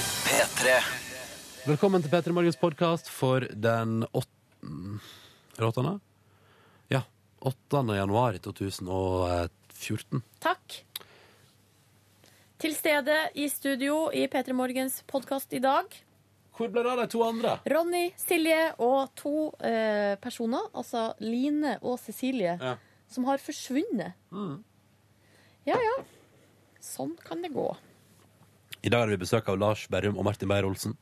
P3. Velkommen til P3 Morgens podkast for den 8. Er det 8. Ja. 8. januar eh, 2014. Takk. Til stede i studio i P3 Morgens podkast i dag. Hvor ble det av de to andre? Ronny, Silje og to eh, personer, altså Line og Cecilie, Ja. Mm. som har forsvunnet. Ja ja. Sånn kan det gå. I dag har vi besøk av Lars Berrum og Martin Beyer-Olsen.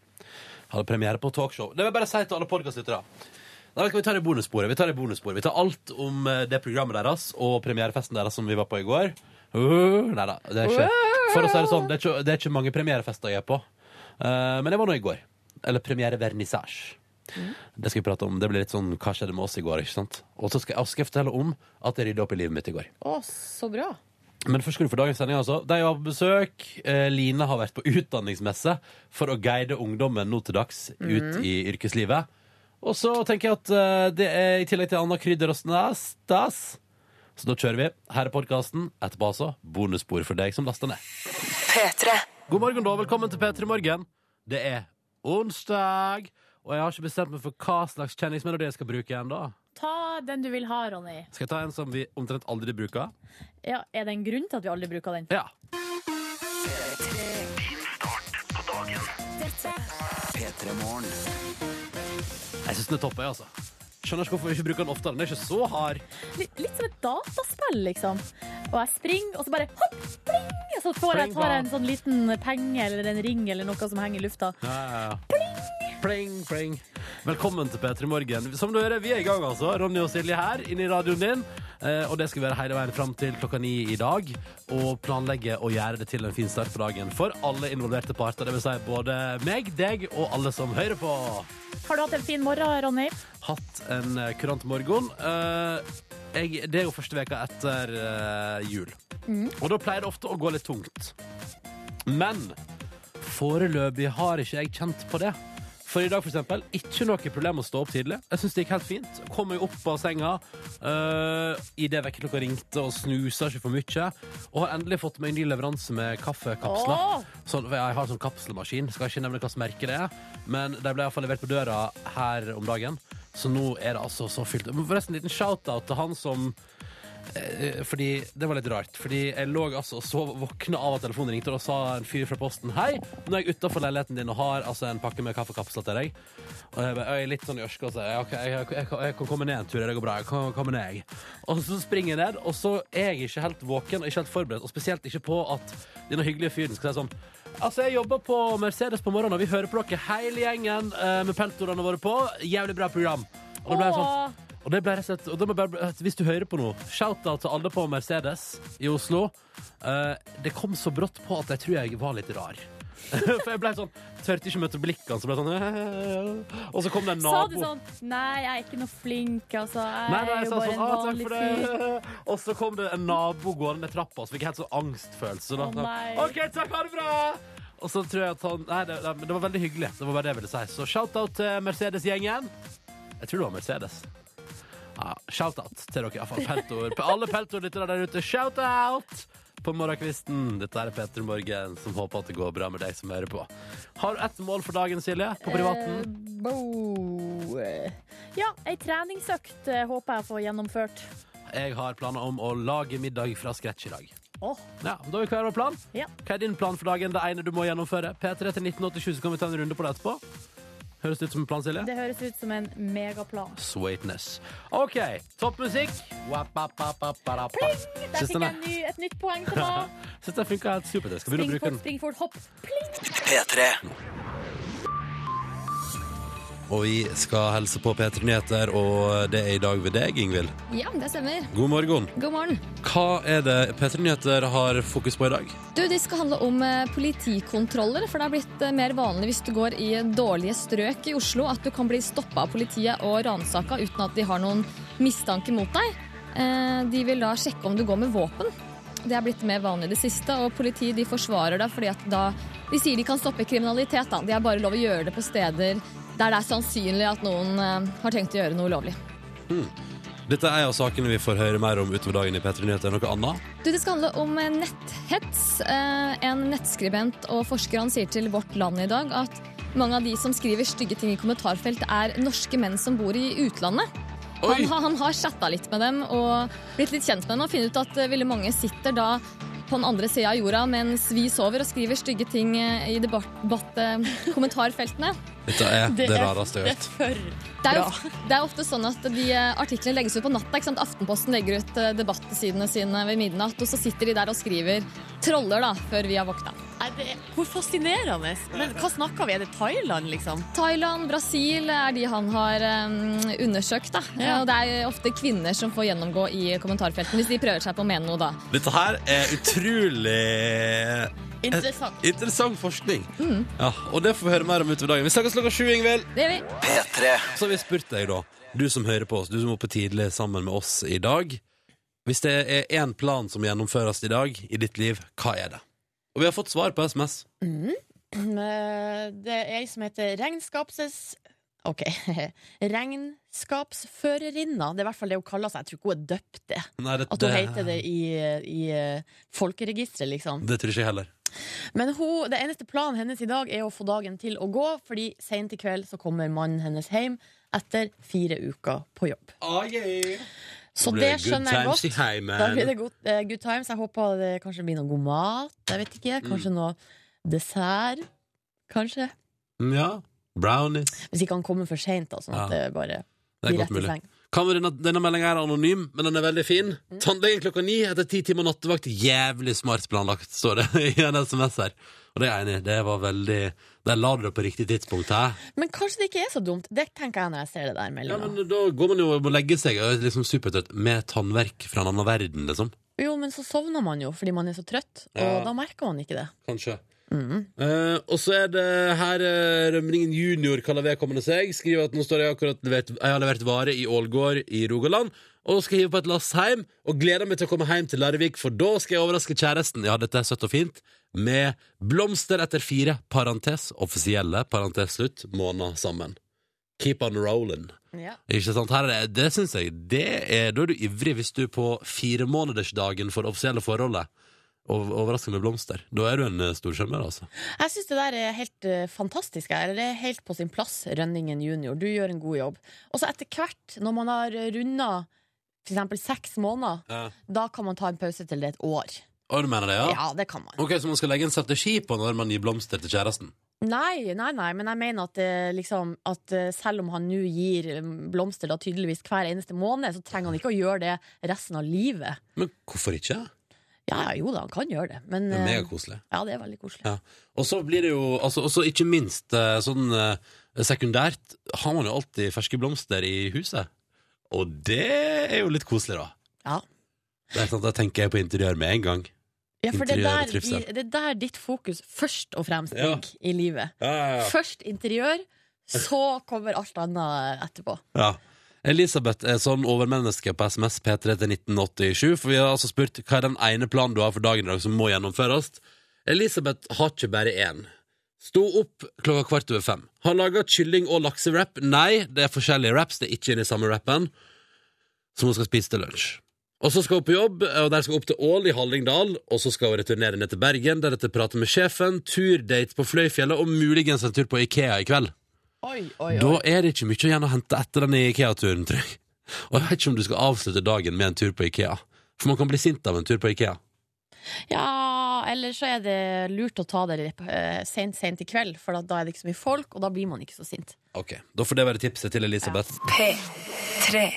Hadde premiere på talkshow. Det vil jeg bare si til alle podkastlyttere. Nei, vet du hva, Vi tar det bonussporet. Vi tar det bonussporet. Vi tar alt om eh, det programmet deres og premierefesten deres som vi var på i går. Uh, nei da, det er ikke For å si det sånn, det er ikke, det er ikke mange premierefester jeg er på. Eh, men det var nå i går. Eller premierevernissasje. Det skal vi prate om. Det blir litt sånn hva skjedde med oss i går. ikke sant? Og så skal jeg, skal jeg fortelle om at jeg rydda opp i livet mitt i går. Å, så bra. Men først skal du få dagens sending, altså. De var på besøk. Eh, Line har vært på utdanningsmesse for å guide ungdommen nå til dags ut i yrkeslivet. Og så tenker jeg at eh, det er i tillegg til Anna Krydder og Stas, stas. Så da kjører vi. Her er podkasten. Etterpå altså bonusspor for deg som laster ned. P3. God morgen, da. Velkommen til P3 Morgen. Det er onsdag, og jeg har ikke bestemt meg for hva slags kjenningsmelodi jeg skal bruke ennå. Ta den du vil ha, Ronny. Skal jeg ta en som vi omtrent aldri bruker? Ja, er det en grunn til at vi aldri bruker den? Ja. P3 Morgen. Jeg syns den er topp, jeg, altså. Skjønner ikke hvorfor vi ikke bruker den oftere. Den er ikke så hard. Litt, litt som et dataspill, liksom. Og jeg springer, og så bare hopp, pling! Og så får jeg, Pling, tar jeg da. en sånn liten penge eller en ring eller noe som henger i lufta. Pling! Pling, pling. Velkommen til P3 Morgen. Som du hører, vi er i gang, altså. Ronny og Silje her inne i radioen din. Eh, Og det skal vi være hele veien fram til klokka ni i dag. Og planlegge å gjøre det til en fin start på dagen for alle involverte parter. Det vil si både meg, deg og alle som hører på. Har du hatt en fin morgen, Ronny? Hatt en eh, kurant morgen. Eh, Jeg, det er jo første veka etter eh, jul. Og da pleier det ofte å gå litt tungt. Men foreløpig har ikke jeg kjent på det. For i dag, for eksempel, ikke noe problem å stå opp tidlig. Jeg synes det gikk helt fint. Kom meg opp av senga øh, i det vekkerklokka ringte og snusa ikke for mye. Og har endelig fått meg en ny leveranse med kaffekapsler. Åh! Sånn, for jeg har sånn kapselmaskin. Skal ikke nevne hva slags merke det er. Men de ble iallfall levert på døra her om dagen. Så nå er det altså så fylt. Men Forresten, en liten shout-out til han som Eh, Fordi det var litt rart. Fordi jeg lå altså og sov og våkna av at telefonen ringte, og da sa en fyr fra posten Hei, nå er jeg utafor leiligheten din og har altså en pakke med kaffekapsler til deg. Og jeg, bare- jeg er litt sånn i ørska og sier OK, jeg, jeg, jeg, jeg kan komme ned en tur, det går bra. Jeg kan komme ned, jeg. Og så springer jeg ned, og så er jeg ikke helt våken og ikke helt forberedt, og spesielt ikke på at denne hyggelige fyren skal si sånn Altså, jeg jobber på Mercedes på morgenen, og vi hører på dere hele gjengen eh, med peltorene våre på. Jævlig bra program. Og det ble jeg sånn Åh. og det ble rett og slett og da må jeg bare, Hvis du hører på nå, shout-out til alle på Mercedes i Oslo. Eh, det kom så brått på at jeg tror jeg var litt rar. For jeg ble sånn Tørte ikke møte blikkene, så ble jeg sånn Og så kom det en nabo. Sa du sånn Nei, jeg er ikke noe flink, altså. Jeg Nei, nei, er jeg jo sa bare en sånn, ah, takk vanlig for fyr. det. Og så kom det en nabo gående ned trappa, så fikk jeg helt sånn angstfølelse. Da, Å, sånn, nei. OK, takk, ha det bra! Og så tror jeg at han Nei, det, nei, men det var veldig hyggelig. Det var bare det jeg ville si. Så shout-out til Mercedes-gjengen. Jeg tror det var Mercedes. Ja, shout-out til dere, iallfall. Peltor. På alle Peltor-lyttere der ute, shout-out! På morgenkvisten. Dette er Petter Morgen, som håper at det går bra med deg som hører på. Har du ett mål for dagen, Silje? På privaten? Eh, bo. Ja, ei treningsøkt eh, håper jeg får gjennomført. Jeg har planer om å lage middag fra scratch i dag. Åh, Ja, da er vi klare over plan. ja. Hva er din plan for dagen? Det ene du må gjennomføre. P3 til 1987, så kan vi ta en runde på det etterpå. Høres det ut som en plan, Silje? Det høres ut som en megaplan. Sweetness. OK, toppmusikk. Pling! Der Syns fikk den jeg er- en ny, et nytt poeng til meg. Syns den funka helt supert. Jeg skal begynne å Spring bruke fort, den. spring fort, hopp. Pling! P3. Og vi skal helse på P3 Nyheter, og det er i dag ved deg, Ingvild. Ja, det stemmer. God morgen. God morgen. Hva er det P3 Nyheter har fokus på i dag? Du, De skal handle om eh, politikontroller. for Det er blitt eh, mer vanlig hvis du går i dårlige strøk i Oslo at du kan bli stoppa av politiet og ransaka uten at de har noen mistanke mot deg. Eh, De vil da sjekke om du går med våpen. Det er blitt mer vanlig i det siste. og Politiet de forsvarer det fordi at da de sier de kan stoppe kriminalitet. da. De har bare lov å gjøre det på steder der det er sannsynlig at noen eh, har tenkt å gjøre noe ulovlig. Dette er en av sakene vi får høre mer om utover dagen i P3 Nyheter. Noe annet? Du, det skal handle om eh, netthets. Eh, En nettskribent og forsker han sier til Vårt Land i dag at mange av de som skriver stygge ting i kommentarfelt, er norske menn som bor i utlandet. Han, har- han har chatta litt med dem og blitt litt kjent med dem og funnet ut at eh, veldig mange sitter da på den andre sida av jorda mens vi sover og skriver stygge ting eh, i debatt, debatt, eh, kommentarfeltene. Dette er det, er- rareste jeg har Det er hørt. for Det er, Bra. ofte, det er ofte sånn at de eh, artiklene legges ut på natta. ikke sant? Aftenposten legger ut eh, debattsidene sine ved midnatt, og så sitter de der og skriver troller da, før vi har våkna. Nei, det er, hvor fascinerende. Men hva snakker vi? Er det Thailand, liksom? Thailand, Brasil er de han har eh, undersøkt. da. Ja. Og Det er ofte kvinner som får gjennomgå i kommentarfeltene hvis de prøver seg på å mene noe da. Dette her er utrolig eh, Interessant. interessant forskning. Ja, og det får vi høre mer om utover dagen. Vi snakkes klokka sju, Ingvild. Mm, Det gjør vi. P3 Så har vi spurt deg, da. Du som hører på oss, du som er oppe tidlig sammen med oss i dag. Hvis det er én plan som gjennomføres i dag i ditt liv, hva er det? Og vi har fått svar på SMS. Mm. Eh, Det er ei som heter regnskapses... OK. Regnskapsførerinna. Det er i hvert fall det hun kaller seg. Jeg tror ikke hun er døpt det. Nei, det, At hun heter det i, i eh, folkeregisteret, liksom. Det tror ikke jeg heller. Men hun, det eneste planen hennes i dag er å få dagen til å gå, fordi seint i kveld så kommer mannen hennes hjem etter fire uker på jobb. Så det skjønner jeg godt. Da blir det good, eh, good times. Jeg håper det kanskje blir noe god mat. Jeg vet ikke, Kanskje noe dessert. Kanskje. Ja. Brownies. Hvis ikke han kommer for seint, da. Sånn at det Ja. bare Det er blir godt rett i mulig. seng. Mm. Kan være denne, denne meldinga er anonym, men den er veldig fin. Tannlegen klokka ni etter ti timer nattevakt. Jævlig smart planlagt, står det i en SMS her. Og det er jeg enig i. Det var veldig Der la du det på riktig tidspunkt. Hæ? Men kanskje det ikke er så dumt. Det tenker jeg når jeg ser det der Ja, meldinga. men da går man jo og må legge seg og er liksom supertrøtt med tannverk fra en annen verden, liksom. Jo, men så sovner man jo fordi man er så trøtt, og Ja. da merker man ikke det. Kanskje. Eh, og så er det her eh, Rømningen junior kaller vedkommende seg. Skriver at nå står jeg akkurat levert, jeg har levert vare i Ålgård i Rogaland. Og skal hive på et lass hjem, og gleder meg til å komme hjem til Larvik, for da skal jeg overraske kjæresten. Ja, dette er søtt og fint. Med blomster etter fire, parentes offisielle, parentes slutt, måneder sammen. Keep on rolling. Ja. Ikke sant? Her er det, det syns jeg. Det er, da er du ivrig hvis du på firemånedersdagen for det offisielle forholdet og overrasker med blomster. Da er du en eh, stor skjønner, altså. Jeg syns det der er helt eh, fantastisk. Her. Det er helt på sin plass, Rønningen junior. Du gjør en god jobb. Og så etter hvert, når man har runda f.eks. seks måneder, da kan man ta en pause til det er et år. Og du mener det, Ja, ja? det kan man. Ok, Så man skal legge en strategi på når man gir blomster til kjæresten? Nei, nei, nei, men jeg mener at, eh, liksom, at eh, selv om han nå gir eh, blomster da tydeligvis hver eneste måned, så trenger han ikke å gjøre det resten av livet. Men hvorfor ikke? Ja, ja, jo da, han kan gjøre det, men Det er eh, megakoselig. ja, det er veldig koselig. Ja. Og så blir det jo altså, også ikke minst eh, sånn eh, sekundært har man jo alltid ferske blomster i huset. Og det er jo litt koselig, da. Ja. Det er sant, Da tenker jeg på interiør med en gang. Ja, for det er Interiør og der, trivsel. di- det er der ditt fokus først og fremst Ja. ligger i livet. Ja, ja, Først interiør, så kommer alt annet etterpå. Ja. Elisabeth er sånn overmenneske på SMS P3 til 1987, for vi har altså spurt hva er den ene planen du har for dagen i dag som må gjennomføres. Elisabeth har ikke bare én. Sto opp klokka kvart over fem. Har laga kylling- og laksewrap. Nei, det er forskjellige wraps, det er ikke inni samme wrapen. Som hun skal spise til lunsj. Og så skal hun på jobb, og der skal hun opp til Ål i Hallingdal. Og så skal hun returnere ned til Bergen, deretter prate med sjefen, turdate på Fløyfjellet og muligens en tur på Ikea i kveld. Oi, oi, Da er det ikke mye igjen å hente etter den Ikea-turen, tror jeg. Og jeg vet ikke om du skal avslutte dagen med en tur på Ikea. For man kan bli sint av en tur på Ikea. Ja, eller så er det lurt å ta det eh, sent, sent i kveld, for da- da er det ikke så mye folk, og da blir man ikke så sint. Ok, Da får det være tipset til Elisabeth. Hei,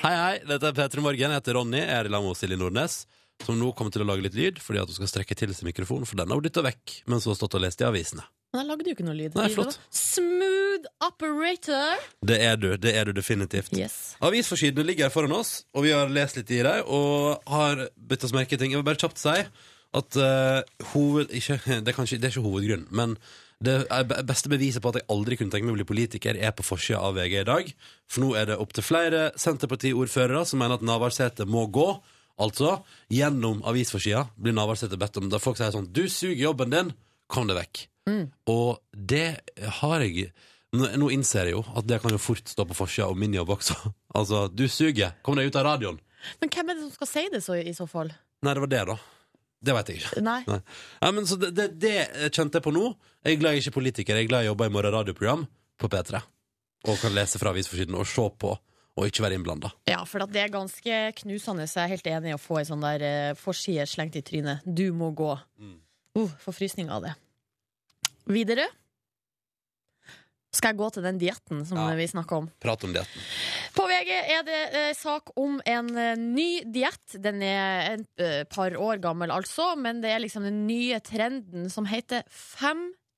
hei, dette er P3 Morgen. Jeg heter Ronny. Jeg er i lag med Silje Nordnes, som nå kommer til å lage litt lyd fordi at hun skal strekke til seg mikrofonen, for den har hun dytta vekk mens hun har stått og lest i avisene. Men jeg lagde jo ikke noe lyd. Nei, Det flott. var Smooth operator! Det er du. Det er du definitivt. Yes. Avisforsidene ligger her foran oss, og vi har lest litt i dem og har bitt oss merke i ting. Jeg vil bare kjapt si at eh, hoved, ikke, det, er kanskje, det er ikke hovedgrunnen, men det er be- beste beviset på at jeg aldri kunne tenke meg å bli politiker, er på forsida av VG i dag. For nå er det opptil flere Senterparti-ordførere som mener at Navarsete må gå. Altså, gjennom avisforsida blir Navarsete bedt om Der folk sier sånn Du suger jobben din, kom deg vekk. Og det har jeg Nå, nå innser jeg jo at det kan jo fort stå på forsida om min jobb også. Altså, du suger! Kom deg ut av radioen! Men hvem er det som skal si det så, i så fall? Nei, det var det, da. Det veit jeg ikke. Nei. Nei. Nei, men så det, det, det kjente jeg på nå. Jeg er glad jeg ikke er politiker. Jeg er glad jeg jobber i morgen radioprogram på P3. Og kan lese fra avisforsiden og se på, og ikke være innblanda. Ja, for at det er ganske knusende, så jeg er helt enig i å få ei sånn der eh, forside slengt i trynet. Du må gå. Uh, Får frysninger av det. Videre skal jeg gå til den dietten som Ja. vi snakka om. Prate om dietten. På VG er det eh, sak om en eh, ny diett. Den er et eh, par år gammel, altså, men det er liksom den nye trenden som heter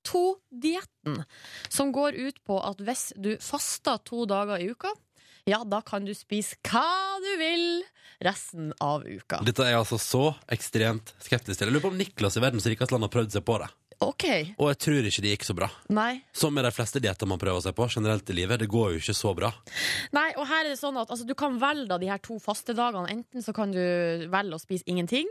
5-2-dietten. Som går ut på at hvis du faster to dager i uka, ja, da kan du spise hva du vil resten av uka. Dette er jeg altså så ekstremt skeptisk til. Jeg lurer på om Niklas i verdens rikeste land har prøvd seg på det. OK. Og jeg tror ikke det gikk så bra. Nei. Som med de fleste dietter man prøver seg på generelt i livet. Det går jo ikke så bra. Nei, og her er det sånn at altså, Du kan velge da, de her to faste dagene. Enten så kan du velge å spise ingenting.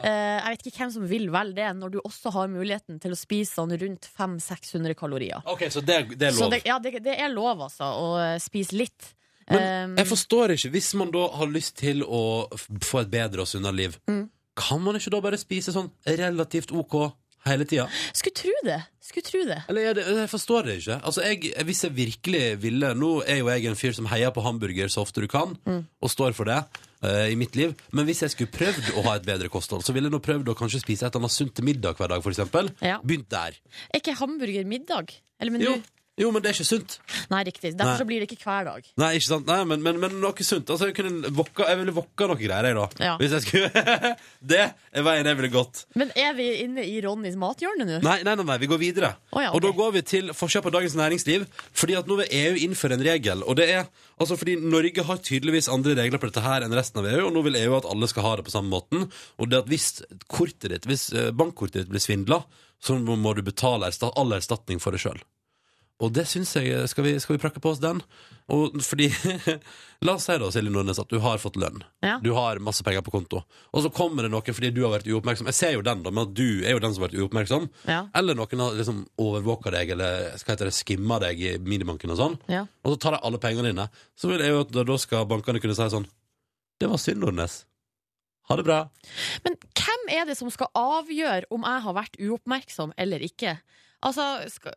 Eh, jeg vet ikke hvem som vil velge det, når du også har muligheten til å spise sånn rundt 500-600 kalorier. Ok, Så det, det er Så lov. det, ja, det, det er lov, altså, å eh, spise litt. Men Eh, jeg forstår ikke. Hvis man da har lyst til å f- få et bedre og sunnere liv, Mm. kan man ikke da bare spise sånn relativt OK hele tida? skulle tro det! Skulle tro det. Eller er det, jeg forstår det ikke. Altså, jeg, hvis jeg virkelig ville Nå er jo jeg en fyr som heier på hamburger så ofte du kan, Mm. og står for det eh, i mitt liv. Men hvis jeg skulle prøvd å ha et bedre kosthold, så ville jeg nå prøvd å kanskje spise et eller annet sunt til middag hver dag, f.eks. Ja. Begynt der. Er ikke hamburger middag? Eller, men Jo. du, jo, men det er ikke sunt. nei, riktig. Derfor Nei. så blir det ikke hver dag. Nei, ikke sant? Nei, men, men, men noe sunt. Altså, jeg, kunne vokka, jeg ville vokka noe greier, jeg, da. Ja. Hvis jeg skulle Det er veien jeg ville gått. Men er vi inne i Ronnys mathjørne nå? Nei, nei, nei, nei, vi går videre. Å ja, ok. Og da går vi til forskjell på Dagens Næringsliv. Fordi at nå vil EU innføre en regel. Og det er, altså fordi Norge har tydeligvis andre regler på dette her enn resten av EU, og nå vil EU at alle skal ha det på samme måten. Og det at hvis kortet ditt, hvis eh, bankkortet ditt blir svindla, så må må du betale ersta- all erstatning for det sjøl. Og det syns jeg skal vi, skal vi prakke på oss den? Og fordi La oss si da, Silje Nordnes, at du har fått lønn. Ja. Du har masse penger på konto. Og så kommer det noen fordi du har vært uoppmerksom. Jeg ser jo den, da, men at du er jo den som har vært uoppmerksom. Ja. Eller noen har liksom overvåka deg, eller skal hete det, skimma deg i minibanken og sånn. Ja. Og så tar de alle pengene dine. Så vil jeg jo at da skal bankene kunne si sånn Det var synd, Nordnes. Ha det bra. Men hvem er det som skal avgjøre om jeg har vært uoppmerksom eller ikke? Altså, skal,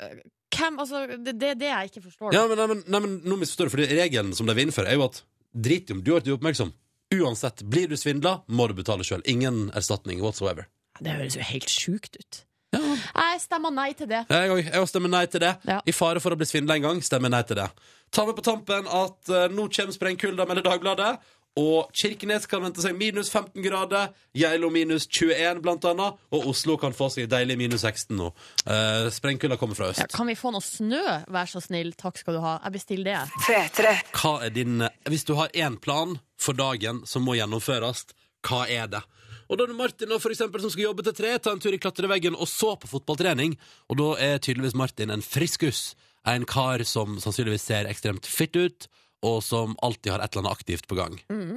hvem, altså det, det er det jeg ikke forstår. Ja, men, nei, men, nei, men nå misforstår du, for regelen som de vil innføre, er jo at drit i om du har vært uoppmerksom. Uansett, blir du svindla, må du betale sjøl. Ingen erstatning whatsoever. Det høres jo helt sjukt ut. Jeg stemmer nei til det. Jeg òg. Jeg òg stemmer nei til det. Ja. I fare for å bli svindla en gang, stemmer jeg nei til det. Ta med på tampen at eh, nå kommer sprengkulda, melder Dagbladet. Og Kirkenes kan vente seg minus 15 grader, Geilo minus 21 blant annet, og Oslo kan få seg deilig minus 16 nå. Eh, sprengkulda kommer fra øst. Ja, kan vi få noe snø, vær så snill? Takk skal du ha. Jeg bestiller det. jeg. Hva er din, eh, hvis du har én plan for dagen som må gjennomføres, hva er det? Og da er det Martin da, for eksempel, som skal jobbe til tre, ta en tur i klatreveggen og så på fotballtrening. Og da er tydeligvis Martin en friskus. En kar som sannsynligvis ser ekstremt fit ut, og som alltid har et eller annet aktivt på gang. Mm.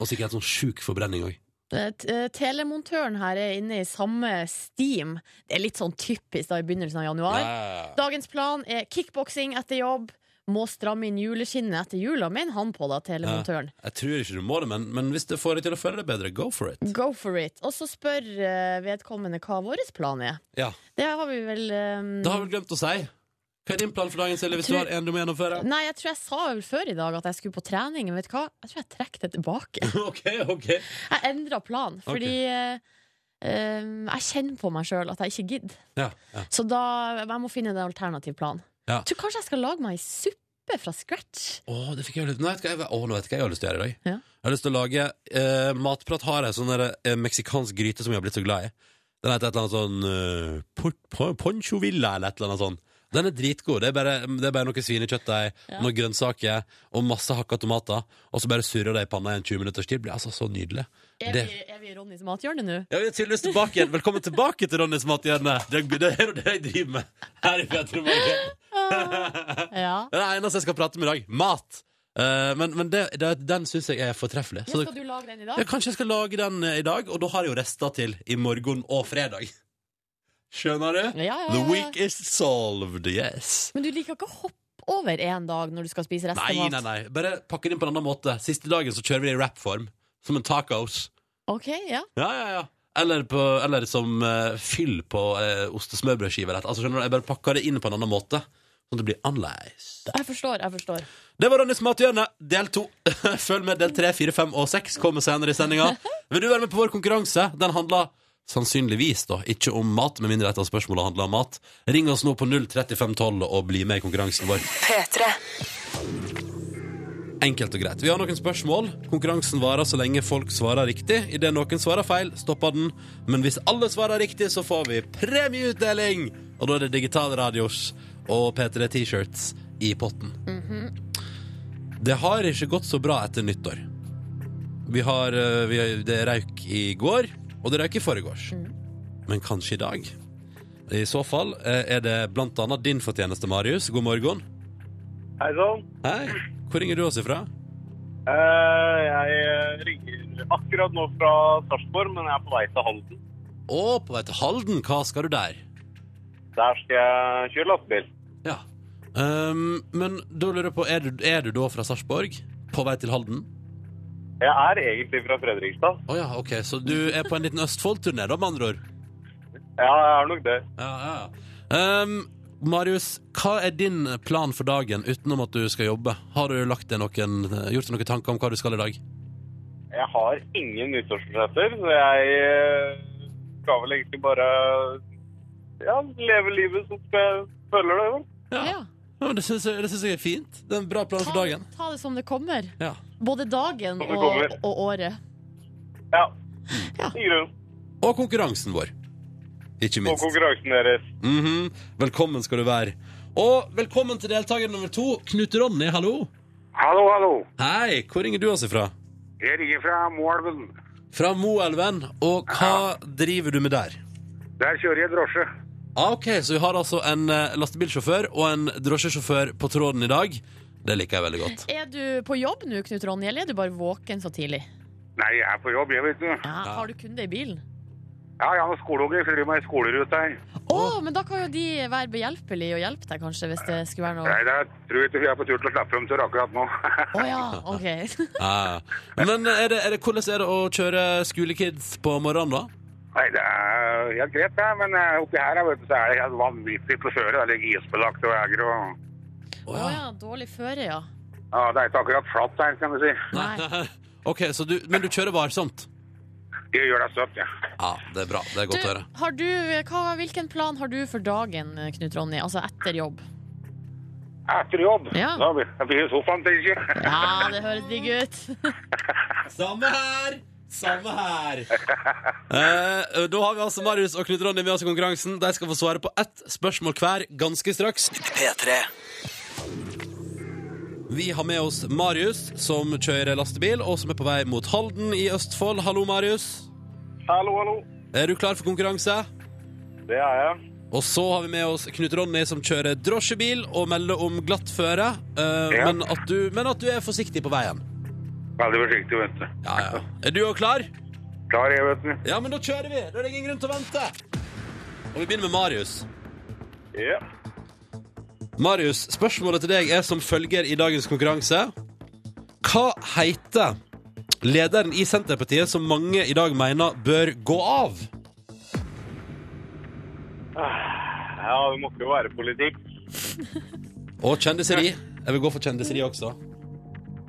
Og sikkert en sånn sjuk forbrenning òg. Eh, t- eh, Telemontøren her er inne i samme steam. Det er litt sånn typisk da i begynnelsen av januar. Dagens plan er kickboksing etter jobb. Må stramme inn juleskinnet etter jula, mener han på, da, telemontøren. Jeg tror ikke du må det, men, men hvis det får deg til å føle deg bedre, go for it. Go for it. Og så spør eh, vedkommende hva vår plan er. Ja. Det har vi vel eh, Det har vi glemt å si. Hva er din plan for dagen, Silje, hvis du Tror- har en du må gjennomføre? Nei, jeg tror jeg sa vel før i dag at jeg skulle på trening. men Vet du hva? Jeg tror jeg trekker det tilbake. ok, ok. Jeg endra plan, fordi eh, eh, jeg kjenner på meg sjøl at jeg ikke gidder. Ja, ja. Så da jeg må finne en alternativ plan. Ja. Jeg tror kanskje jeg skal lage meg ei suppe fra scratch. Åh, det fikk jeg lyst til. Nå vet jeg, hva- åh, nå vet jeg hva jeg har lyst til å gjøre i dag. Ja. Jeg har lyst til å lage eh, Matprat har jeg sånn der, eh, meksikansk gryte som jeg har blitt så glad i. Den heter et eller annet sånn eh, por- po- Poncho Villa eller et eller annet sånn. Den er dritgod. Det er bare, det er bare noe svinekjøttdeig, noen grønnsaker og masse hakka tomater. Og så bare surrer det i panna i en 20 minutters tid. Det blir altså så nydelig. Er Det- vi, er vi i Ronnys mathjørne nå? Ja, vi er tydeligvis tilbake igjen. Velkommen tilbake til Ronnys mathjørne. Det er- det er jo det jeg driver med her i Petremorgen. Ja. Det er det eneste jeg skal prate om i dag. Mat. Eh, men men det, det, den syns jeg er fortreffelig. Så Ja, det- skal du lage den i ja, dag? kanskje jeg skal lage den eh, i dag, og da har jeg jo rester til i morgen og fredag. Skjønner du? Ja, ja, ja. The week is solved, yes. Men du liker ikke å hoppe hoppe over en dag når du skal spise resten Nei, av nei, mat? nei. Bare pakke det inn på en annen måte. Siste dagen så kjører vi det i wrap-form. Som en tacos. Ok, ja. Ja, ja, ja. Eller, på, eller som eh, fyll på uh, ostesmørbrødskiver. Altså, skjønner du, jeg bare pakker det inn på en annen måte. Sånn at det blir annerledes. Jeg forstår, jeg forstår. Det var Ronnys mathjørne, del to. Følg med del tre, fire, fem og seks. Kommer senere i sendinga. Vil du være med på vår konkurranse? Den handler sannsynligvis da ikke om mat, med mindre et av spørsmålene handler om mat. Ring oss nå på 03512 og bli med i konkurransen vår. Enkelt og greit. Vi har noen spørsmål. Konkurransen varer så lenge folk svarer riktig. Idet noen svarer feil, stopper den. Men hvis alle svarer riktig, så får vi premieutdeling! Og da er det digitale radios og P3 T-shirts i potten. Mhm. Det har ikke gått så bra etter nyttår. Vi har, eh, vi har Det røyk i går, og det røyk i forgårs. Men kanskje i dag? I så fall eh, er det blant annet din fortjeneste, Marius. God morgen. Hei sånn. sann. Hei. Hvor ringer du oss ifra? Eh, Jeg ringer akkurat nå fra Sarpsborg, men jeg er på vei til Halden. Å, på vei til Halden. Hva skal du der? Der skal jeg kjøre lastebil. Ja. Um, men da lurer jeg på, er du, er du da fra Sarpsborg? På vei til Halden? Jeg er egentlig fra Fredrikstad. Å ja, ok. Så du er på en liten Østfold-turné, da, med andre ord? Ja, jeg er nok det. Ja, ja. ja. Um, Marius, hva er din plan for dagen utenom at du skal jobbe? Har du lagt deg noen, eh, gjort deg noen tanker om hva du skal i dag? Jeg har ingen nyttårsforsetter, så jeg eh, skal vel egentlig bare ja, leve livet som jeg føler det. vel. Ja. Ja. Ja, men det syns jeg, det synes jeg er fint. Det er en bra plan for Ta, dagen. ta det som det kommer. Ja. Både dagen Som det og, kommer. og året. Ja. Ja. I grunn. Og konkurransen vår. Ikke Og minst. konkurransen deres. Mhm. Velkommen skal du være. Og velkommen til deltaker nummer to, Knut Ronny. Hallo. Hallo, hallo. Hei, hvor ringer du oss ifra? Jeg ringer fra Moelven. Fra Moelven. Og hva driver du med der? Der kjører jeg drosje. Ah, ok, så vi har altså en eh, lastebilsjåfør og en drosjesjåfør på tråden i dag. Det liker jeg veldig godt. Er du på jobb nå, Knut Ronny, eller er du bare våken så tidlig? Nei, jeg er på jobb, jeg, vet du. Ja. Har du kunde i bilen? Ja, jeg har skoleunger, så driver meg i skolerute her. Å, men da kan jo de være behjelpelige og hjelpe deg, kanskje, hvis det skulle være noe Nei, da tror jeg ikke jeg er på tur til å slappe dem til akkurat nå. Å ja, OK. Ja, ja. Ah. Men eh, er det, er det, hvordan er det å kjøre skolekids på morgenen, da? Nei, det er helt greit, det, men eh, oppi her jeg vet du, så er det helt vanvittig på føret. Det ligger isbelagt og eger og Å, Å ja. ja, dårlig føre, ja. ja, Det er ikke akkurat flatt her, kan du si. Nei. Ok, så du, Men du kjører varsomt? Jeg gjør deg søtt, jeg. Ja, det er bra. Det er Du, godt å høre. har du, hva, hvilken plan har du for dagen, Knut Ronny? Altså etter jobb? Etter jobb. Ja. Da blir jeg blir i sofaen, tenker jeg. Ja, Ah, det høres digg ut. Samme her! Samme her! Eh, da har vi altså Marius og Knut Ronny med oss i konkurransen. De skal få svare på ett spørsmål hver ganske straks. P3 Vi har med oss Marius, som kjører lastebil, og som er på vei mot Halden i Østfold. Hallo, Marius. Hallo, hallo. Er du klar for konkurranse? Det er jeg. Og så har vi med oss Knut Ronny, som kjører drosjebil og melder om glatt føre. eh, Ja. men, at du, men at du er forsiktig på veien. Veldig forsiktig, vet du. Ja, ja. Er du òg klar? Klar, jeg, vet du. Ja, men da kjører vi! Da er det ingen grunn til å vente. Og vi begynner med Marius. Ja. Marius, spørsmålet til deg er som følger i dagens konkurranse. Hva heter lederen i Senterpartiet som mange i dag mener bør gå av? Eh, ja, det måtte jo være politikk. Og kjendiseri. Jeg vil gå for kjendiseri også.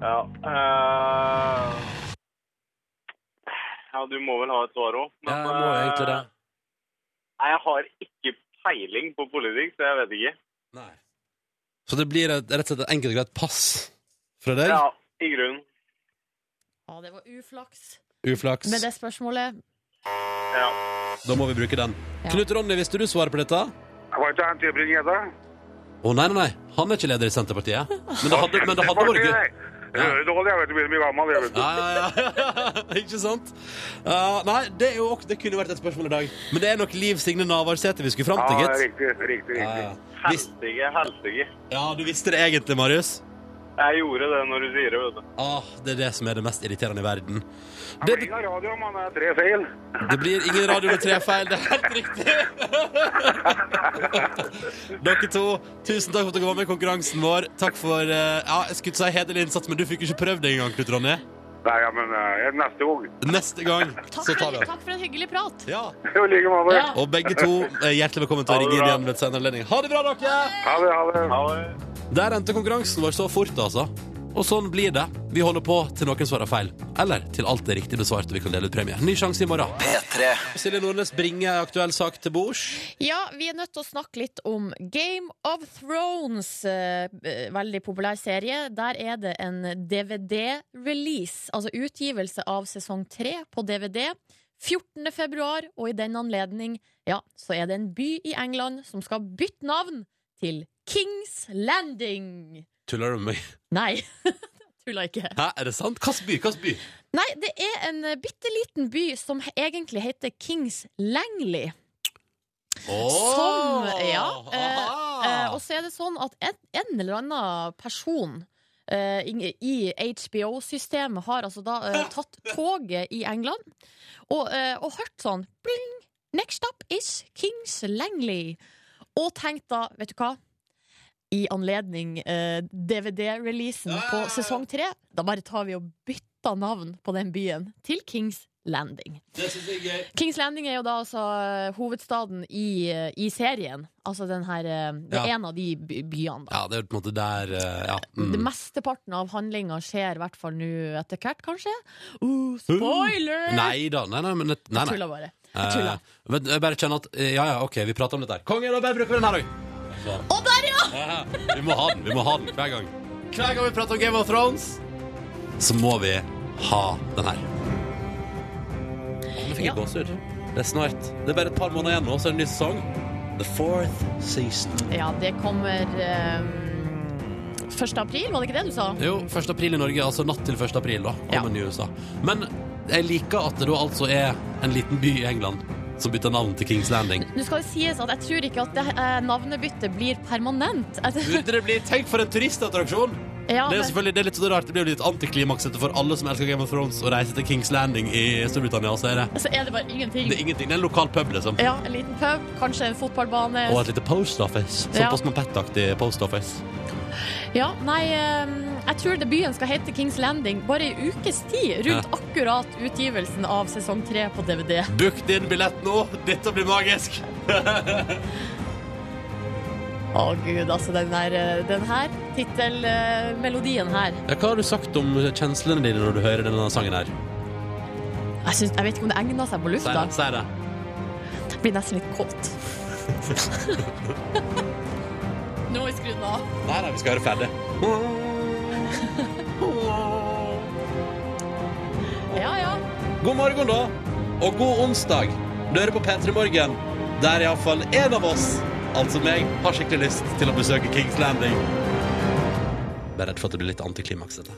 Ja. eh, ja, du må vel ha et svar eh, òg. Ja, jeg må egentlig det. Nei, jeg har ikke peiling på politikk, så jeg vet ikke. Nei. Så det blir et, rett og slett et enkelt og greit pass fra deg? Ja, i grunnen. Å, Ah, det var uflaks Uflaks. med det spørsmålet. Ja. Da må vi bruke den. Ja. Knut Ronny, visste du svaret på dette? Å, Var ikke han Tybring-Gjedda? nei, nei, nei. Han er ikke leder i Senterpartiet. Men det hadde, men det hadde vært gøy. Ja. Rødhål, jeg vet du, begynner å bli gammel, jeg, vet du. Ja, ja, ja. Ikke sant? Ja, nei, det, er jo, ok- det kunne vært et spørsmål i dag. Men det er nok Liv Signe Navarsete vi skulle fram til, Ja, gitt. riktig, riktig, riktig. Ja, ja. Vis- Helsike, helsike. ja, du visste det egentlig, Marius. Jeg gjorde det når du sier det, vet du. Ah, det er det som er det mest irriterende i verden. Det Det, blir ingen radio om han er tre feil. det blir ingen radio med tre feil. Det er helt riktig! Dere to, tusen takk for at dere var med i konkurransen vår. Takk for eh, ja, jeg skulle ikke si hederlig innsats, men du fikk jo ikke prøvd det engang, Knut Ronny. Nei, ja, men eh, neste gang. Neste gang Takk, så tar for, vi den. takk for en hyggelig prat. Ja. Jo, like måte. Ja. Og begge to, eh, hjertelig velkommen til å Ha det ringe inn bra. igjen ved et senere anledning. Ha det bra, dere! Ha det, ha det. Ha det. Der endte konkurransen vår så fort, altså. Og sånn blir det. Vi holder på til noen svarer feil. Eller til alt er riktig besvart og vi kan dele ut premie. Ny sjanse i morgen. P3 Silje Nordnes bringer en aktuell sak til bords. Ja, vi er nødt til å snakke litt om Game of Thrones. eh, eh, Veldig populær serie. Der er det en DVD-release, altså utgivelse av sesong tre på DVD. 14. februar, og i den anledning ja, så er det en by i England som skal bytte navn til Kings Landing. Tuller du med meg? Nei, tulla ikke. Hæ, er det sant? Hvilken by? Hvilken by? Nei, det er en eh, bitte liten by som he- egentlig heter Kings Langley. Som, ja, Eh, og så er det sånn at en, en eller annen person eh, ing- i HBO-systemet har altså da eh, tatt toget i England og, eh, og hørt sånn Bling! Next up is Kings Langley. Og tenkt da, vet du hva? I anledning eh, DVD-releasen på Ja. sesong tre, da bare tar vi og bytter navn på den byen til Kings Landing. Det syns jeg er gøy. Kings Landing er jo da altså eh, hovedstaden i, eh, i serien. Altså den her eh, Det er Ja. en av de by- byene, da. Ja, det er jo på en måte der eh, Ja. Det Mm. Mesteparten av handlinga skjer i hvert fall nå etter hvert, kanskje. Uh, spoiler! Nei da. Nei, nei, men nei, Jeg nei. tuller bare. Jeg tuller. Eh, vet- jeg bare kjenner at eh, Ja, ja, OK, vi prater om dette her. Kongen, da bare bruker vi den her òg. Å, der, ja! Ja, Vi må ha den, vi må ha den hver gang Hver gang vi prater om Game of Thrones Så må vi ha den her Nå fikk jeg Ja. gåsehud. Det er snart, det er bare et par måneder igjen nå Så er det en ny sesong The fourth season Ja, det kommer eh, 1. april, var det ikke det du sa? Jo, 1. april i Norge, altså natt til 1. april da Ja. Kommer ny USA Men jeg liker at det da altså er en liten by i England Som bytter navn til King's Landing Nå skal det sies at jeg tror ikke at det, eh, navnebyttet blir permanent. Burde det bli, tenk for en turistattraksjon Ja, Det er men- jo selvfølgelig det er litt sånn rart Det blir jo litt antiklimaks etter for alle som elsker Game of Thrones Å reise til King's Landing i Storbritannia Så er det så er det bare ingenting. Det er ingenting, det er en lokal pub, liksom. Altså, Ja, En liten pub, kanskje en fotballbane. Og et lite post office. Sånn Ja. Postman Pet-aktig post office. Ja, nei, eh, jeg tror det byen skal hete Kings Landing bare i ukes tid, rundt akkurat utgivelsen av sesong tre på DVD. Book din billett nå! Dette blir magisk! Å gud, altså den, der, eh, den her tittelmelodien her. Ja, hva har du sagt om kjenslene dine når du hører denne sangen her? Jeg, syns- jeg vet ikke om det egner seg på Si lufta. det. Si det. Jeg blir nesten litt kåt. Nå må vi skru den av. Nei, nei, vi skal høre ferdig. Ja, ja. God morgen, da. Og god onsdag. Du hører på P3 Morgen, der iallfall én av oss, altså meg, har skikkelig lyst til å besøke Kings Landing. Bare redd for at det blir litt antiklimaks, dette.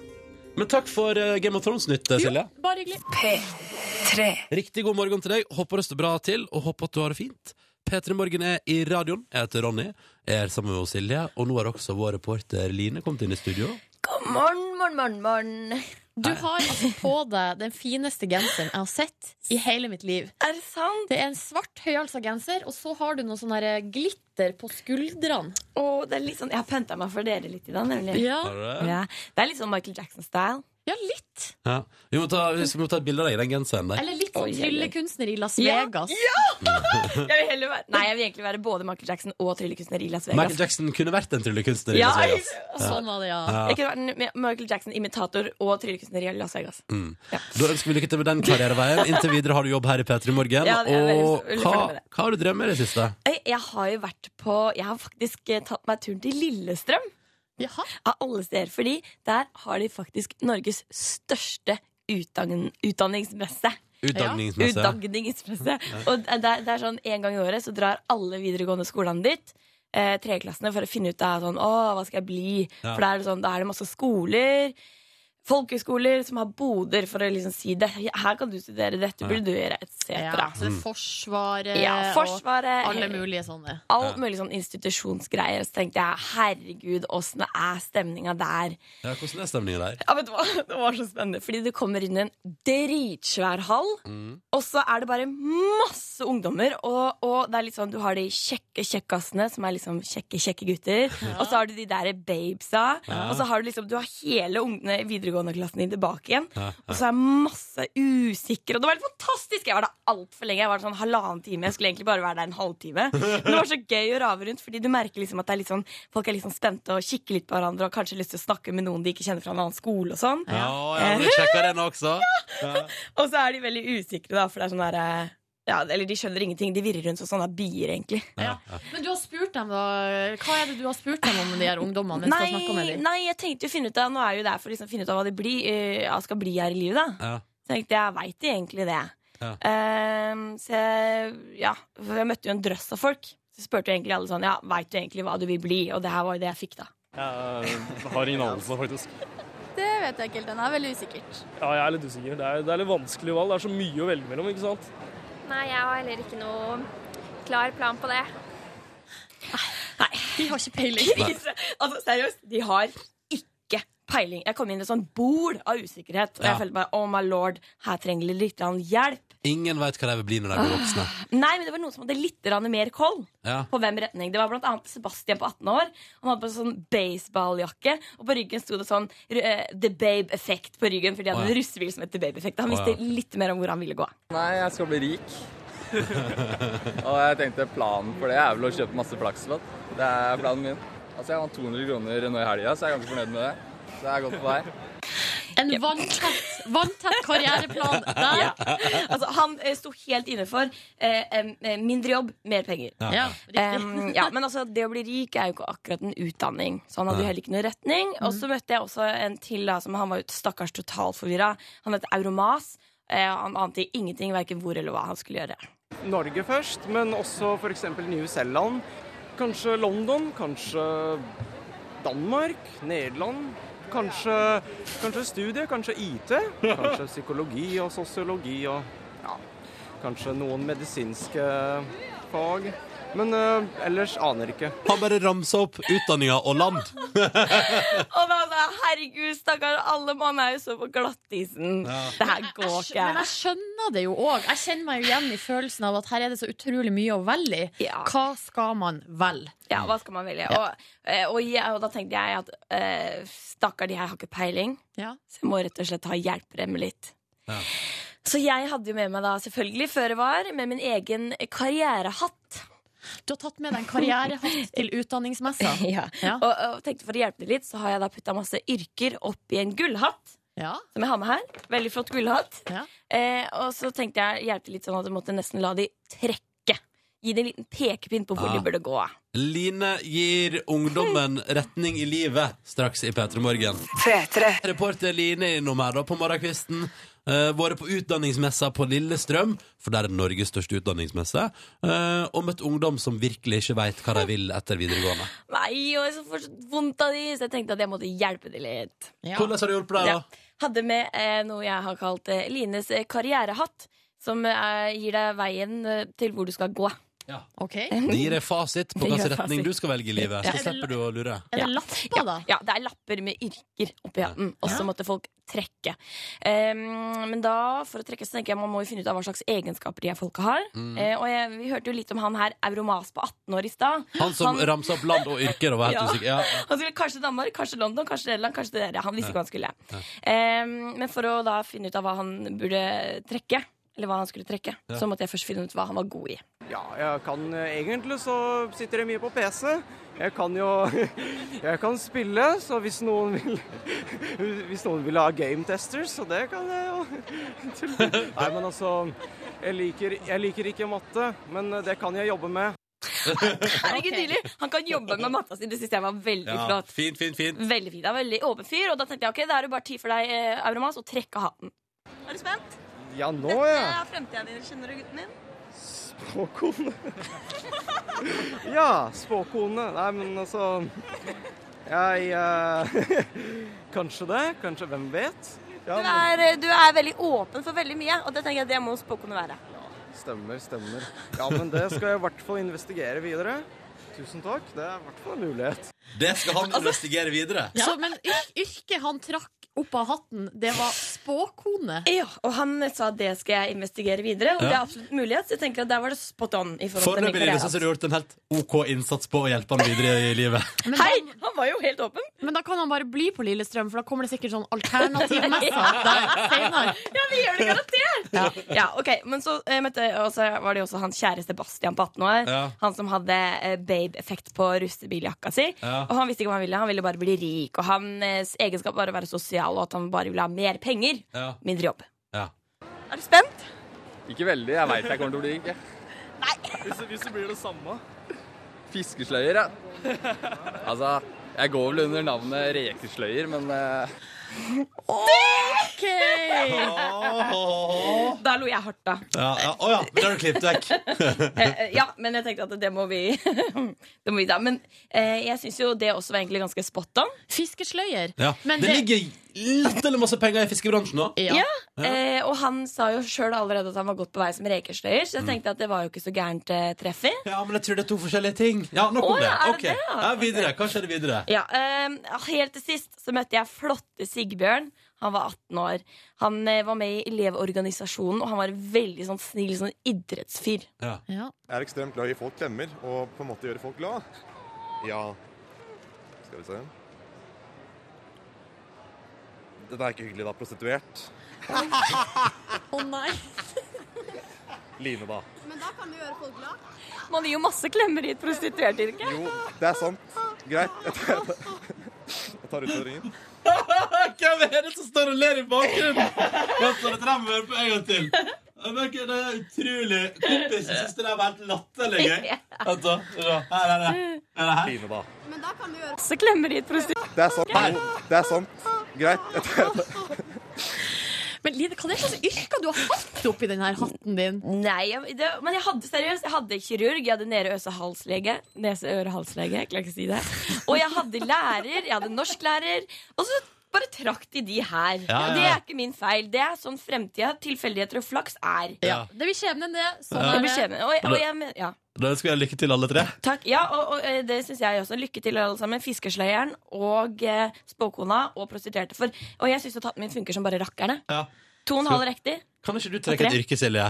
Men takk for eh, Game of Thrones-nytt, Silje. Bare hyggelig. Riktig god morgen til deg. Håper det står bra til, og håper at du har det fint. P3 Morgen er i radioen. Jeg heter Ronny. Jeg er sammen med Silje. Og nå har også vår reporter Line kommet inn i studio. God morgen, morgen, morgen, morgen. Du har altså på deg den fineste genseren jeg har sett i hele mitt liv. Er det sant? Det er en svart høyhalsa genser, og så har du noe sånn her glitter på skuldrene. Åh, det er litt sånn, jeg har pynta meg for dere litt i dag, nemlig. Ja, Har du det? Ja, det er litt sånn Michael Jackson-style. ja litt. Ja. Vi, må ta, vi må ta et bilde av deg i den genseren der. Eller litt sånn Oi, oi, oi. tryllekunstner i Las Ja. Vegas. Jeg vil heller være, nei, jeg vil egentlig være både Michael Jackson og tryllekunstner i Las Vegas. Michael Jackson kunne vært en tryllekunstner. i Ja, Las Vegas. Sånn var det, ja. Jeg kunne vært en Mi- Michael Jackson-imitator og tryllekunstner i Las Vegas. Mm. Da ønsker vi lykke til med den karriereveien. Inntil videre har du jobb her i P3 Morgen. Ja, det er veldig- og veldig hva, fornøyd med det. hva har du drevet med i det siste? Jeg, jeg har jo vært på Jeg har faktisk eh, tatt meg turen til Lillestrøm, Jaha. av alle steder, fordi der har de faktisk Norges største utdann, utdanningsmesse. Utdanningsmessig. Utdanningsmesse. Og det er, det er sånn En gang i året så drar alle videregående skolene dit. Eh, treklassene for å finne ut av sånn, Å, hva skal jeg bli. Ja. For da er, det sånn, da er det masse skoler. folkehøyskoler som har boder for å liksom si det. Her kan du studere, dette burde du gjøre, Ja, etc. så det er Forsvaret Ja, og Forsvaret. alle mulige sånne. Alt mulig sånn institusjonsgreier. Og så tenkte jeg herregud, åssen er stemninga der? Ja, hvordan er stemningen der? Ja, vet du hva? Det var så spennende. Fordi du kommer inn i en dritsvær hall, Mm. og så er det bare masse ungdommer. Og, og det er litt sånn, du har de kjekke kjekkasene, som er liksom kjekke, kjekke gutter. Og så har du de der babesa. Og så har du liksom, du har hele ungene i videregående-klassen din tilbake igjen. Og så er masse usikre. Og det var helt fantastisk! Jeg var der altfor lenge. Jeg var der sånn halvannen time. Jeg skulle egentlig bare være der en halvtime. Men det var så gøy å rave rundt, fordi du merker liksom at det er litt sånn, folk er litt sånn spente og kikker litt på hverandre og har kanskje lyst til å snakke med noen de ikke kjenner fra en annen skole og sånn. Ja, ja, men jeg sjekker den også. Og så er de veldig usikre, da, for det er sånn der eh, ja, Eller de skjønner ingenting. De virrer rundt som sånne bier, egentlig. Ja. Men du har spurt dem, da. Hva er det du har spurt dem om, de her ungdommene? Nei, Nei, skal snakke med dem? nei, jeg tenkte jo finne ut av Nå er jeg jo der for å liksom finne ut av hva de blir, eh, ja, skal bli her i livet, da. Ja. Så tenkte jeg, veit de egentlig det? Ja. Ehm, så jeg, ja, for jeg møtte jo en drøss av folk. Så spurte jo egentlig alle sånn, ja, veit du egentlig hva du vil bli? Og det her var jo det jeg fikk, da. Jeg har ingen anelse, faktisk. Det vet jeg ikke helt ennå. Veldig usikkert. Ja, jeg er litt usikker. Det er, det er litt vanskelig valg. Det er så mye å velge mellom, ikke sant? Nei, jeg har heller ikke noe klar plan på det. De har ikke peiling. altså, seriøst, de har ikke peiling. Jeg kom inn i et sånt bol av usikkerhet, og Ja. jeg følte bare oh my lord, her trenger de litt grann hjelp. Ingen veit hva de vil bli når de blir voksne. Nei, men det var noen som hadde litt grann mer koll. Ja. På hvem retning Det var blant annet Sebastian på 18 år. Han hadde på en sånn baseballjakke, og på ryggen sto det sånn eh, The Babe Effect på ryggen, for de Å, hadde ja. en russebil som het The Babe Effect. Han Å, ja. visste litt mer om hvor han ville gå. Nei, jeg skal bli rik. og jeg tenkte planen for det er vel å kjøpe masse flakslodd. Det er planen min. Altså, jeg vant 200 kroner nå i helga, så jeg er ganske fornøyd med det. Så jeg er godt på vei. En vanntett, vanntett karriereplan der. Altså, han eh, sto helt inne for eh, em, eh, mindre jobb, mer penger. Ja, riktig. Em, ja, men altså, det å bli rik er jo ikke akkurat en utdanning, så han hadde jo heller ikke noen retning. Og Mm. så møtte jeg også en til, da, som han var jo stakkars totalforvirra. Han het Euromas. Eh, han ante ingenting, verken hvor eller hva han skulle gjøre. Norge først, men også f.eks. New Zealand. Kanskje London, kanskje Danmark, Nederland. Kanskje, kanskje studie, kanskje IT. Kanskje psykologi og sosiologi og ja, kanskje noen medisinske fag. Men eh, ellers aner ikke. Han bare ramsa opp utdanninga og land. Og da sa jeg, herregud, stakkar, alle mann er jo så på glattisen. Det her går ikke. Men jeg skjønner det jo òg. Jeg kjenner meg jo igjen i følelsen av at her er det så utrolig mye å velge i. Ja. Hva skal man velge? Ja, hva skal man velge? Og, eh, og, jeg, og da tenkte jeg at eh, stakkar, de her har ikke peiling. Ja. Så jeg må rett og slett ha hjelp dem litt. Ja. Så jeg hadde jo med meg da selvfølgelig før det var, med min egen karrierehatt. Du har tatt med deg en karrierehatt til utdanningsmessa. Ja. Ja. Og, og tenkte for å hjelpe det litt, så har jeg da putta masse yrker oppi en gullhatt. Ja. Som jeg har med her. Veldig flott gullhatt. Ja. Eh, og så tenkte jeg hjelpe litt sånn at jeg måtte nesten la de trekke. Gi dem en liten pekepinn på hvor Ah. de burde gå. Line gir ungdommen retning i livet straks i P3 Morgen. Reporter Line er innom her da på morgenkvisten. Uh, Vært på utdanningsmessa på Lillestrøm, for der er det Norges største utdanningsmesse. eh, og møtt ungdom som virkelig ikke veit hva de vil etter videregående. Nei, og jeg får så vondt av de, så jeg tenkte at jeg måtte hjelpe de litt. Ja. Hvordan har du hjulpet deg, Ja. da? Hadde med eh, noe jeg har kalt eh, Lines eh, karrierehatt, som eh, gir deg veien eh, til hvor du skal gå. Ok. Det gir deg fasit på Det gir hvilken fasit. retning du skal velge i livet. Ja. Så slipper du å lure. Er det Ja. lapper, da? Ja, det er lapper med yrker oppi hatten, og så Ja. måtte folk trekke. Ehm, men da, for å trekke, så tenker jeg man må jo finne ut av hva slags egenskaper de her folka har. Mm. Eh, og jeg, vi hørte jo litt om han her, Euromas på 18 år i stad. Han som Han- ramsa opp land og yrker og var helt Ja. usikker. Ja, ja. Han skulle kanskje Danmark, kanskje London, kanskje Nederland, kanskje det der. Han visste ikke hva han skulle. Ehm, men for å da finne ut av hva han burde trekke, eller hva han skulle trekke, så måtte jeg først finne ut hva han var god i. Ja, jeg kan eh, egentlig så sitter jeg mye på PC. Jeg kan jo Jeg kan spille, så hvis noen vil Hvis noen vil ha game testers, så det kan jeg jo. Nei, men altså jeg liker, jeg liker ikke matte, men det kan jeg jobbe med. Herregud, nydelig! Han kan jobbe med matta si. Det syns jeg var veldig Ja, flott. fint, fint, fint. Veldig fint. Han er veldig åpen fyr. Og da tenkte jeg ok, da er det bare tid for deg, eh, Euromas, å trekke hatten. Er du spent? Ja, nå, ja. fremtida di. Kjenner du gutten din? Spåkone. Ja, spåkone. Nei, men altså Jeg eh, Kanskje det. Kanskje. Hvem vet? Ja, Du men- er, eh, du er veldig åpen for veldig mye, og det tenker jeg det må spåkone være. Stemmer, stemmer. Ja, men det skal jeg i hvert fall investigere videre. Tusen takk. Det er i hvert fall en mulighet. Det skal Altså- han investigere videre. Så, men yr yrket han trakk opp av hatten, det var spåkone. Ja, og han sa det skal jeg investigere videre, og Ja. det er absolutt en mulighet, så jeg tenker at der var det spot on. i forhold til min Foreløpig Line, karriere. så har du gjort en helt OK innsats på å hjelpe han videre i livet. Hei! Han var jo helt åpen. Men da kan han bare bli på Lillestrøm, for da kommer det sikkert sånn alternativmesser der senere. Ja, vi gjør det garantert! Ja, ok, Men så eh, møtte, og så var det jo også hans kjære Sebastian på 18 år. Ja. Han som hadde eh, babe-effekt på russebiljakka si. Ja. Og han visste ikke hva han ville. Han ville bare bli rik. Og hans egenskap var å være sosial, og at han bare ville ha mer penger. Ja. Mindre jobb. Ja. Er du spent? Ikke veldig. Jeg veit jeg kommer til å bli rik. jeg. Hvis, hvis det blir det samme. Fiskesløyer, ja. Altså, jeg går vel under navnet rekesløyer, men eh, OK! Åh. Da lo jeg hardt, da. Ja, ja. Å ja, men det har du klippet vekk. Eh, eh, Ja, men jeg tenkte at det må vi Det må vi ta. Men eh, jeg syns jo det også var egentlig ganske spot on. Fiskesløyer. Ja. Det, ligger litt eller masse penger i fiskebransjen nå. Ja, Eh, Og han sa jo sjøl allerede at han var godt på vei som rekesløyer, Mm. så jeg tenkte at det var jo ikke så gærent eh, treff i. Ja, men jeg tror det er to forskjellige ting. Ja, nok om Å, det. ja, er det Ok. det, ja? ja, videre. Hva skjer videre? Ja, eh, helt til sist så møtte jeg flotte Sigbjørn. Han var 18 år. Han eh, var med i Elevorganisasjonen, og han var en veldig sånn snill sånn idrettsfyr. Jeg er ekstremt glad i å gi folk klemmer og på en måte gjøre folk glad. Ja Skal vi se Dette er ikke hyggelig, da. Prostituert. Å nei. Line, da. Men da kan du gjøre folk glad. Man gir jo masse klemmer i et prostituertyrke. Jo, det er sant. Greit. Jeg tar, jeg tar utfordringen. Hvem er det som står og ler i bakgrunnen? Vent, så dette her må vi høre på en gang til. Jeg merker Det er utrolig Kompisen syns det der var helt latterlig gøy. Vent, da. Her, her, her. her, her. Line, da. Men da kan du gjøre masse klemmer i et prostituertyrke. Det er sant. Jo, det er sant. Greit. Jeg tar, Men Line, hva er det slags yrker du har hatt oppi den her hatten din? Nei, jeg, det, men jeg hadde seriøst Jeg hadde kirurg, jeg hadde nede øse halslege Nese, øre, halslege, jeg klarer ikke å si det Og jeg hadde lærer, jeg hadde norsklærer Og så bare trakk de de her Ja, ja, Det ja. er ikke min feil, det er sånn fremtida Tilfeldigheter og flaks er Ja. Det blir skjebnen det, sånn Ja. Det blir skjebnen Og, og jeg men- ja. Da ønsker jeg lykke til, alle tre. Takk, ja, og, og eh, det synes jeg også Lykke til alle sammen, fiskesløyeren Og eh, spåkona og prostituerte for, Og jeg synes at hatten min funker som bare rakkerne Ja. To og en Skal- halv riktig Kan ikke du trekke et yrke, Silje?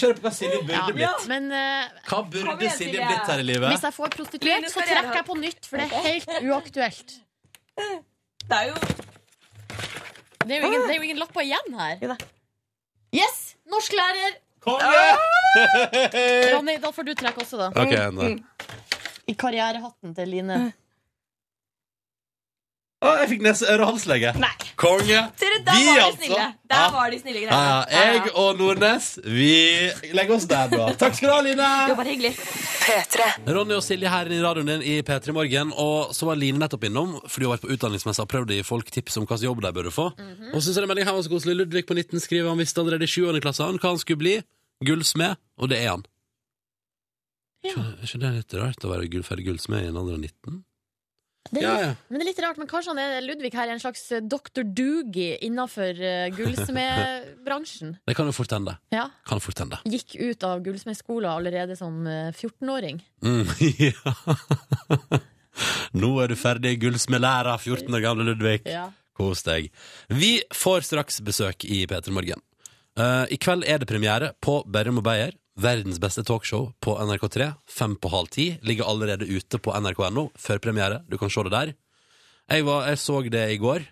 Kjør på hva Silje burde blitt. Men eh, Hva Kom burde igjen, Silje Silje. blitt her i hvis livet? jeg får prostituert, Line, så skal jeg trekker jeg på nytt, for det er helt uaktuelt. Det er jo Det er jo ingen, det er jo ingen lapper igjen her. Yes! Norsklærer! Ronny, da får du trekke også, da. Ok, en der. Mm, I karrierehatten til Line. Å, jeg fikk nese, øre og halslege. Nei. Konge. Dere, der Vi, var de altså. snille Ja. Der var de snille Ja, greiene ja. Jeg og Nordnes, vi legger oss der, da. Takk skal du ha, Line. Det var hyggelig Ronny og Silje her i radioen din i P3 Morgen. Og så var Line nettopp innom, fordi hun har vært på utdanningsmesse og prøvd å gi folk tips om hvilken jobb de burde få. Og så ser jeg melding her var så koselig. Ludvig på 19 skriver han visste allerede i 7. klasse han hva han skulle bli. Gullsmed. Og det er han. Skjønner, skjønner jeg litt rart å være gull- ferdig gullsmed i en alder av 19? Det er, Ja, litt- ja. Men det er litt rart, men kanskje han er Ludvig her er en slags eh, Dr. Doogie innenfor eh, gullsmedbransjen. Det kan jo fort hende. Ja. Kan fort hende. Gikk ut av gullsmedskolen allerede som eh, 14-åring. Mm, ja. Nå er du ferdig gullsmedlærer, 14 år gamle Ludvig. Ja. Kos deg. Vi får straks besøk i P3 Morgen. Eh, I kveld er det premiere på Berrum og Beyer. Verdens beste talkshow på NRK3. Fem på halv ti. Ligger allerede ute på nrk.no før premiere. Du kan se det der. Jeg, var, jeg så det i går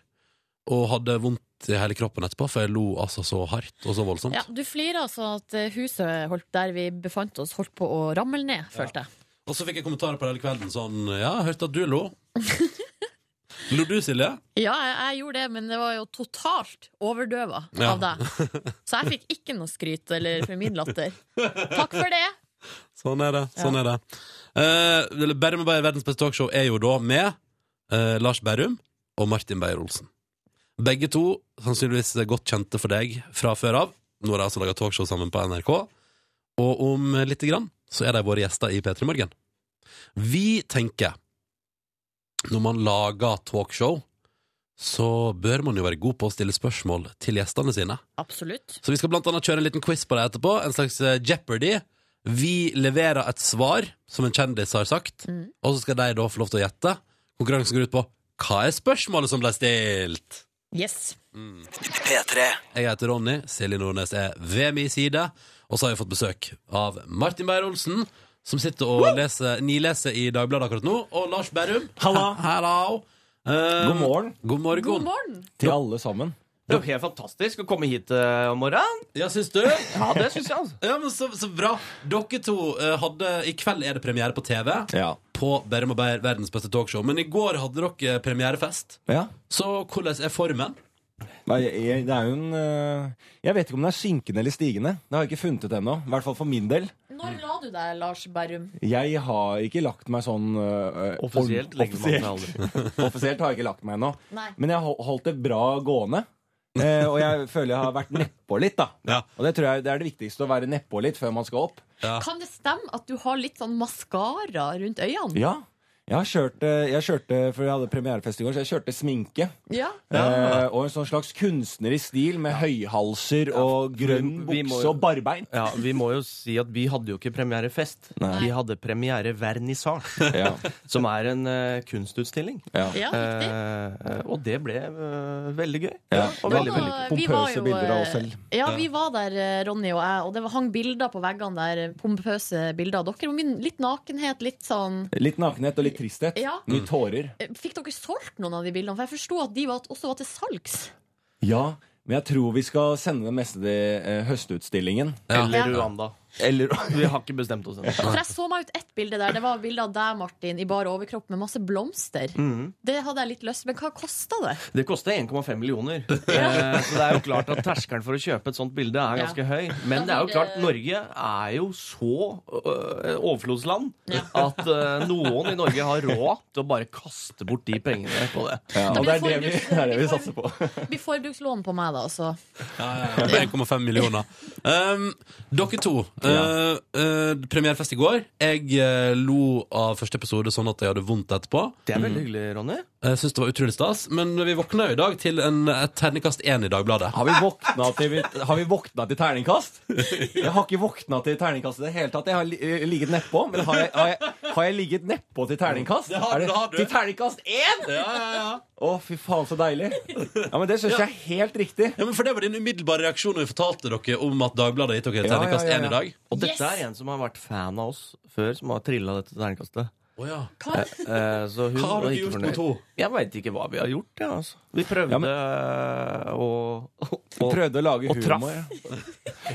og hadde vondt i hele kroppen etterpå, for jeg lo altså så hardt og så voldsomt. Ja, du flirer altså at eh, huset holdt der vi befant oss, holdt på å ramle ned, følte jeg. Og så fikk jeg kommentarer på det hele kvelden sånn Ja, jeg hørte at du lo. lo du, Silje? Ja, jeg, jeg gjorde det, men det var jo totalt overdøva Ja. av deg. Så jeg fikk ikke noe skryt eller formidlatter. Takk for det! Sånn er det. sånn er det Eh, Bærum og Beyer Verdens beste talkshow er jo da med eh, Lars Berrum og Martin Beyer-Olsen. Begge to sannsynligvis godt kjente for deg fra før av. Nå har de altså laga talkshow sammen på NRK. Og om lite grann så er de våre gjester i P3 Morgen. Vi tenker når man lager talkshow, så bør man jo være god på å stille spørsmål til gjestene sine. Absolutt. Så vi skal blant annet kjøre en liten quiz på det etterpå, en slags eh, Jeopardy. Vi leverer et svar som en kjendis har sagt, Mm. og så skal de da få lov til å gjette. Konkurransen går ut på hva er spørsmålet som ble stilt? Yes. Mm. P3. Jeg heter Ronny, Silje Nordnes er ved min side, og så har vi fått besøk av Martin Beyer-Olsen, som sitter og leser, nileser i Dagbladet akkurat nå, og Lars Berrum. Halla. God morgen. God morgen. God morgen. Til alle sammen. Eh, Det er jo helt fantastisk å komme hit eh, om morgenen. Ja, syns du? Ja, det syns jeg, altså. Ja, men så, så bra. Dere to eh, hadde I kveld er det premiere på TV. På Bærum og Beyer, verdens beste talkshow. Men i går hadde dere premierefest. Ja. Så hvordan er formen? Nei, jeg, det er jo en øh, Jeg vet ikke om den er synkende eller stigende. Det har jeg ikke funnet ut ennå. I hvert fall for min del. Når la du deg, Lars Berrum? Jeg har ikke lagt meg sånn øh, Offisielt ord- legger man seg offisielt. offisielt har jeg ikke lagt meg ennå. Nei. Men jeg har hol- holdt det bra gående. Eh, og jeg føler jeg har vært nedpå litt, da. Og det tror jeg det er det viktigste, å være nedpå litt før man skal opp. Kan det stemme at du har litt sånn maskara rundt øynene? Ja. Jeg har kjørt, eh, jeg kjørte, for jeg hadde premierefest i går, så jeg kjørte sminke. Ja. Eh, og en sånn slags kunstnerisk stil med høyhalser og grønn Vi- vi må bukse jo- og barbein. Ja, Vi må jo si at vi hadde jo ikke premierefest. Nei. Vi hadde premierevernissasje, Ja. som er en eh, kunstutstilling. Ja. Ja, Eh, og det ble eh, veldig gøy. Ja. Og Ja, veldig, da, veldig vi var jo, eh, Ja, vi var der, eh, Ronny og jeg, og det var- hang bilder på veggene der. eh, Pompøse bilder av dere. Og mye- Litt nakenhet, litt sånn Litt nakenhet og Mm. litt tristhet. Ja. Mye tårer. Eh, Fikk dere solgt noen av de bildene? For jeg forsto at de var, også var til salgs. Ja, men jeg tror vi skal sende det meste til eh, høstutstillingen. eh, Ja. Eller Rwanda. Vi har ikke bestemt oss ennå. For jeg så meg ut ett bilde der. Det var bilde av deg, Martin, i bar overkropp med masse blomster. Mm. Mhm. Det hadde jeg litt lyst Men hva kosta det? Det koster 1,5 millioner. Eh, Så det er jo klart at terskelen for å kjøpe et sånt bilde er ganske høy. Men det er jo klart, Norge er jo så øh, overflodsland at øh, noen i Norge har råd til å bare kaste bort de pengene på det. Ja, Da og blir det det er det vi- forbruks- satser på. Blir forbrukslån på meg, da, altså. Ja, ja, ja. 1,5 millioner. Um, dere to. Uh, uh, premierefest i går. Jeg uh, lo av første episode sånn at jeg hadde vondt etterpå. Eh, Det er veldig hyggelig, Ronny. Jeg synes det var utrolig stas, men vi våkna jo i dag til en, et terningkast 1 i Dagbladet. Har vi våkna til, har vi våkna til terningkast? Jeg har ikke våkna til terningkast i det hele tatt. Jeg har li- eh, ligget nedpå. Men har jeg, har jeg, har jeg ligget nedpå til terningkast? Det har- Er det har du. Til terningkast én?! Ja, ja, ja. Å, fy faen, så deilig. Ja, men Det syns jeg er helt riktig. Ja, men For det var din umiddelbare reaksjon når vi fortalte dere om at Dagbladet har gitt dere Ja, ja, terningkast 1 ja, ja. i dag. Og dette er en som har vært fan av oss før, som har trilla dette terningkastet. Å ja. Eh, eh, så hun Hva har var dere ikke gjort fornøyd. på to? Jeg veit ikke hva vi har gjort. Ja, altså. Vi prøvde eh, å, å, Vi prøvde å lage og traff. humor.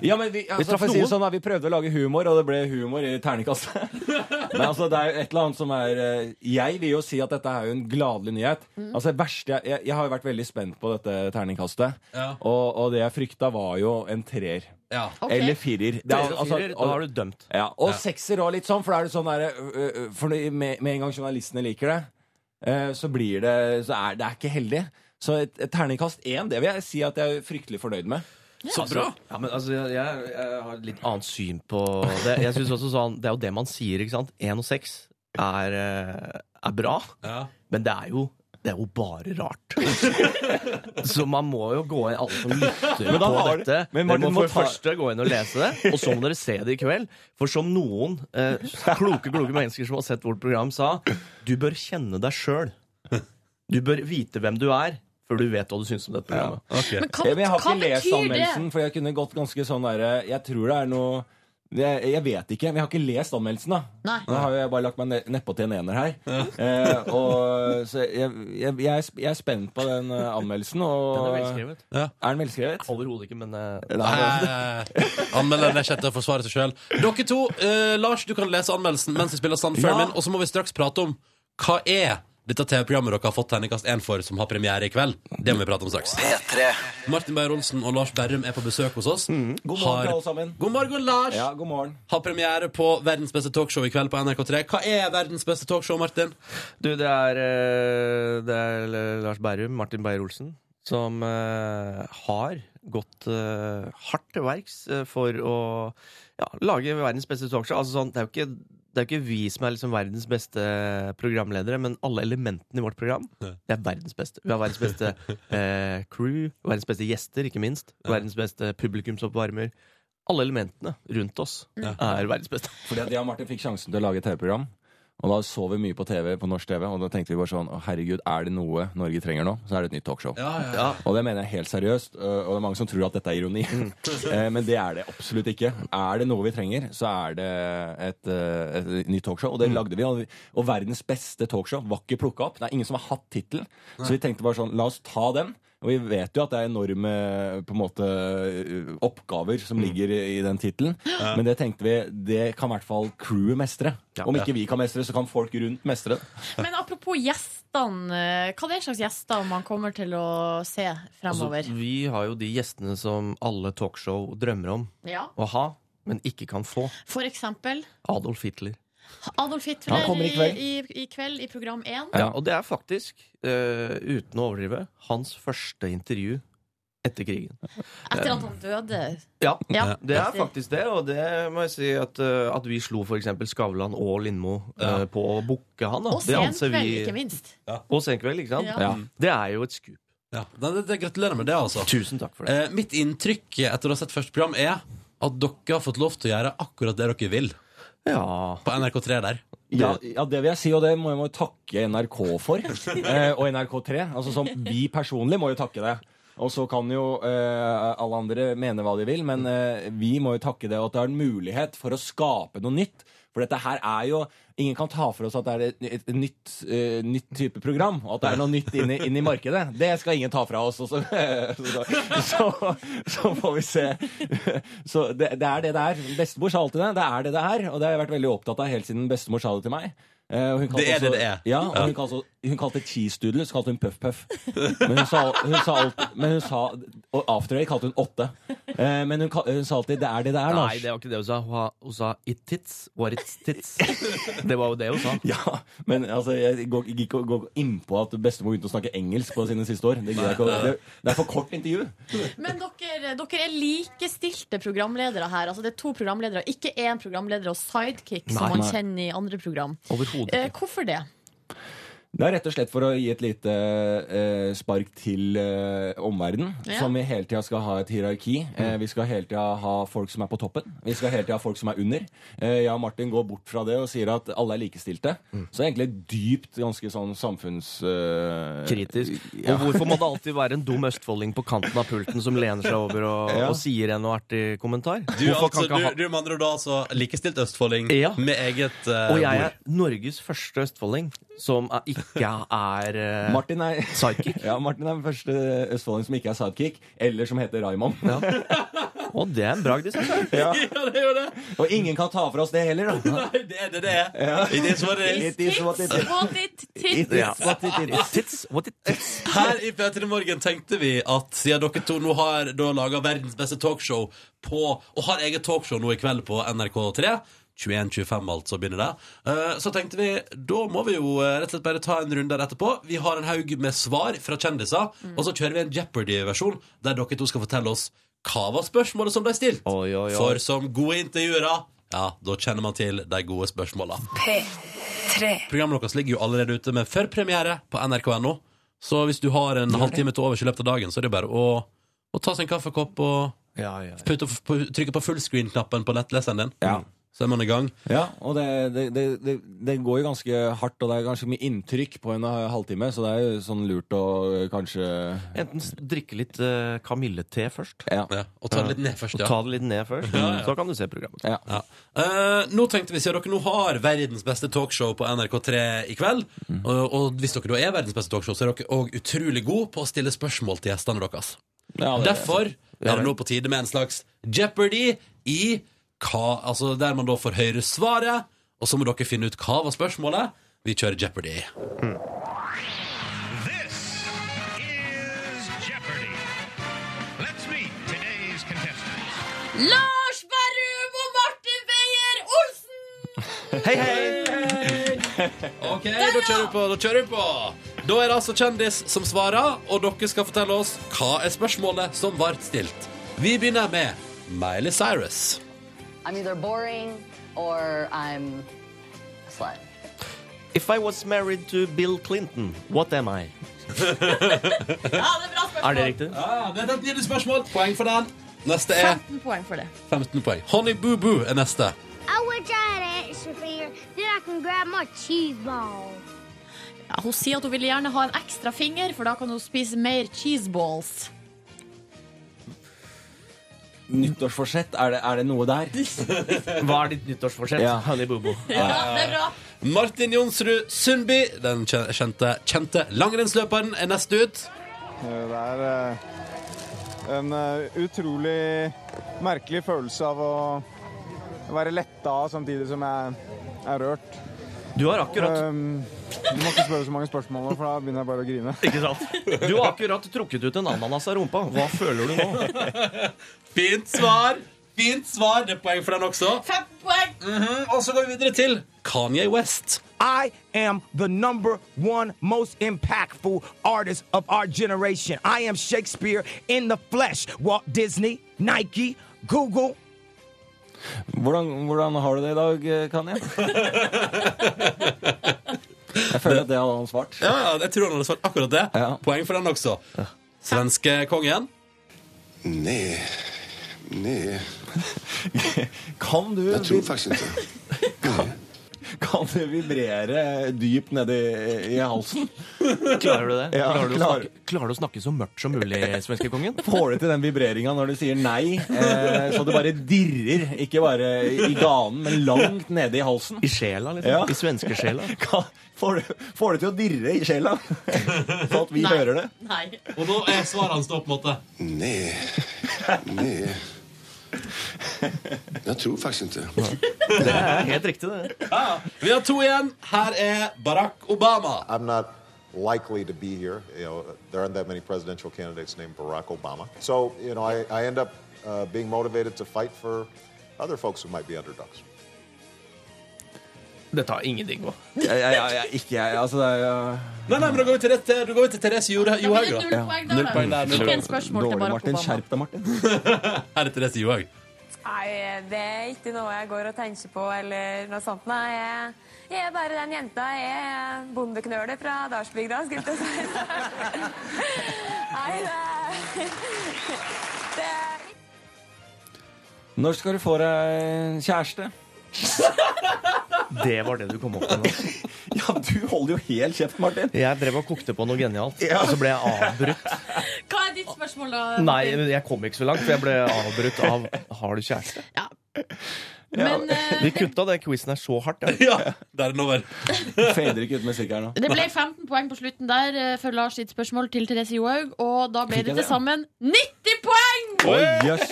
Ja, men vi, Vi altså, traff for å si det noen. sånn, da, vi prøvde å lage humor, og det ble humor i terningkastet. Men altså, det er jo et eller annet som er eh, Jeg vil jo si at dette er jo en gladelig nyhet. Mm. Altså, det verste jeg, jeg, jeg har jo vært veldig spent på dette terningkastet, Ja. og, og det jeg frykta, var jo en treer. Ja. Ok. Eller firer. Det er- altså- Treer og firer, da har du dømt. Ja, og Ja. sekser og litt sånn, for da er det sånn derre ø, ø, For det- med, med en gang journalistene liker det, eh, så blir det Så er det er ikke heldig. Så et, et terningkast én, det vil jeg si at jeg er fryktelig fornøyd med. Altså, Ja, men altså, jeg, jeg, jeg har et litt annet syn på det. Jeg synes også sånn, Det er jo det man sier, ikke sant? Én og seks er, eh, er bra, men det er jo det er jo bare rart. så man må jo gå inn, alle som lytter Men da på har- dette men Dere Martin, må du må for det ta- første gå inn og lese det, og så må dere se det i kveld. For som noen eh, kloke kloke mennesker som har sett vårt program, sa Du bør kjenne deg sjøl. Du bør vite hvem du er, før du vet hva du syns om dette programmet. Ja, Men, jeg har hva ikke lest betyr det? anmeldelsen, for jeg kunne gått ganske sånn derre Jeg tror det er noe jeg, jeg vet ikke. Men jeg har ikke lest anmeldelsen, da. Nei. Nå har jo jeg bare lagt meg ne- nedpå til en ener her. Eh, og, så jeg, jeg, jeg, er sp- jeg er spent på den eh, anmeldelsen. Og, Den er velskrevet. Er den velskrevet? Overhodet ikke, men eh, Anmelderen er ikke til å forsvare seg sjøl. Dere to, eh, Lars, du kan lese anmeldelsen mens vi spiller Sand Ja. Fermin, og så må vi straks prate om hva er dette TV-programmet dere har fått terningkast 1 for, som har premiere i kveld. Det må vi prate om straks. Martin Beyer-Olsen og Lars Berrum er på besøk hos oss. Mm. God morgen, alle sammen. God morgen, Lars! Ja, god morgen. Har premiere på verdens beste talkshow i kveld på NRK3. Hva er verdens beste talkshow, Martin? Du, det er, eh, det er Lars Berrum, Martin Beyer-Olsen, som eh, har gått eh, hardt til verks eh, for å ja, lage verdens beste talkshow. Altså, sånn, det er jo ikke det er jo ikke vi som er liksom verdens beste programledere, men alle elementene i vårt program det er verdens beste. Vi har verdens beste eh, crew, verdens beste gjester, ikke minst. Verdens beste publikumsoppvarmer. Alle elementene rundt oss Ja. er verdens beste. Fordi at jeg og Martin fikk sjansen til å lage et TV-program. Og da så vi mye på TV, på norsk TV, og da tenkte vi bare sånn «Å, herregud, er det noe Norge trenger nå, så er det et nytt talkshow. Ja, ja, Mm. ja. Og det mener jeg helt seriøst, øh, og det er mange som tror at dette er ironi. Eh, Men det er det absolutt ikke. Er det noe vi trenger, så er det et, øh, et nytt talkshow. Mm. Og det lagde vi. og vi- Og verdens beste talkshow var ikke plukka opp. Det er ingen som har hatt tittelen. Så vi tenkte bare sånn, la oss ta den. Og vi vet jo at det er enorme på en måte, øh, oppgaver som ligger i i den tittelen. Mm. Ja. Men det tenkte vi, det kan i hvert fall crewet mestre. Om ikke vi kan mestre, så kan folk rundt mestre det. Men apropos gjestene, eh, hva er det slags gjester man kommer til å se fremover? Altså, vi har jo de gjestene som alle talkshow drømmer om Ja. å ha, men ikke kan få. For eksempel Adolf Hitler. Adolf Han Hitler kommer i i, kveld. i, i kveld i program 1. Ja, og det er faktisk, eh, uten å overdrive, hans første intervju etter krigen. Etter Eh, at han døde. ja, Ja. det er faktisk det, og det må jeg si at, eh, at vi slo f.eks. Skavlan og Lindmo eh, på å booke han. Da. Og Det anser Senkveld, vi- ikke minst. Og Senkveld, ikke sant? Ja. Ja. Det er jo et skup. Ja, Nei, det, det, Gratulerer med det, altså. Tusen takk for det. Eh, mitt inntrykk etter å ha sett første program er at dere har fått lov til å gjøre akkurat det dere vil. På NRK3 der. Ja, ja, det vil jeg si, og det må jeg må jeg takke NRK for. Eh, og NRK3. Altså som vi personlig må jo takke det. Og så kan jo eh, alle andre mene hva de vil, men eh, vi må jo takke det, og at det er en mulighet for å skape noe nytt. For dette her er jo Ingen kan ta for oss at det er et, et nytt, eh, nytt type program, og at det er noe nytt inn i, inn i markedet. Det skal ingen ta fra oss. Og så, så, så, så får vi se. Så det, det er det det er. Bestemor sa alltid det. Det er det det er. Og det har jeg vært veldig opptatt av helt siden bestemor sa det til meg. Eh, og hun kalte Det er det også- det er. Ja, og Ja. Hun, kalte, hun kalte cheese doodle, så kalte hun puff puff. Men hun sa, hun sa alt, men hun sa Og after eight kalte hun åtte. Eh, men hun, ka- hun sa alltid 'det er det det er', Lars. Nei, det var ikke det hun sa. Hun, ha- hun sa 'it tits or it's tits'. Det var jo det hun sa. Ja, men altså, jeg går gikk ikke gå innpå at bestemor begynte å snakke engelsk på sine siste år. Det, gidder jeg ikke, å- det, det er for kort intervju. Men dere, dere er likestilte programledere her. Altså det er to programledere, ikke én programleder og sidekick, som Nei. man Nei. kjenner i andre program. Overhodet Eh, hvorfor det? Det er rett og slett for å gi et lite eh, spark til eh, omverdenen. Ja. Som vi hele tida skal ha et hierarki. Eh, vi skal hele tida ha folk som er på toppen. Vi skal hele tida ha folk som er under. Eh, jeg og Martin går bort fra det og sier at alle er likestilte. Mm. Så egentlig dypt ganske sånn samfunns... eh, Kritisk. ja. Og hvorfor må det alltid være en dum østfolding på kanten av pulten som lener seg over og, Ja. og sier en noe artig kommentar? Du, Hvorfor altså, kan ikke du, han- du med andre ord da altså likestilt østfolding med eget eh, Og jeg er bord. Norges første østfolding som er, ikke er eh, Martin er, sidekick. ja, Martin er den første østfolding som ikke er sidekick, eller som heter Raymond. Og det er en bragd i seg selv. Ja. det er jo det. Og ingen kan ta fra oss det heller, da. Nei, det er det det er. Ja. It is what it is. It is what it is. It Ja. is what it is. Her i P3 Morgen tenkte vi at siden dere to nå har da laga verdens beste talkshow på, og har eget talkshow nå i kveld på NRK3 21.25 altså begynner det. eh, Så tenkte vi da må vi jo eh, rett og slett bare ta en runde der etterpå. Vi har en haug med svar fra kjendiser, og så kjører vi en Jeopardy-versjon der dere to skal fortelle oss hva var spørsmålet som ble stilt. oi. For som gode intervjuere, ja, da kjenner man til de gode spørsmåla. P3. Programmet deres ligger jo allerede ute med førpremiere på nrk.no. Så hvis du har en halvtime til overs i løpet av dagen, så er det bare å, å ta seg en kaffekopp og putte- pu- trykke på fullscreen-knappen på nettleseren din. Så er man i gang. Ja, og det, det, det, det, det går jo ganske hardt, og det er ganske mye inntrykk på en halvtime, så det er jo sånn lurt å eh, kanskje Enten s- drikke litt eh, kamillete først. og ta det litt ned først, ja. Og ta det litt ned først Ja, ja. Så kan du se programmet. Ja. Eh, nå tenkte vi, siden dere nå har verdens beste talkshow på NRK3 i kveld, og, og hvis dere da er verdens beste talkshow, så er dere òg utrolig gode på å stille spørsmål til gjestene deres. Ja, det er- Derfor Ja, er det vel. nå på tide med en slags Jeopardy i hva, altså der man da får høre svaret, og så må dere finne ut hva var spørsmålet. Vi kjører Jeopardy. Hmm. This is Jeopardy. Let's meet today's contestants. Lars Berrum og Martin Beyer Olsen! Hei, hei! Ok, da kjører vi på. Da kjører vi på. Da er det altså kjendis som svarer, og dere skal fortelle oss hva er spørsmålet som ble stilt. Vi begynner med Miley Cyrus. I'm either boring or I'm fine. If I was married to Bill Clinton, what am I? Er det riktig? Ah, det er et lite spørsmål. Poeng for den. Neste er 15 poeng for det. 15 poeng. Honey Boo Boo er neste. I wish I had an extra finger, then I can grab my cheese ball. Ja, hun sier at hun ville gjerne ha en ekstra finger, for da kan hun spise mer cheeseballs. Nyttårsforsett, er det, er det noe der? Hva er ditt nyttårsforsett? Ja. Honey Boo Boo. det er bra. Ah, Martin Jonsrud Sundby, den kje- kjente, kjente langrennsløperen, er neste ut. Det er eh, en eh, utrolig merkelig følelse av å være letta samtidig som jeg er rørt. Du har akkurat- Um, Du må ikke spørre så mange spørsmål, nå, for da begynner jeg bare å grine. Ikke sant? Du har akkurat trukket ut en ananas av rumpa. Hva føler du nå? Fint svar. Fint sar. Det er poeng for den også. Fem poeng. Og så går vi videre til Kanye West. Mm-hmm. I am the number one most impactful artist of our generation. I am Shakespeare in the flesh. Walt Disney, Nike, Google. Hvordan, hvordan har du det i dag, Kanye? Jeg føler at det hadde han svart. Ja, ja, jeg tror han hadde svart akkurat det. Poeng for den også. Svenske kongen. Nei. Nei. Kan du Jeg tror faktisk ikke. Kan det vibrere dypt nedi i halsen? Klarer du det? Ja, klarer. klarer, du Å snakke, klarer du å snakke så mørkt som mulig, svenskekongen? Får du til den vibreringa når du sier nei, eh, så det bare dirrer? Ikke bare i ganen, men langt nede i halsen? I sjela, liksom? I svenskesjela? Hva- Får du, får du til å dirre i sjela? Så at vi Nei. hører det? Nei. Og nå er svaret hans da på en måte Nei. Nei. Jeg tror faktisk ikke. Det er helt riktig, det. Ja, vi har to igjen. Her er Barack Obama. I'm not likely to be here. You know, there aren't that many presidential candidates named Barack Obama. So, you know, I, I end up uh, being motivated to fight for other folks who might be underdogs. Dette har ingenting på. Jeg, jeg, jeg, ikke jeg, altså det er jo Nei, nei, men da går vi til, rett, da går vi til Therese Jore- Johaug. blir det null poeng der, da. Ikke en spørsmål til Dårlig, Barack Martin. Obama. Skjerp deg, Martin. Her er Therese Johaug. Nei, det er ikke noe jeg går og tenker på eller noe sånt. Nei, jeg, jeg er bare den jenta. Jeg er bondeknølet fra Dalsbygda, skulle jeg til å si. Nei, det er, det er Når skal du få deg kjæreste? Det var det du kom opp med nå. Ja, du holder jo helt kjeft, Martin. Jeg drev og kokte på noe genialt, og så ble jeg avbrutt. Hva er ditt spørsmål, da? Nei, jeg kom ikke så langt, for jeg ble avbrutt av 'Har du kjæreste?' Men, eh, Vi kutta den quizen her så hardt. Ja, det er den over. Fader ikke ut musikk her nå. Det ble 15 poeng på slutten der eh, for Lars sitt spørsmål til Therese Johaug, og da ble Fikk jeg det det, til ja? sammen 90 poeng! Oi, jøss.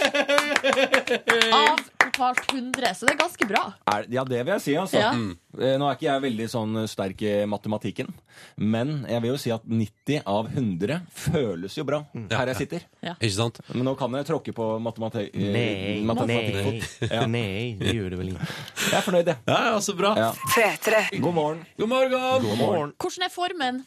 Av totalt 100, så det er ganske bra. Er, ja, det vil jeg si, altså. Ja. Mm. Eh, Nå er ikke jeg veldig sånn eh, sterk i matematikken, men jeg vil jo si at 90 av 100 føles jo bra Mm. her jeg sitter. Ja. Ikke sant? Men nå kan jeg tråkke på matemati eh, Nei, nei, matematikkfot. Ja. nei, det gjør du vel ikke. Jeg er fornøyd, jeg. Ja, ja, så bra. God morgen. God morgen. God morgen. Hvordan er formen?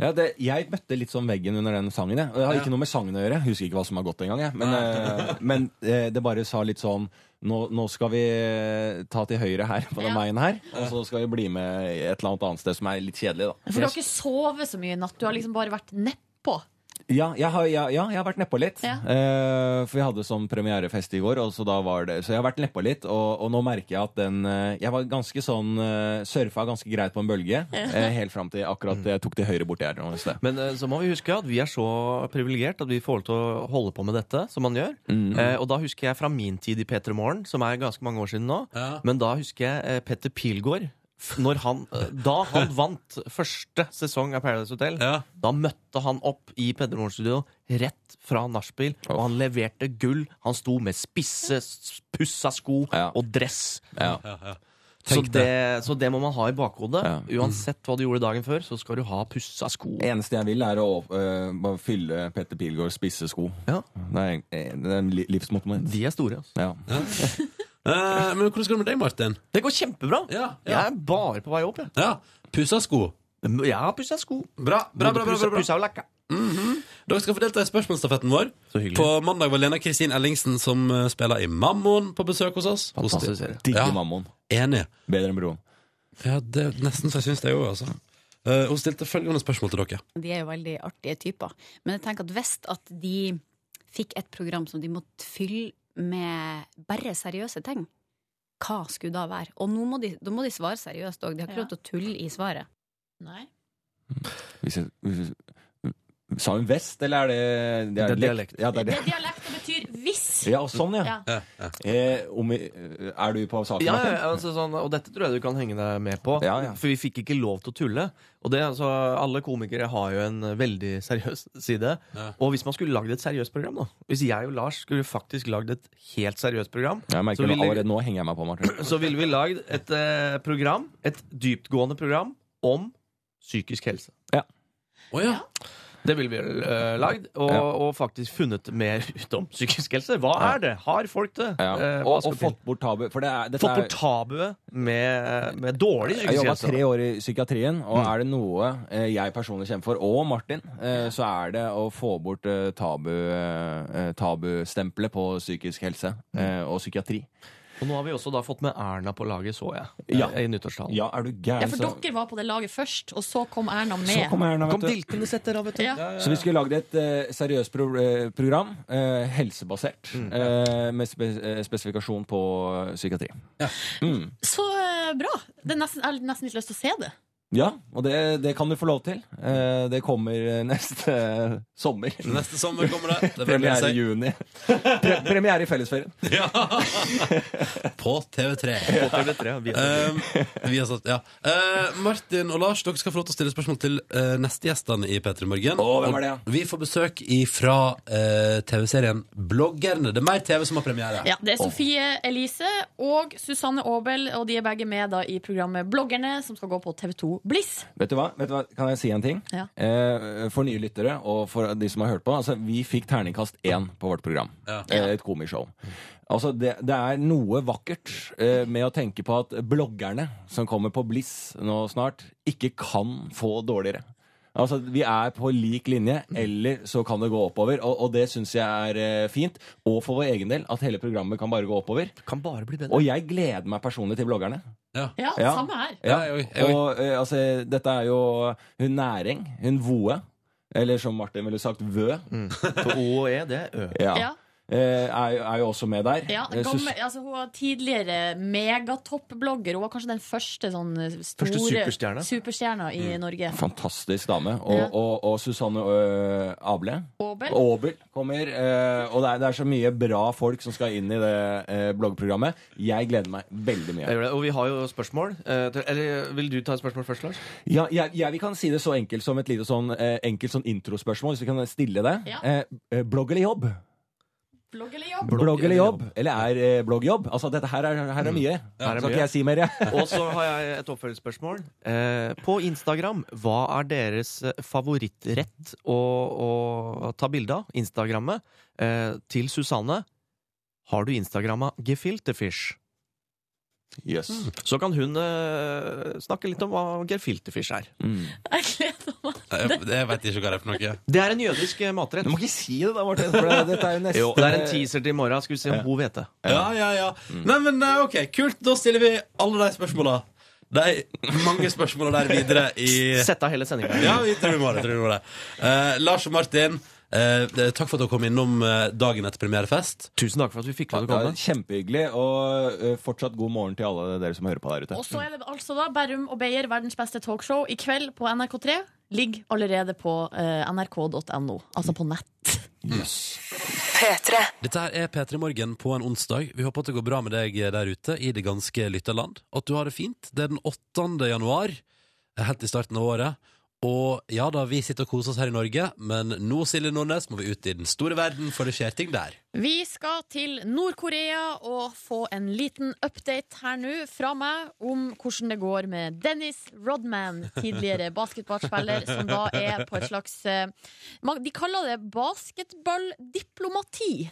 Ja, det, jeg møtte litt sånn veggen under den sangen. Jeg. Og det har ikke noe med sangen å gjøre. Jeg Husker ikke hva som har gått engang. jeg. Men, eh, men eh, det bare sa litt sånn nå, nå skal vi eh, ta til høyre her, på den Ja. veien her. Og så skal vi bli med et eller annet annet sted som er litt kjedelig, da. For du har ikke sovet så mye i natt, du har liksom bare vært nedpå. Ja, jeg har, ja, ja, jeg har vært nedpå litt. Ja. Eh, for vi hadde sånn premierefest i går, og så da var det Så jeg har vært nedpå litt, og, og nå merker jeg at den eh, Jeg var ganske sånn eh, Surfa ganske greit på en bølge eh, helt fram til akkurat jeg tok til høyre borti her. noe sted. Men eh, så må vi huske at vi er så privilegert at vi får lov til å holde på med dette, som man gjør. Mm. Eh, og da husker jeg fra min tid i P3 Morgen, som er ganske mange år siden nå, men da husker jeg eh, Petter Pilgaard. f- Når han, eh, da han vant første sesong av Paradise Hotel, da møtte han opp i Petter Morgen-studio rett fra nachspiel, og han leverte gull. Han sto med spisse, s- pussa sko og dress. Ja, ja. Så Tenk det, så det må man ha i bakhodet. Uansett hva du gjorde dagen før, så skal du ha pussa sko. Eneste jeg vil, er å eh, bare fylle Petter Pilgaards spisse sko. Det er, eh, det er li- livsmottoet mitt. De er store, altså. Ja. Eh, men hvordan går det med deg, Martin? Det går kjempebra. Jeg er bare på vei opp. Jeg. Mm, Ja. Pussa sko. Jeg har pussa sko. Bra, bra, bra, bra, bra, bra. Pussa og lakka. Dere skal få delta i spørsmålsstafetten vår. På mandag var Lena Kristin Ellingsen, som eh, spiller i Mammon, på besøk hos oss. Fantastisk serie. Ja. Digger Mammon. Enig. Bedre enn broren. Ja, det er nesten så jeg syns det òg, altså. Eh, hun stilte følgende spørsmål til dere. De er jo veldig artige typer. Men jeg tenker at hvis at de fikk et program som de måtte fylle med bare seriøse ting, hva skulle da være? Og nå må de, da må de svare seriøst òg. De har ikke lov til å tulle i svaret. Nei. Hvis jeg, hvis jeg, sa hun vest, eller er det, Det er dialekt. Ja, det er Det det. er dialekt, det betyr hvis. Ja, og sånn, ja. Ja. Eh, om, er du på saken? Ja, Martin? ja, altså sånn, og dette tror jeg du kan henge deg med på. For vi fikk ikke lov til å tulle. Og det, altså, Alle komikere har jo en veldig seriøs side. Ja. Og hvis man skulle lagd et seriøst program, da Hvis jeg og Lars skulle faktisk lagd et helt seriøst program Jeg så merker det ville- allerede nå henger jeg meg på, Martin. så ville vi lagd et eh, program, et dyptgående program, om psykisk helse. Ja. Det ville vi eh, lagd, og, og faktisk funnet mer ut om psykisk helse. Hva Ja. er det? Har folk det? Ja. Eh, hva Og, skal og til? fått bort tabu. For det er, dette Fått er- bort tabuet med, med dårlig Mm. Jeg psykisk jobba helse. tre år i psykiatrien, og er det noe eh, jeg personlig kjemper for, og Martin, eh, så er det å få bort eh, tabu, eh, tabustempelet på psykisk helse eh, og psykiatri. Mm. Og nå har vi også da fått med Erna på laget, så jeg. eh, I nyttårstalen. Ja, er du gæren? Ja, for dere var på det laget først, og så kom Erna med. Så kom Erna, vet Kom du. diltende setter av, vet du. Ja. Så vi skulle lagd et eh, seriøst pro eh, program, eh, helsebasert, Mm. eh, med spe eh, spesifikasjon på eh, psykiatri. Mm. Så eh, bra! Det er nesten, jeg har nesten litt lyst til å se det. Ja, og det, det kan du få lov til. Eh, det kommer eh, neste eh, sommer. Neste sommer kommer det. Det blir Premiere seg. i juni. Pre premiere i fellesferien. På TV3. På TV3, ja, via TV3. Eh, via sat- ja. Eh, Martin og Lars, dere skal få lov til å stille spørsmål til eh, nestegjestene i P3 Morgen. Å, hvem er det, ja? Vi får besøk fra TV-serien Bloggerne. Det er mer TV som har premiere. Ja, det er Åh. Sofie Elise og Susanne Aabel, og de er begge med da i programmet Bloggerne, som skal gå på TV2 Bliss. Vet du hva? Vet du hva? Kan jeg si en ting? Ja. Eh, for nye lyttere og for de som har hørt på. Altså, vi fikk terningkast én på vårt program. Ja. Eh, et komishow. Altså, det, det er noe vakkert eh, med å tenke på at bloggerne som kommer på Bliss nå snart, ikke kan få dårligere. Altså, Vi er på lik linje, eller så kan det gå oppover. Og, og det syns jeg er eh, fint. Og for vår egen del, at hele programmet kan bare gå oppover. Kan bare bli bedre. Og jeg gleder meg personlig til bloggerne. Ja, Ja. samme her. Ja, og eh, altså, dette er jo hun næring, hun voe, eller som Martin ville sagt, vø. For O og E, det er Ø. Ja. Ja. Eh, Er, jo- er jo også med der. Ja, Eh, gammel, Sus- altså, hun var tidligere megatopp-blogger. Hun var kanskje den første sånn store superstjerna. Mm. superstjerna i Norge. Fantastisk dame. Og, Ja. og, og Susanne ø, Able. Aabel. Aabel kommer. eh, og det er, det er så mye bra folk som skal inn i det eh, bloggprogrammet. Jeg gleder meg veldig mye. Jeg gjør det. Og vi har jo spørsmål. eh, til- Eller vil du ta et spørsmål først, Lars? Ja, jeg, jeg, vi kan si det så enkelt som et lite sånn, eh, enkelt sånn introspørsmål, hvis vi kan stille det. Ja. Eh, eh, blogg eller jobb? Blogg eller jobb? Blogg eller jobb? Eller er eh, blogg jobb? Altså, dette her er, her er mye. Her Skal er mye. ikke jeg si mer, jeg. Og så har jeg et oppfølgingsspørsmål. Eh, på Instagram, hva er deres eh, favorittrett å, å ta bilde av? Instagrammet. Eh, til Susanne. Har du Instagramma Gefiltefish? Mm. Yes. Så kan hun eh, snakke litt om hva Gefiltefish er. Mm. Jeg gleder meg. Jeg veit ikke hva det er for noe. Det er en jødisk eh, matrett. Du må ikke si det, da, Martin. for det- dette er jo neste- jo, det er en teaser til i morgen. Skal vi se om hun vet det. Ja, ja, ja. Nei, men eh, ok, kult. Da stiller vi alle de spørsmåla. De mange spørsmåla der videre i Sett av hele sendinga. Ja, vi tror vi må det. Tror vi må det. Eh, Lars og Martin, eh, det- takk for at dere kom innom eh, dagen etter premierefest. Tusen takk for at vi fikk Ja, det er kjempehyggelig, og eh, fortsatt god morgen til alle dere som hører på der ute. Og så er det altså da Berrum og Beyer, verdens beste talkshow, i kveld på NRK3. Ligger allerede på eh, nrk.no, altså på nett. Mm. Dette her er P3 Morgen på en onsdag. Vi håper at det går bra med deg der ute i det ganske lytterland. At du har det fint. Det er den 8. januar, helt i starten av året. Og ja da, vi sitter og koser oss her i Norge, men nå, Silje Nordnes, må vi ut i den store verden, for det skjer ting der. Vi skal til Nord-Korea og få en liten update her nå fra meg om hvordan det går med Dennis Rodman, tidligere basketballspiller, som da er på et slags eh, man- De kaller det basketballdiplomati,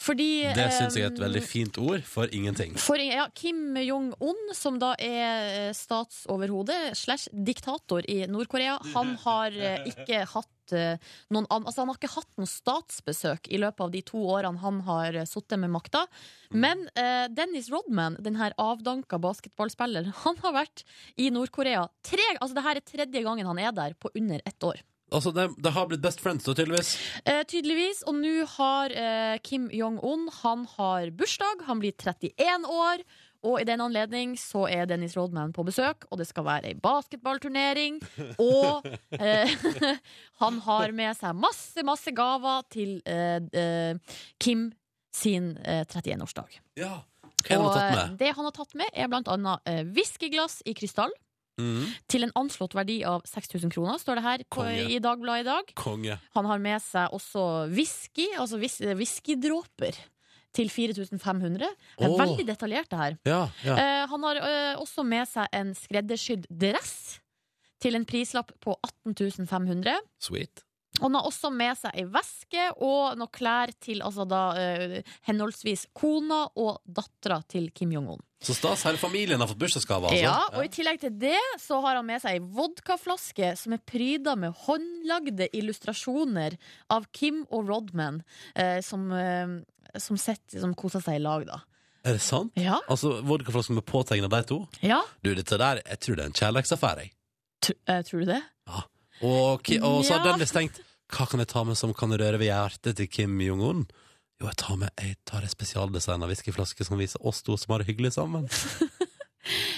fordi Det syns jeg er et eh, veldig fint ord for ingenting. for ja, Kim Jong-un, som da er eh, statsoverhode slash diktator i Nord-Korea, han har eh, ikke hatt hatt eh, noen an Altså, han har ikke hatt noe statsbesøk i løpet av de to årene han har eh, sittet med makta. Men eh, Dennis Rodman, den her avdanka basketballspilleren, han har vært i Nord-Korea tre Altså, det her er tredje gangen han er der på under ett år. Altså, det, det har blitt best friends, da, tydeligvis. Eh, tydeligvis. Og nå har eh, Kim Jong-un Han har bursdag. Han blir 31 år. Og i den anledning så er Dennis Rodman på besøk, og det skal være ei basketballturnering. Og eh, han har med seg masse, masse gaver til eh, eh, Kim sin eh, 31-årsdag. Ja. Hva har han Og, tatt eh, med? det han har tatt med, er blant annet eh, whiskyglass i krystall. Mhm. Til en anslått verdi av 6000 kroner, står det her på, Konge. i Dagbladet i dag. Konge. Han har med seg også whisky, altså whis- whiskydråper, til 4500. Det er Åh. veldig detaljert, det her. Ja, ja. Eh, han har eh, også med seg en skreddersydd dress til en prislapp på 18500. Sweet. Og han har også med seg ei veske og noen klær til altså da, eh, henholdsvis kona og dattera til Kim Jong-un. Så stas. Hele familien har fått bursdagsgave, altså. Ja, og I tillegg til det så har han med seg ei vodkaflaske som er pryda med håndlagde illustrasjoner av Kim og Rodman, eh, som, eh, som, sitter- som koser seg i lag, da. Er det sant? Ja. Altså, Vodkaflasken med påtegna de to? Ja, Du, dette der, jeg tror det er en kjærlighetsaffære, jeg. tr eh, tror du det? Og, Ki- og så hadde Ja. den visst tenkt Hva kan jeg ta med som kan røre ved hjertet til Kim Jong-un? Jo, jeg tar med Jeg tar en spesialdesigna whiskyflaske som viser oss to som har det hyggelig sammen.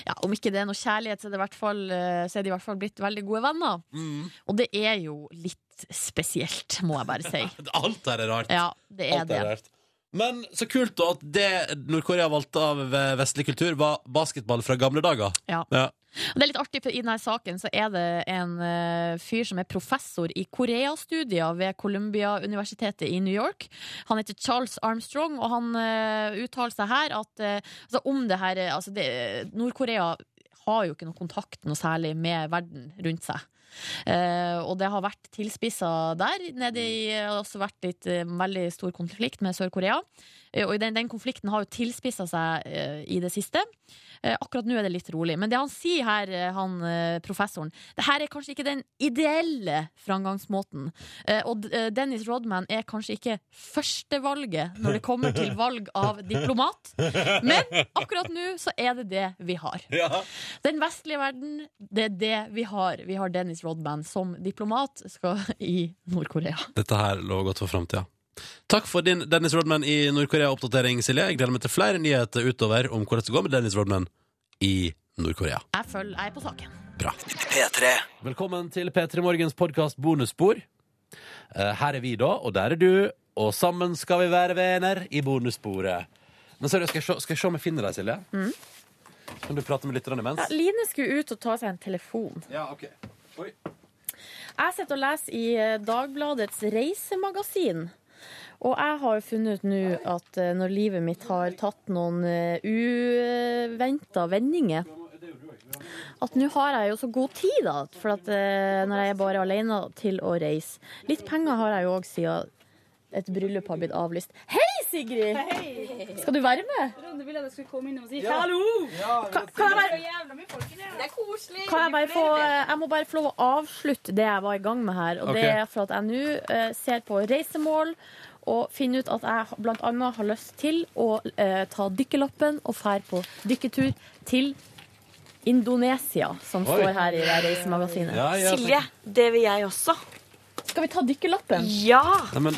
Ja, Om ikke det er noe kjærlighet, så er, det i hvert fall, eh, så er de i hvert fall blitt veldig gode venner. Mm. Og det er jo litt spesielt, må jeg bare si. Alt der er rart. Ja, det er Alt der det. er rart. Men så kult da at det Nord-Korea valgte av eh, vestlig kultur, var basketball fra gamle dager. Ja. Ja. Og Det er litt artig, for i denne saken så er det en eh, fyr som er professor i Koreastudier ved Columbia-universitetet i New York. Han heter Charles Armstrong, og han eh, uttaler seg her at eh, altså om det her eh, altså det, Nord-Korea har jo ikke noe kontakt noe særlig med verden rundt seg. Eh, og det har vært tilspissa der. Nede i, det har også vært litt eh, veldig stor konflikt med Sør-Korea. Eh, og den, den konflikten har jo tilspissa seg eh, i det siste. Eh, akkurat nå er det litt rolig. Men det han sier her, eh, han eh, professoren Det her er kanskje ikke den ideelle framgangsmåten. Eh, og D- eh, Dennis Rodman er kanskje ikke førstevalget når det kommer til valg av diplomat. Men akkurat nå så er det det vi har. Ja. Den vestlige verden, det er det vi har. Vi har Dennis Rodman som diplomat skal i Nord-Korea. Dette her lå godt for framtida. Takk for din Dennis Rodman i Nord-Korea-oppdatering, Silje. Jeg gleder meg til flere nyheter utover om hvordan det går med Dennis Rodman i Nord-Korea. Jeg følger, jeg er på saken. Bra. Velkommen til P3 Morgens podkast Bonusspor. Eh, Her er vi, da, og der er du. Og sammen skal vi være venner i bonussporet. Men seriøst, skal jeg se, skal jeg se om jeg finner deg, Silje? Kan du prate med lytterne imens? Mm. Line skulle ut og ta seg en telefon. Ja, ok. Oi. Jeg sitter og leser i eh, Dagbladets reisemagasin. Og jeg har jo funnet ut nå at eh, når livet mitt har tatt noen uventa vendinger At nå har jeg jo så god tid, da, for at eh, når jeg er bare alene til å reise. Litt penger har jeg jo òg, siden et bryllup har blitt avlyst. Hei, Sigrid! Skal du være med? Ronde ville at jeg skulle komme innom og si Ja. hallo! Ja, Ka- det- kan jeg være- Det er eh, koselig. Kan jeg, bare få, jeg må bare få lov å avslutte det jeg var i gang med her. Og Ok. det er for at jeg nå eh, ser på reisemål og finner ut at jeg ha- blant annet har lyst til å eh, ta dykkerlappen og fære på dykketur til Indonesia, som Oi. står her i det reisemagasinet. Ja, ja, så- Silje, eh, det vil jeg også. Skal vi ta dykkerlappen? Ja! Nei, men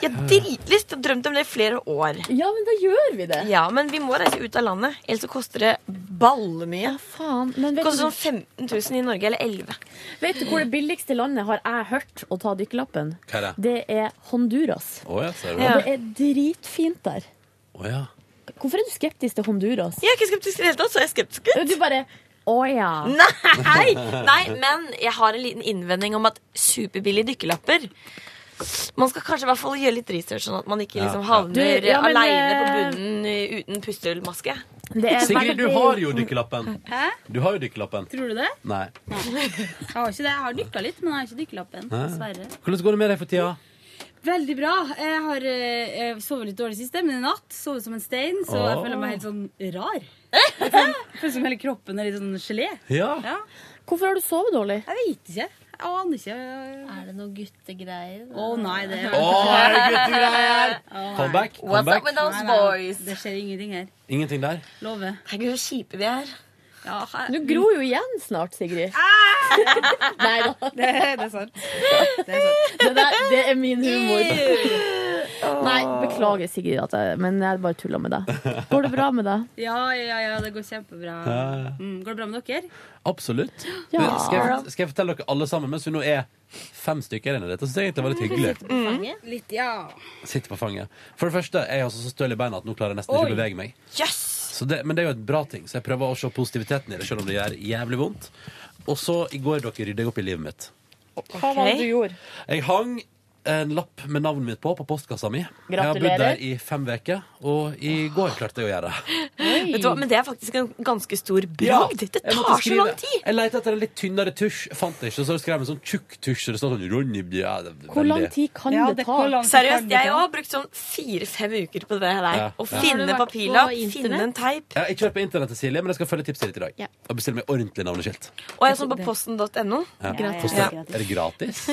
Jeg har dritlyst. Jeg har drømt om det i flere år. Ja, men da gjør vi det. Ja, men vi må reise ut av landet, ellers så koster det ballemye. Faen, men vet Det koster du, sånn 15 000 i Norge, eller 11 vet du hvor det billigste landet har jeg hørt å ta dykkerlappen? Hva er det? Det er Honduras. Å ja, ser du. Og det er dritfint der. Å ja. Hvorfor er du skeptisk til Honduras? Jeg er ikke skeptisk i det hele tatt, så jeg er skeptisk. Du bare Å ja. Nei! Nei, men jeg har en liten innvending om at superbillige dykkerlapper Man skal kanskje i hvert fall gjøre litt research, sånn at man ikke Ja, liksom ja. havner Du, ja, men, aleine på eh, bunnen eh, uten pustehullmaske. Sigrid, du har jo dykkerlappen. Hæ? Du har jo dykkerlappen. Tror du det? Nei. Nei. Jeg har ikke det. Jeg har dykka litt, men jeg har ikke dykkerlappen. Nei. Mm, Dessverre. Hvordan går det med deg for tida? Veldig bra. Jeg har eh, jeg sovet litt dårlig sist, men i natt sovet som en stein, så jeg Åh. føler meg helt sånn rar. Litt sånn- Føles som hele kroppen er litt sånn gelé. Ja. Hvorfor har du sovet dårlig? Jeg vet ikke. aner ikke. Er det noe guttegreier? Å nei, det Å, er det guttegreier? Å, nei. Comeback, What's comeback. up with those Nei, nei, boys? Det skjer ingenting her. Ingenting der? Lover. Herregud, så kjipe vi er. Ja, her- Du gror jo igjen snart, Sigrid. Nei da. Det, det er sant. Det, der, det er min humor. Nei, beklager, Sigrid, at jeg, men jeg bare tulla med deg. Går det bra med deg? Ja, ja, ja, det går kjempebra. Ja. Mm, går det bra med dere? Absolutt. Ja. Men Skal, jeg, skal jeg fortelle dere alle sammen, mens vi nå er fem stykker inne i dette, så det er egentlig var litt hyggelig. Fanget? Litt, ja. Sitter på fanget. For det første, jeg har så så støl i beina at nå klarer jeg nesten ikke å Oi. bevege meg. Så det, men det er jo et bra ting, så jeg prøver å se positiviteten i det, selv om det gjør jævlig vondt. Og så i går, dere, rydda jeg opp i livet mitt. Hva var det du gjorde? Jeg hang en lapp med navnet mitt på på postkassa mi. Jeg har bodd Gratulerer. der i fem uker, og i går klarte jeg å gjøre det. Vet du hva, Men det er faktisk en ganske stor Ja, bragd. Det jeg måtte tar så skrive. lang tid! Jeg lette etter en litt tynnere tusj, fant det ikke. Så skrev jeg en sånn tjukk tusj. og Det står sånn Ronny ja, det er Hvor lang veldig- tid kan Ja, det det- ta? hvor lang tid kan Seriøst, det jeg ta? har brukt sånn fire-fem uker på det her. Ja, Å ja. finne Har du vært papirlapp, på internett? finne en teip. Jeg har ikke vært på internettet, Silje, men jeg skal følge tipset ditt i dag. Ja. Og bestille meg ordentlig navneskilt. Og jeg så på posten.no. Ja. Forstår- Er det gratis?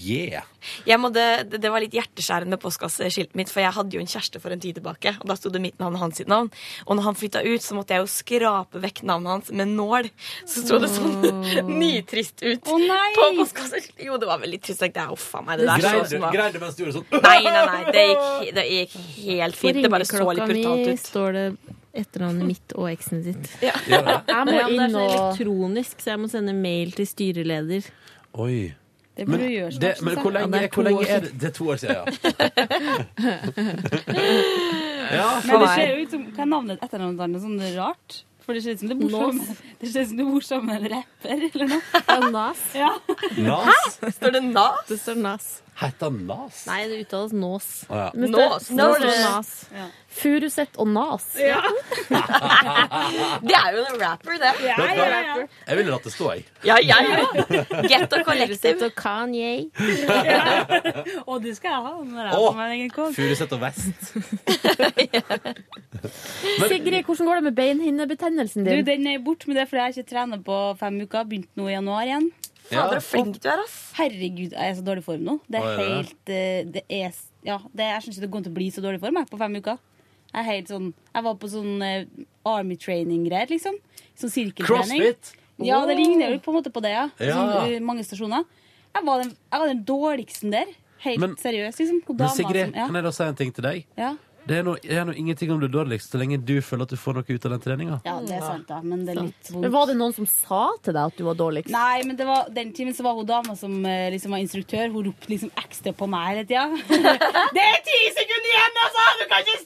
Yeah. Jeg måtte, det- det var litt hjerteskjærende postkasseskiltet mitt, for jeg hadde jo en kjæreste for en tid tilbake, og da sto det mitt navn og hans sitt navn. Og når han flytta ut, så måtte jeg jo skrape vekk navnet hans med nål. Så sto det sånn nitrist ut på postkasseskiltet. Jo, det var veldig trist. Jeg tenkte, "Au, faen meg, det der Greide så ut som du- var- greide du mens du gjorde sånn? Nei, nei, nei, det gikk, det gikk helt fint. Det bare så litt brutalt ut. står det etternavnet mitt og eksen sitt. Ja. Gjør det? Jeg må inn og Det er sånn og- elektronisk, så jeg må sende mail til styreleder. Oi. Det burde Men, du gjøre, det, Svartsen, men sa. hvor Ja, lenge, det er to hvor lenge år er siden. det? Det er to år siden, ja. Men faen. det ser jo ut som Hva er navnet etternavnet hans? Sånn rart? For det ser ut som det er morsom, det ser ut som det er morsom en rapper eller noe. Nas. Ja. Nas? Står det Nas? Det står Nas. Heter han Nas? Nei, det uttales Nås. Å, ja. Men Nås. det- det står Nås. Nas. Ja. Furuset og Nas. Ja. Det er jo en rapper, det. Vet du hva? Jeg ville latt det stå, jeg. Ja, jeg Get og Furuset og Kanye. Og det skal jeg ha når jeg Å, har på meg en egen kål. Furuset og vest. Sigrid, hvordan går det med beinhinnebetennelsen Du, din? den er borte, men det er fordi jeg ikke trener på fem uker. Begynte nå i januar igjen. Ja. Fader, så flink du er, ass. Herregud, jeg er i så dårlig form nå. Det Å, er er det helt eh, Det er s- Ja, det, jeg syns ikke det går an til å bli så dårlig form jeg, på fem uker. Jeg er helt sånn Jeg var på sånn eh, army training-greier, liksom. Sånn sirkeltrening. Crossfit? Ja, det ligner jo på en måte på det, ja. Ja. Sånn, eh, mange stasjoner. Jeg var den, jeg var den dårligste der. Helt Men- seriøst, liksom. Hun Men dama Sigrid, som- kan jeg da si en ting til deg? ja. ja. Det er, noe, det er noe ingenting om du er dårligst, så lenge du føler at du får noe ut av den treninga. ja, det er sant, da. Men det er litt vondt. Men var det noen som sa til deg at du var dårligst? Nei, men det var, den timen så var hun dama som eh, liksom var instruktør. Hun ropte liksom ekstra på meg hele tida. det er ti sekunder igjen, altså! Du kan ikke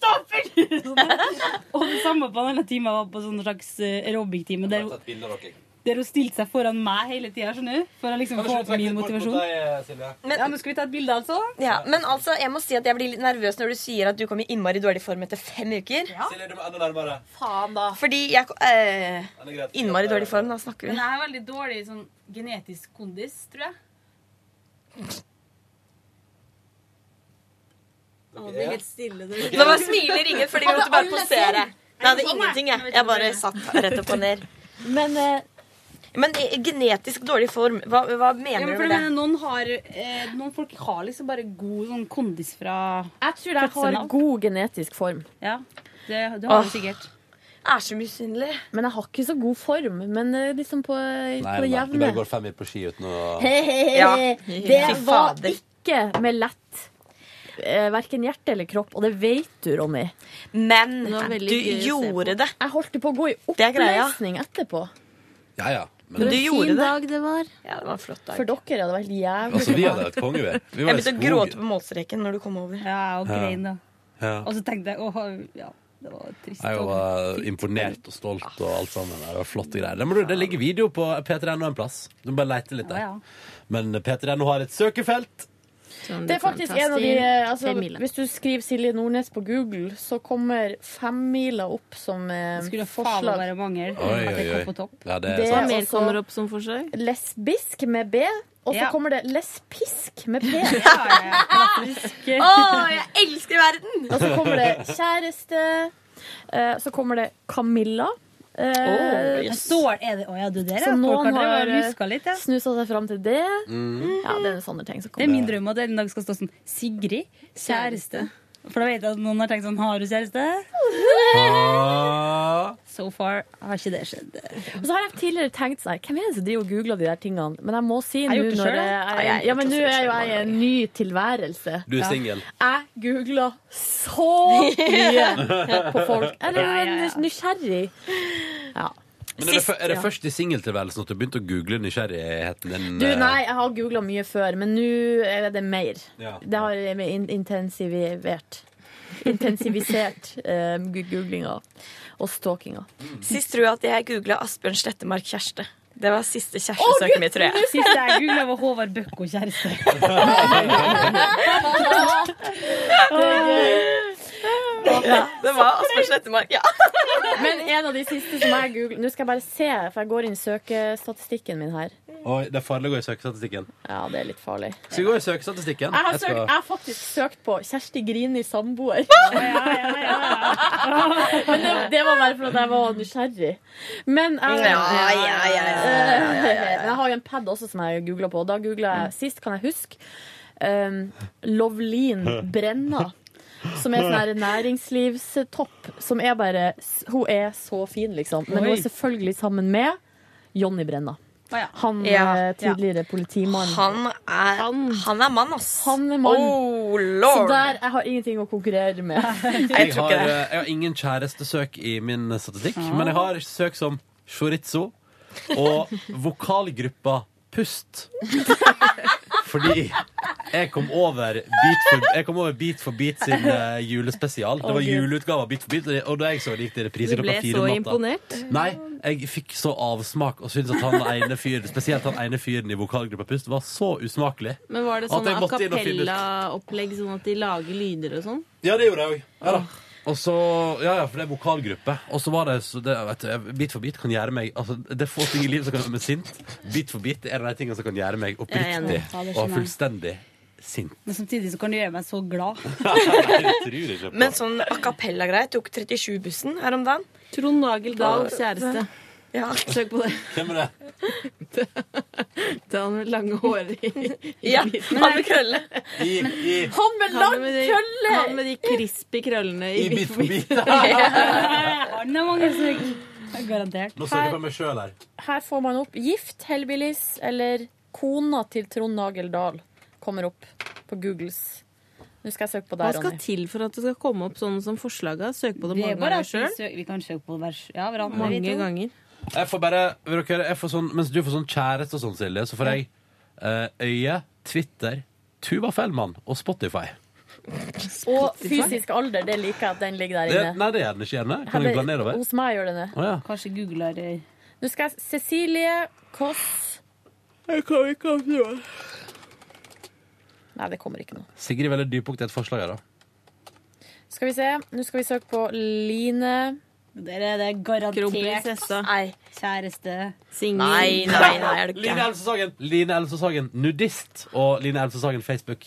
stoppe! og det samme på den andre timen jeg var på sånn slags eh, aerobic-time. Der, hun- der hun stilte seg foran meg hele tida, skjønner du? For å liksom få opp min motivasjon. Men, ja, men skal vi ta et bilde, altså? Ja, men altså, jeg må si at jeg blir litt nervøs når du sier at du kom i innmari dårlig form etter fem uker. Silje, du må enda nærmere. Faen, da. Fordi jeg ko- eh, Den er greit. Innmari dårlig form, da snakker Men vi. jeg er veldig dårlig sånn genetisk kondis, tror jeg. Å, det er helt stille. Det Nå bare smiler ingen fordi vi måtte bare posere. Jeg hadde Sånn, ingenting, jeg. Jeg bare satt rett opp og ned. Men, eh, i- genetisk dårlig form, hva, hva mener du for med jeg mener, det? noen, har, eh, noen folk har liksom bare god sånn kondis fra Jeg tror jeg har god genetisk form. Ja, det, det har Åh. du sikkert. Jeg er så misunnelig. Men jeg har ikke så god form. Men eh, liksom på, Nei, på nei, nei, du jevne. bare går fem mil på ski uten å Hehehe. Det Fy var fader. ikke med lett eh, verken hjerte eller kropp, og det vet du, Ronny. Men du gjorde det. Jeg holdt på å gå i Det er greia. oppløsning etterpå. Ja, ja. Men, Men du gjorde det. dag det var. Ja, det var en flott dag. For dere hadde det vært jævlig Altså, vi hadde vært konge, vi. vi Jeg var i begynte å skogen. gråte på målstreken når du kom over. Ja, og Ja. grein, da. Ja. Og så tenkte jeg åh, ja, det var trist. Jeg var imponert og stolt og alt sammen. Det var flotte greier. Det, må du, det ligger video på p3.no en plass. Du må bare leite litt Ja, der. ja. Men p3.no har et søkefelt. Det er faktisk en av de eh, altså, Hvis du skriver Silje Nordnes på Google, så kommer femmila opp som eh, Det skulle faen forslag. være mangel Oi, at jeg oi, kom oi. på topp. Ja, det Det er er sant. mer Som kommer opp som forslag. Lesbisk med B, og så Ja. kommer det lespisk med P. Å, jeg elsker verden! Og så kommer det kjæreste. eh, Så kommer det Camilla. Eh, Åh, yes. Står er det Å ja, du der, Så ja. Folk noen har har drevet og luska litt, ja. snusa seg fram til det. Mm. Ja, det er sånne ting som Det er kommer. min drøm at det en dag skal stå sånn Sigrid, kjæreste. For da vet jeg at noen har tenkt sånn Har du kjæreste? Ah. So far har ikke det skjedd. Og så har jeg tidligere tenkt sånn, her, hvem er det som driver og googler de der tingene? Men jeg må si Jeg har nå gjort det når selv, jeg, da. Ja, jeg har ja, gjort men det nå selv, er jo jeg mange i en ny tilværelse. Du er Ja. singel. Jeg googler så mye på folk. Jeg er Ja, ja, ja. nys- nysgjerrig. Ja. Men er det, Sist, fø- er det ja. først i singeltilværelsen at du begynte å google nysgjerrigheten din? Du, eh, nei, jeg har googla mye før, men nå er det mer. Ja. Det har jeg in- intensivert. Intensivisert eh, gu- googlinga og stalkinga. Mm. Sist tror jeg at jeg googla Asbjørn Slettemark kjæreste. Det var siste Å, kjærestesøket Gud, mitt, tror jeg. Sist jeg googla, var Håvard Bøkko kjæreste. Ja, det var Asbjørn Slettemark, ja. Men en av de siste som jeg googler Nå skal jeg bare se, for jeg går inn i søkestatistikken min her. Oi, det er farlig å gå i søkestatistikken. Ja, det er litt farlig. Skal vi gå i søkestatistikken? Jeg har, skal- søkt, jeg har faktisk søkt på Kjersti Grini samboer. Men det, det var bare fordi jeg var nysgjerrig. Men jeg, Ja, ja, ja, ja, ja, ja, ja. Men jeg har jo en pad også som jeg googla på. og Da googla jeg sist, kan jeg huske, um, Lovlin Brenna. Som er sånn her næringslivstopp. Som er bare Hun er så fin, liksom. Men hun Oi. er selvfølgelig sammen med Jonny Brenna. Han eh, Ja. tidligere politimann. Han er, han er mann, ass. Han er mann. Oh, Så lord. der jeg har ingenting å konkurrere med. Jeg har, eh, jeg har ingen kjærestesøk i min statistikk, Ah. men jeg har søk som chorizo og vokalgruppa Pust. Fordi jeg kom over Beat for, jeg kom over beat, for beat sin eh, julespesial. Det Å, var Gud. juleutgave av Beat for beat, og da jeg så det gikk til reprise Du ble klokka fire så om natta. imponert? Nei, jeg fikk så avsmak og syntes at han ene fyren, spesielt han ene fyren i vokalgruppa Pust, var så usmakelig. Men var det sånn At jeg måtte inn og finne ut. cappella-opplegg, sånn at de lager lyder og sånn? Ja, det gjorde jeg òg. Ja, da. Ah. og så, ja, ja, for det er vokalgruppe. Og så var det, så det vet du, jeg- Bit for bit kan gjøre meg altså, Det er få ting i livet som kan gjøre meg sint. Bit for bit er de tingene som kan gjøre meg Jeg er enig. Ja, det oppriktig skjønner og fullstendig sint. Men samtidig så kan det gjøre meg så glad. Men sånn a cappella-greie tok 37-bussen her om dagen. Trond Nagel Dahl, kjæreste. Ja. Søk på det. Hvem er det? Det er han med lange hår i, Ja, han med krølle. I, i Han med lang krølle! Han med de crispy krøllene i, Bit for Bit. Han er mange søk. Garantert. Nå søker jeg på meg sjøl her. Her får man opp gift, hellbillies eller kona til Trond Nagel Dahl. Kommer opp på Googles. Nå skal jeg søke på Hva der, skal Ronny. til for at det skal komme opp sånn som forslaga? Søk på det Det er mange bare ganger at vi, sjøl? søker, vi kan søke på hver, ja, hverandre. Mange vi to. ganger. Jeg får bare, vil dere, jeg får sånn, Mens du får sånn kjæreste og sånn, Silje, så får jeg eh, Øye, Twitter, Tuva Fellmann og Spotify. Og fysisk alder, det liker jeg at den ligger der Det, inne. nei, det gjør den ikke gjerne. Kan jeg bla nedover? Hos meg gjør den det. Å, ja. Kanskje googler eh, Nå skal jeg Cecilie Kåss Jeg kan ikke ha noe. Nei, det kommer ikke noe. Sigrid er veldig dypbukt i et forslag her, da. Skal vi se. Nå skal vi søke på Line. Det er det garantert. Nei. Kjæreste. Singel. Line Else Sagen. Line Else Sagen, nudist og Line Else Sagen Facebook.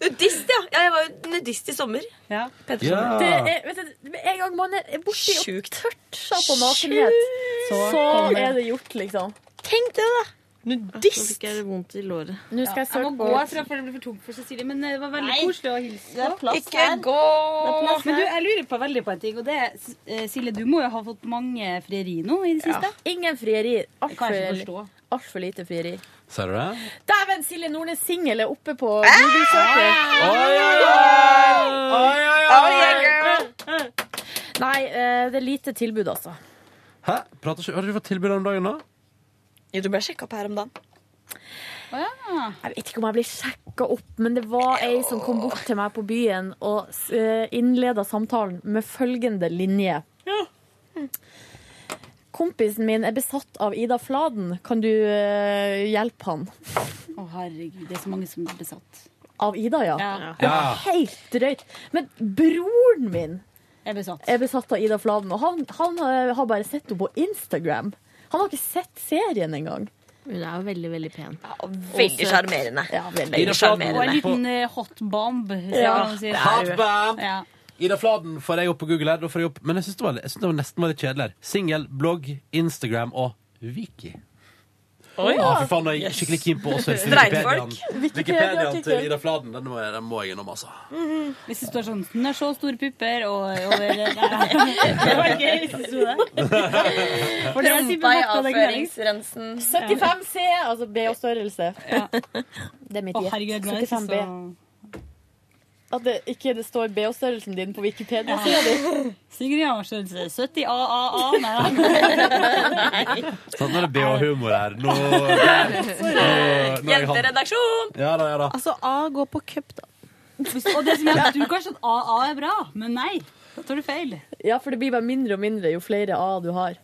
Nudist, ja. ja. Jeg var jo nudist i sommer. Ja. Ja. Det er, vet du, med en gang man er borti og toucher på nakenhet, Så så, kommer- er det gjort, liksom. Tenk det, da! Nudist! Nå fikk jeg det vondt i låret. Nå skal jeg søke må gå herfra, for det blir for tungt for Cecilie. Men eh, det var veldig Nei. koselig å hilse. Det er plass Ikke her. gå. Det er plass. Men du, jeg lurer på veldig på en ting, og det er eh, Silje, du må jo ha fått mange frieri nå i det siste? Ingen frieri. kan ikke forstå. Altfor alt for lite frieri. Ser du det? Dæven, Silje Nordnes singel er oppe på Google-søket. Nei, eh, det er lite tilbud, altså. Hæ? Prater ikke, har du ikke fått tilbud om dagen nå? Jo, du ble sjekka opp her om dagen. Jeg vet ikke om jeg ble sjekka opp, men det var ei som kom bort til meg på byen og innleda samtalen med følgende linje. Kompisen min er besatt av Ida Fladen. Kan du eh, hjelpe han? Å, herregud, det er så mange som er besatt. Av Ida, ja. Ja. Det var helt drøyt. Men broren min er besatt, av Ida Fladen, og han, han eh, har bare sett henne på Instagram. Han har ikke sett serien engang. Hun er jo veldig, veldig pen. Veldig sjarmerende. Ja, veldig Og en liten eh, hot bomb. Ja. Ja. Hot bomb. Ja. Ida Fladen får jeg opp på Google her, da får jeg opp. men jeg syns det, var- jeg synes det var nesten var litt kjedelig her. Singel, blogg, Instagram og Wiki. Oi. ah, fy faen, nå er jeg skikkelig keen på også Wikipediaen. Streitfolk. Wikipediaen Wikipedia-artikkel. til Ida Fladen, den må jeg, den må jeg innom, altså. Hvis det står sånn 'Hun har så store pupper' og over der, Det var gøy hvis det sto det. For det er typen Rumpa i vakthold og greier. avføringsrensen. 75 C, altså B og størrelse. Det er mitt Å, gjett. herregud, nå er jeg 75 B. så- At det ikke det står B og størrelsen din på Wikipedia, Ja. sier de. Sigrid Jarnsen, 70 AAA. Nei, da. Sånn, nå er det BH-humor her. Nå, der, eh, nå, nå er jeg han. Jenteredaksjon! Ja da, ja da. Altså, A går på cup, da. Hvis- Og det som er at du kanskje at AA er bra, men nei. Da tar du feil. Ja, for det blir bare mindre og mindre jo flere A du har.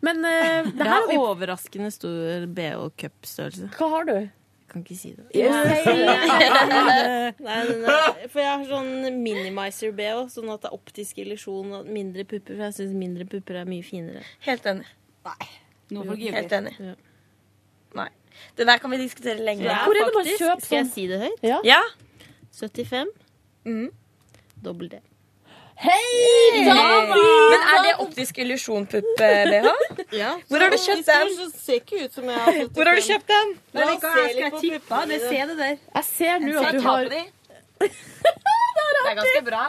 Men eh, det Jeg her har har vi overraskende stor BH cup-størrelse. Hva har du? Kan ikke si det. Yes. Nei, den er- for jeg har sånn minimizer BH, sånn at det er optisk illusjon og mindre pupper. For jeg syns mindre pupper er mye finere. Helt enig. Nei. Nå får du ikke Helt gjøre det. Nei. Det der kan vi diskutere lenge. Ja, Hvor er det man faktisk. kjøper Skal jeg sånn? si det høyt? Ja. 75. Mm. Dobbel D. Hei, dama! Men er det optisk illusjon-pupp-BH? Ja. Hvor har du kjøpt den? Så ser ikke ut som jeg har Hvor har du kjøpt den? La oss se litt på puppene dine. der. Jeg ser nå Skal at du jeg ta har på de? Det er ganske bra.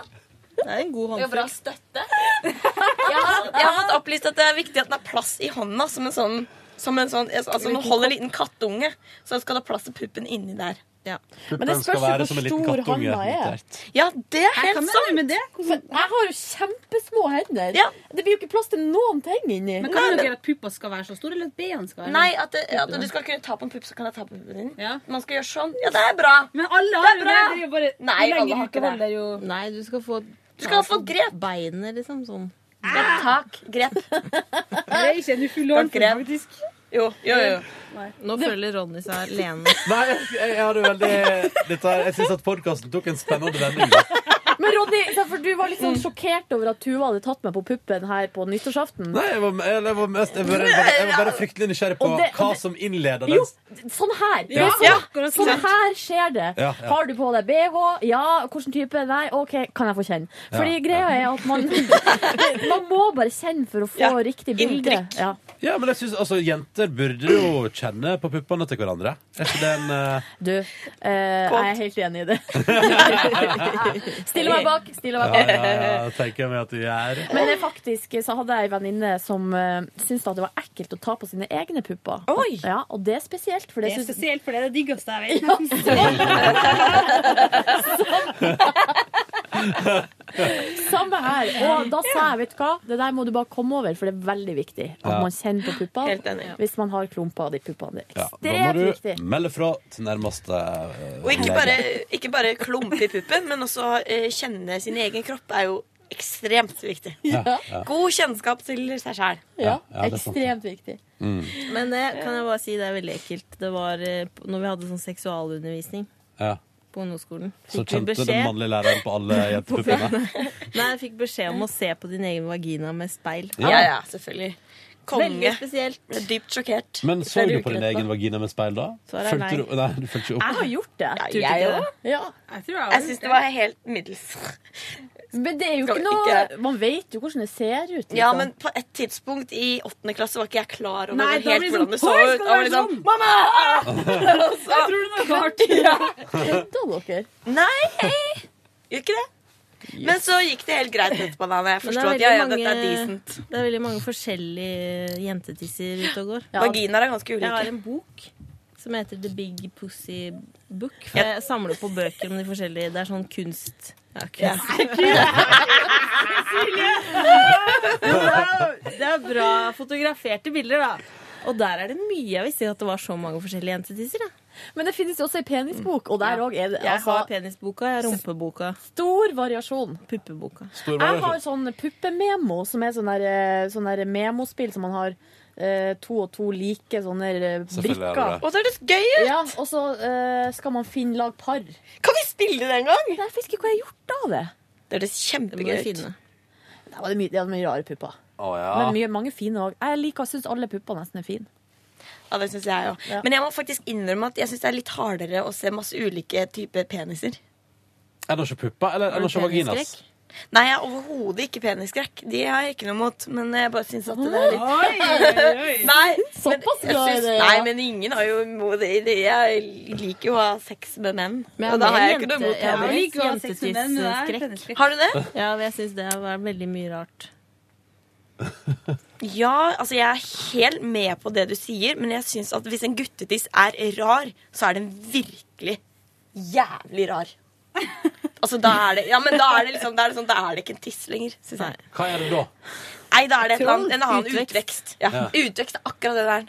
Det er en god Det er jo håndfull. bra støtte. Jeg har, jeg har fått opplyst at det er viktig at den har plass i hånda, som en sånn som en sånn, altså Når du holder en liten kattunge, så skal det ha plass til puppen inni der. Ja. Puppen Men det spørs jo skal være hvor som en liten stor kattunge, hånda er. notert. Ja, det er helt sant. For jeg har jo kjempesmå hender. Ja. Det blir jo ikke plass til noen ting inni. Men kan dere gjøre at puppa skal være så stor, eller at BH-en skal være sånn? Nei, at, det, at du skal kunne ta på en pupp, så kan jeg ta på puppen din. Man skal gjøre sånn. Ja, det er bra. Men alle det har er jo bra. det. det er jo bare, Nei, jo lenger alle har ut ikke holder det. Jo. Nei, du skal få Du skal få grep. Beinet, liksom. Sånn. Ja, tak. Grep. Det er ikke en Tak, ufulloren grep. Jo, jo, jo. Nå føler Ronny seg alene. Nei, jeg, jeg hadde veldig dette, her- Jeg syns at podkasten tok en spennende vending. da. Men Ronny, se, for du var litt sånn sjokkert over at Tuva hadde tatt meg på puppen her på nyttårsaften. Nei, jeg var, jeg, jeg var, mest, jeg var, jeg var, jeg var bare fryktelig nysgjerrig på Og det- og hva det- som innleder den. Jo, sånn her. Det Ja, er ja, sånn, akkurat sånn sant. her skjer det. Ja, ja. Har du på deg BH? Ja. Hvilken type? Nei, OK, kan jeg få kjenne? Ja, Fordi ja. greia er at man Man må bare kjenne for å få riktig bilde. Ja. Ja, men jeg synes, altså, Jenter burde jo kjenne på puppene til hverandre. Er ikke det en eh, Du, eh, jeg er helt enig i det. Stille meg bak. Stille meg ja, bak. ja, ja, tenker jeg meg at du gjør. Men det er faktisk så hadde jeg en venninne som uh, syntes at det var ekkelt å ta på sine egne pupper. Ja, og det er spesielt. For Det det, er synes- spesielt, for det er det diggeste jeg vet. Samme her. Og da sa jeg, vet du hva, det der må du bare komme over, for det er veldig viktig at Ja. man kjenner på puppene hvis man har klumper av de puppene. Det er Ja, da må ekstremt du viktig. melde fra til nærmeste eh, Og ikke lege. bare, ikke bare klumpe i puppen, men også eh, kjenne sin egen kropp er jo ekstremt viktig. Ja, ja. God kjennskap til seg sjæl. Ja, ja, det er sant. viktig. Mm. Men det kan jeg bare si, det er veldig ekkelt. Det var eh, p- når vi hadde sånn seksualundervisning Ja. på ungdomsskolen. Så vi kjente den mannlige læreren på alle jentepuppene. Nei, jeg fikk beskjed om å se på din egen vagina med speil. Ja. Ja, ja, selvfølgelig. Konge. Veldig spesielt. Jeg er dypt sjokkert. Men så du på din egen vagina med speil da? Svaret er Fulgte nei. Du, nei, du fulgte ikke opp. har gjort det. Ja, Tror du jeg ikke òg. det? Ja. Jeg syns det var helt middels. Men det er jo Skal ikke noe ikke- Man vet jo hvordan det ser ut. Ja, liksom. men på et tidspunkt i åttende klasse var ikke jeg klar over Nei, da helt blir det hvordan det sånn, så «Oi, ut. skal det Jeg var være liksom, sånn?» Mamma! Og så- Jeg tror det var klart. Ja. dere? Nei, hei. gjør ikke det. Men så gikk det helt greit etterpå, da. når Jeg Men det forstod er at ja, ja, veldig dette er mange- decent. Det er veldig mange forskjellige jentetisser ute og går. Ja. Vaginaer er ganske ulike. Jeg har en bok som heter The Big Pussy Book. For jeg samler på bøker om de forskjellige. Det er sånn kunst... Ja, kunst. Jo, det er- det er bra fotograferte bilder, da. Og der er det mye. Jeg visste ikke at det var så mange forskjellige jentetisser. Men det finnes jo også ei penisbok, og der òg er det Jeg altså, har penisboka, jeg har rumpeboka. Stor variasjon. Puppeboka. Stor Jeg har sånn puppememo, som er sånn der, eh, sånn der memospill som man har eh, to og to like sånne eh, Selvfølgelig er det brikker. det. Å, så er det gøy ut! Ja, og så eh, skal man finne lag par. Kan vi spille det en gang? Nei, jeg husker ikke hva jeg har gjort av det. Det høres Det må kjempegøy vi ut. finne. Det var mye, det var mye rare pupper. Å, ja. Men mye, mange fine òg. Jeg liker, syns alle pupper nesten er fine. Ja, det synes jeg også. Men jeg må faktisk innrømme at jeg syns det er litt hardere å se masse ulike typer peniser. Er det ikke pupper, eller er det ikke vaginas? Nei, jeg er overhodet ikke penisskrekk. De har jeg ikke noe mot. Men jeg bare syns at det er litt Oi, oi, oi. Nei, Såpass men, jeg glad i syns- det, ja. Nei, men ingen har jo imot det. det- Jeg liker jo å ha sex med menn. Men jeg og da har har jeg en ikke noe jente- imot jeg har penis. ikke å ha sex med menn, men jeg er Jentetidsskrekk. penisskrekk. Har du det? Ja, men jeg syns det var veldig mye rart. Ja, altså jeg er helt med på det du sier, men jeg syns at hvis en guttetiss er rar, så er den virkelig jævlig rar. Altså, da er det Ja, men da er det liksom Da er det, sånn, da er det ikke en tiss lenger, syns jeg. Hva er det da? Nei, da er det et eller annet, en annen Utvekst. utvekst. Ja. Ja. Utvekst er akkurat det der.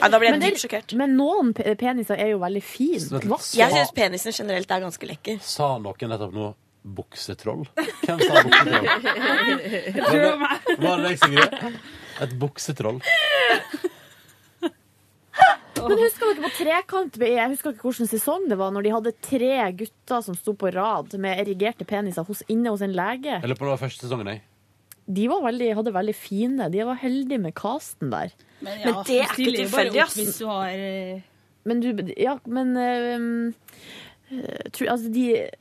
Nei, da ble jeg Men det- dypt sjokkert. Men noen pe- peniser er jo veldig fine. Vent litt. Vass- Jeg syns penisen generelt er ganske lekker. Sa noen nettopp nå buksetroll? Hvem sa buksetroll? Var det, var det deg, Sigrid? Et buksetroll. Men husker dere på Trekant? Jeg husker ikke hvilken sesong det var, når de hadde tre gutter som sto på rad med erigerte peniser hos, inne hos en lege. Jeg lurer på om det var første sesongen, jeg. De var veldig, hadde veldig fine. De var heldige med casten der. Men, ja, Men det er du stiller ikke jo bare tilfeldig, opp ass. hvis du har, eh, Men du Ja, men eh, eh, tror, Altså, de eh,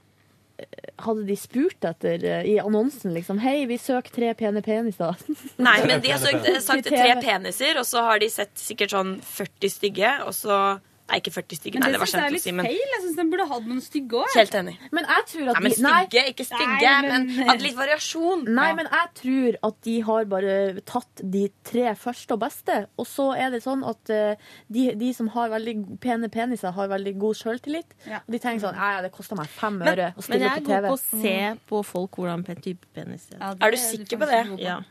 Hadde de spurt etter eh, i annonsen, liksom Hei, vi søker tre pene peniser. Nei, men de har søkt, eh, sagt Til tre TV. peniser, og så har de sett sikkert sånn 40 stygge, og så Nei, ikke 40 stygge, Men nei, det det var synes jeg er slemt å litt si, men feil. Jeg synes den burde hatt noen stygge òg. Helt enig. Men jeg tror Nei, men stygge, ikke stygge, Nei, men, men- at litt variasjon. Nei, men jeg tror at de har bare tatt de tre første og beste. Og så er det sånn at eh, de, de som har veldig pene peniser, har veldig god sjøltillit. Og de tenker sånn Ja, ja, det kosta meg fem Men- øre å men stille jeg på Mm. går TV. på å se På folk hvordan pen type penis er. Er du sikker på det? Ja.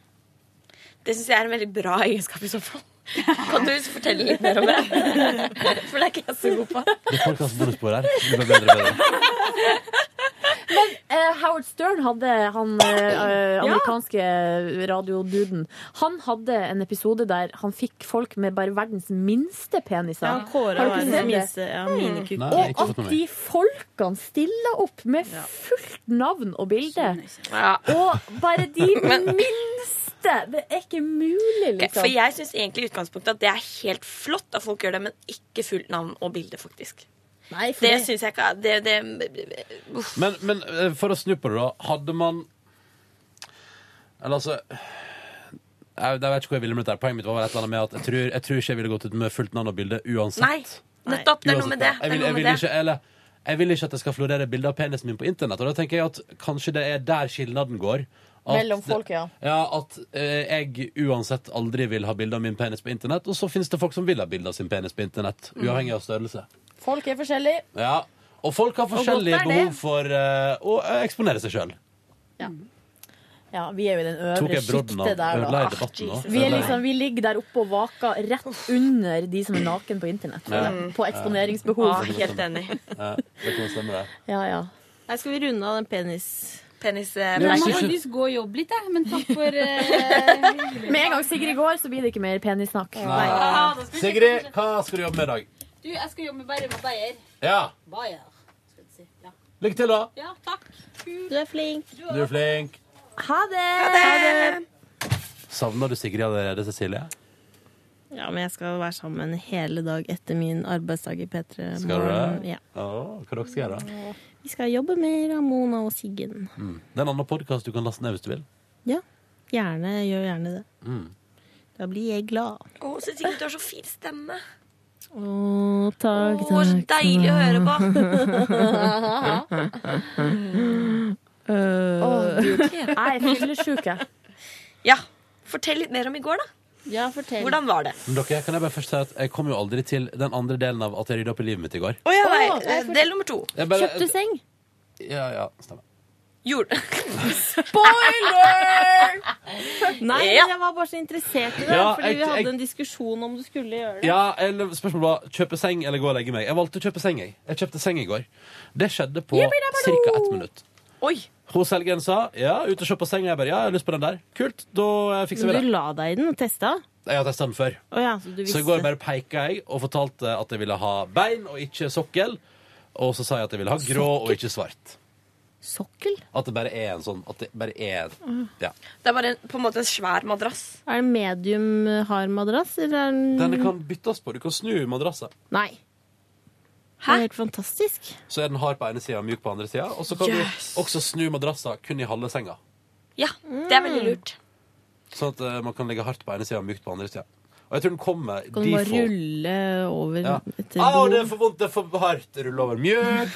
Det syns jeg er en veldig bra egenskap i så fall. Kan du fortelle litt mer om det? For det er ikke jeg så god på. Det er folkens bonusbord her. Det blir bedre og bedre. Men eh, Howard Stern hadde han eh, amerikanske radioduden. Han hadde en episode der han fikk folk med bare verdens minste peniser. Ja, han kåret Har dere verdens sett det? Mm. minste, ja, minikukk. Nei, jeg har Og ikke fått at med meg. de folkene stiller opp med fullt navn og bilde. Ja. Og bare de minste! Det er ikke mulig, Ok, liksom. For jeg syns egentlig i utgangspunktet at det er helt flott at folk gjør det, men ikke fullt navn og bilde, faktisk. Nei, for det det- syns jeg ikke er- det, det, uff. Men, men eh, for å snu på det, da. Hadde man Eller altså jeg, jeg vet ikke hvor jeg ville med dette. Poenget mitt var vel et eller annet med at jeg tror, jeg tror ikke jeg ville gått ut med fullt navn og bilde uansett. Nei. Nettopp. Det er noe med det. Jeg det, er vil, noe jeg, med vil det. ikke, eller, jeg vil ikke at det skal florere bilder av penisen min på internett. Og da tenker jeg at kanskje det er der skilnaden går. At Mellom folk, ja. det- Ja, At eh, jeg uansett aldri vil ha bilde av min penis på internett. Og så finnes det folk som vil ha bilde av sin penis på internett. Mm. Uavhengig av størrelse. Folk er forskjellige. Ja. Og folk har forskjellige godt er det. behov for eh, å eh, eksponere seg sjøl. Ja. Mm. ja, vi er jo i den Tok øvre jeg brodden av? sjiktet der, Ødela da. Ah, jeg debatten Vi, nå? er Ødela jeg? liksom, vi ligger der oppe og vaker rett under de som er naken på internett. Ja. Mm, På eksponeringsbehov. Ja, Ah, helt enig. Ja, det kan stemme, det. Ja, ja. Nei, skal vi runde av den penis... penis eh, Jeg må preisen? faktisk gå og jobbe litt, jeg. Men takk for eh, Med en gang Sigrid går, så blir det ikke mer penissnakk. Nei. Sigrid, hva skal du jobbe med i dag? Du, jeg skal jobbe med bare med Bayer. Ja, Bayer. skal du si. Ja. Lykke til, da. ja, takk. Du er flink. Du er flink. Ha det! Savner du Sigrid allerede, Cecilie? Ja, men jeg skal være sammen hele dag etter min arbeidsdag i Eh, P3 Skal du Morgen. det? Ja. Åh, hva dere skal gjøre? da? Vi skal jobbe med Ramona og Siggen. Mm. Det er en annen podkast du kan laste ned hvis du vil. Ja, gjerne. Gjør gjerne det. Mm. Da blir jeg glad. Å, Cecilie, du har så fin stemme. Å, takk, Å, så takk, deilig å høre på. Øh. Åh, Gud. Jeg er fyllesyk, jeg. Ja. Fortell litt mer om i går, da. Ja, fortell. Hvordan var det? Men dere, kan Jeg bare først si at jeg kom jo aldri til den andre delen av at jeg rydda opp i livet mitt i går. Å ja, nei. Å, eh, Del nummer to. Jeg bare- Kjøpte seng? Ja, ja, stemmer. Gjorde Spoiler! Nei, Ja. jeg var bare så interessert i det. Ja, fordi jeg- vi hadde jeg- en diskusjon om du skulle gjøre det. Ja, eller spørsmålet var kjøpe seng eller gå og legge meg. Jeg valgte å kjøpe seng. Jeg Jeg kjøpte seng i går. Det skjedde på ca. ett minutt. Oi. Hun selgeren sa ja, ut og se på seng. Jeg bare ja, jeg har lyst på den der. Kult, da eh, fikser vi Men du det. la deg i den og testa? Jeg har testa den før. Å ja, så du visste. Så i går bare peka jeg og fortalte at jeg ville ha bein og ikke sokkel. Og så sa jeg at jeg ville ha grå og ikke svart. Sokkel? At det bare er en sånn At det bare er Mm. Ja. Det er bare en, på en måte en svær madrass. Er det medium eh, hard madrass, eller er den Denne kan byttes på. Du kan snu madrassen. Nei. Det er helt fantastisk. Så er den hard på ene sida og mjuk på andre sida. Og så kan du også snu madrassa kun i halve senga. Ja, det er veldig Mm. lurt. Sånn at eh, man kan ligge hardt på ene sida og mykt på andre sida. Og jeg tror den kommer Kan du bare default. rulle over Ja. etter Au, det er behov? for vondt, det er for hardt. Rulle over mjøk.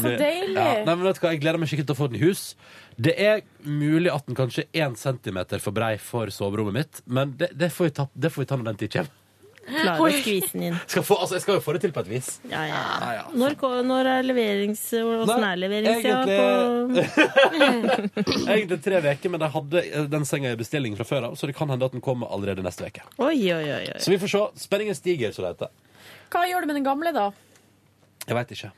så deilig. Ja. Nei, men vet du hva, Jeg gleder meg skikkelig til å få den i hus. Det er mulig at den kanskje er én centimeter for brei for soverommet mitt, men det, det, får, vi ta, det får vi ta når den tid kommer. Klarer å skvise den inn. Skal få, altså, jeg skal jo få det til på et vis. Ja, ja. Ja, ja. Når, ko- når er leverings... Hvordan Nei, er leveringstida på egentlig- Egentlig tre uker, men de hadde eh, den senga i bestilling fra før av, så det kan hende at den kommer allerede neste uke. Oi, oi, oi. oi. Så vi får se. Spenningen stiger, så det heter. Hva gjør du med den gamle, da? Jeg veit ikke.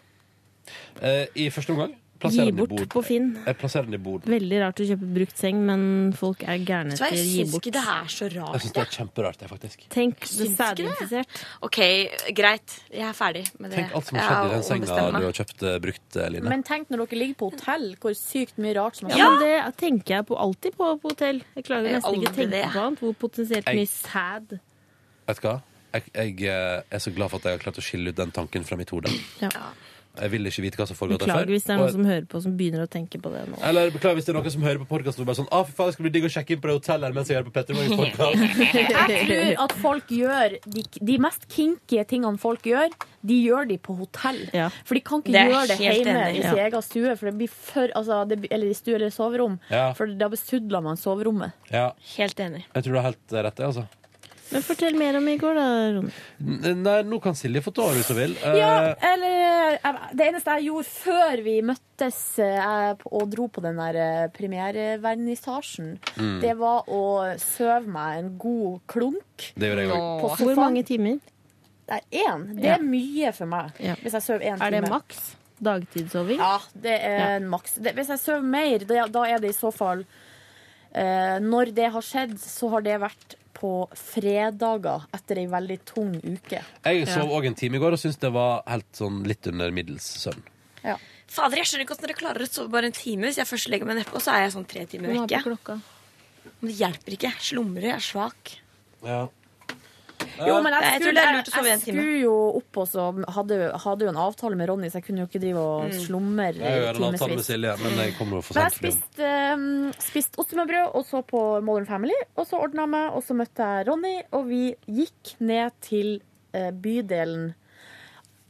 Eh, I første omgang Gi plasserer den i bort bod. på Finn. Jeg plasserer den i bod. Veldig rart å kjøpe brukt seng, men folk er gærne Så etter jeg gi syns bort. ikke det er så Jeg rart. syns det er kjemperart, det, faktisk. Tenk, Syns det ikke sædinfisert. OK, greit. Jeg er ferdig med det. Tenk alt som har Jeg skjedd i den senga ombestemmer meg. du har kjøpt eh, brukt, eh, Line. Men tenk når dere ligger på hotell, hvor sykt mye rart som har Ja, skjedd. men det tenker jeg på alltid på, på hotell. Jeg klarer Jeg nesten ikke å aldri tenke det. på annet. Hvor potensielt Jeg- mye sæd Vet du hva? Jeg, jeg eh, er så glad for at jeg har klart å skille ut den tanken fra mitt hode. Ja. Jeg vil ikke vite hva som foregår der Beklager før. hvis det er og- noen som hører på som begynner å tenke på det nå. Eller beklager hvis det er noen som hører på podkasten og bare sånn ah, fy faen, det skal bli digg å sjekke inn på det hotellet her mens jeg hører på Petter Morgens Jeg tror podkast. at folk gjør de, de mest kinky tingene folk gjør, de gjør de på hotell. For de kan ikke Det er gjøre det helt hjemme i enig. sin egen stue, for det blir for, altså, det, blir- eller i stue eller soverom. Ja. For da besudler man soverommet. Ja, Helt enig. jeg tror du har helt rett, det, altså. Men fortell mer om i går, da, Ron. N- Nei, nå kan Silje få ta over hvis hun vil. Eh, Ja, eller eh, Det eneste jeg gjorde før vi møttes eh, jeg p- og dro på den der eh, premierevernissasjen, Mm. det var å søve meg en god klunk. Det gjorde jeg også. På sofaen. Hvor mange timer? Det er én. Det Ja. er mye for meg. Hvis jeg sover én time. Er det maks? Dagtidssoving? Ja, det er Ja. en maks. Det, hvis jeg sover mer, da, da er det i så fall eh, Når det har skjedd, så har det vært på fredager etter ei veldig tung uke. Jeg sov òg en time i går og syntes det var helt sånn litt under middels søvn. Fader, jeg skjønner ikke hvordan dere klarer å sove bare en time hvis jeg først legger meg nedpå, så er jeg sånn tre timer Hva er på vekke. Men det hjelper ikke. Jeg slumrer, jeg er svak. Ja. Jo, men jeg, Nei, jeg skulle, tror det er jeg, lurt å sove jeg en time. skulle jo opp og så hadde, hadde jo en avtale med Ronny, så jeg kunne jo ikke drive og Mm. slumre i Jeg gjør en avtale med timevis. Silje, men jeg kommer jo for Men jeg sent. for det. spiste, um, spiste ost med brød og så på Modern Family, og så ordna jeg meg, og så møtte jeg Ronny, og vi gikk ned til eh, bydelen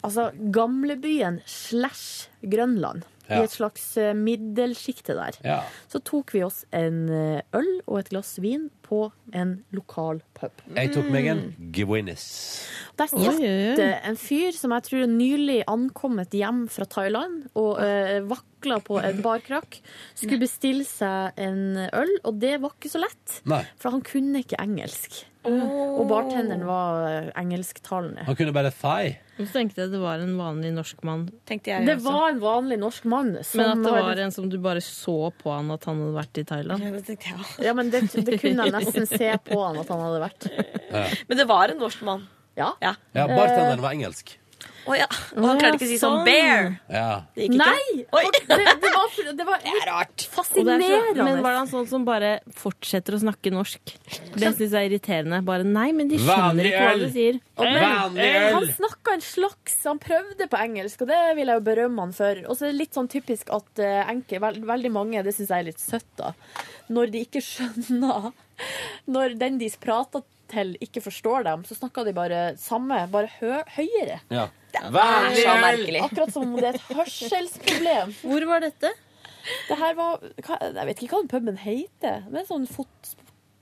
Altså gamlebyen slash Grønland. Ja. I et slags eh, middelsjikte der. Ja. Så tok vi oss en eh, øl og et glass vin på en lokal pub. Jeg tok meg en Guinness. Der satt Mm. det en fyr som jeg tror er nylig ankommet hjem fra Thailand og eh, vakla på en barkrakk. Skulle bestille seg en øl, og det var ikke så lett. Nei. For han kunne ikke engelsk. Og bartenderen var eh, engelsktalende. Han kunne bare thai. Så tenkte jeg det var en vanlig norsk mann. Det var sånn en vanlig norsk mann. Men at det har- var en som du bare så på han at han hadde vært i Thailand. Ja, det tenkte jeg Ja, men det, det kunne jeg nesten se på han at han hadde vært. Ja. Men det var en norsk mann. Ja. ja. Ja, bartenderen var engelsk. Å ja. Og han klarte ikke å si sånn bear. Ja. Det gikk ikke. Nei! Det, det var, det var rart. Og det er så- fascinerende. Men var det han sånn som bare fortsetter å snakke norsk? Det syns jeg er irriterende. Bare nei, men de skjønner Vanlig ikke hva øl. du sier. Og men, Han snakka en slags Han prøvde på engelsk, og det vil jeg jo berømme han for. Og så er det litt sånn typisk at eh, enke, vel- veldig mange, det syns jeg er litt søtt, da, når de ikke skjønner Når den de prater til, ikke forstår dem, så snakker de bare samme, bare hø høyere. Ja. Akkurat som om det er et hørselsproblem. Hvor var dette? Det her var hva, Jeg vet ikke hva den puben heter. Det er en sånn fot,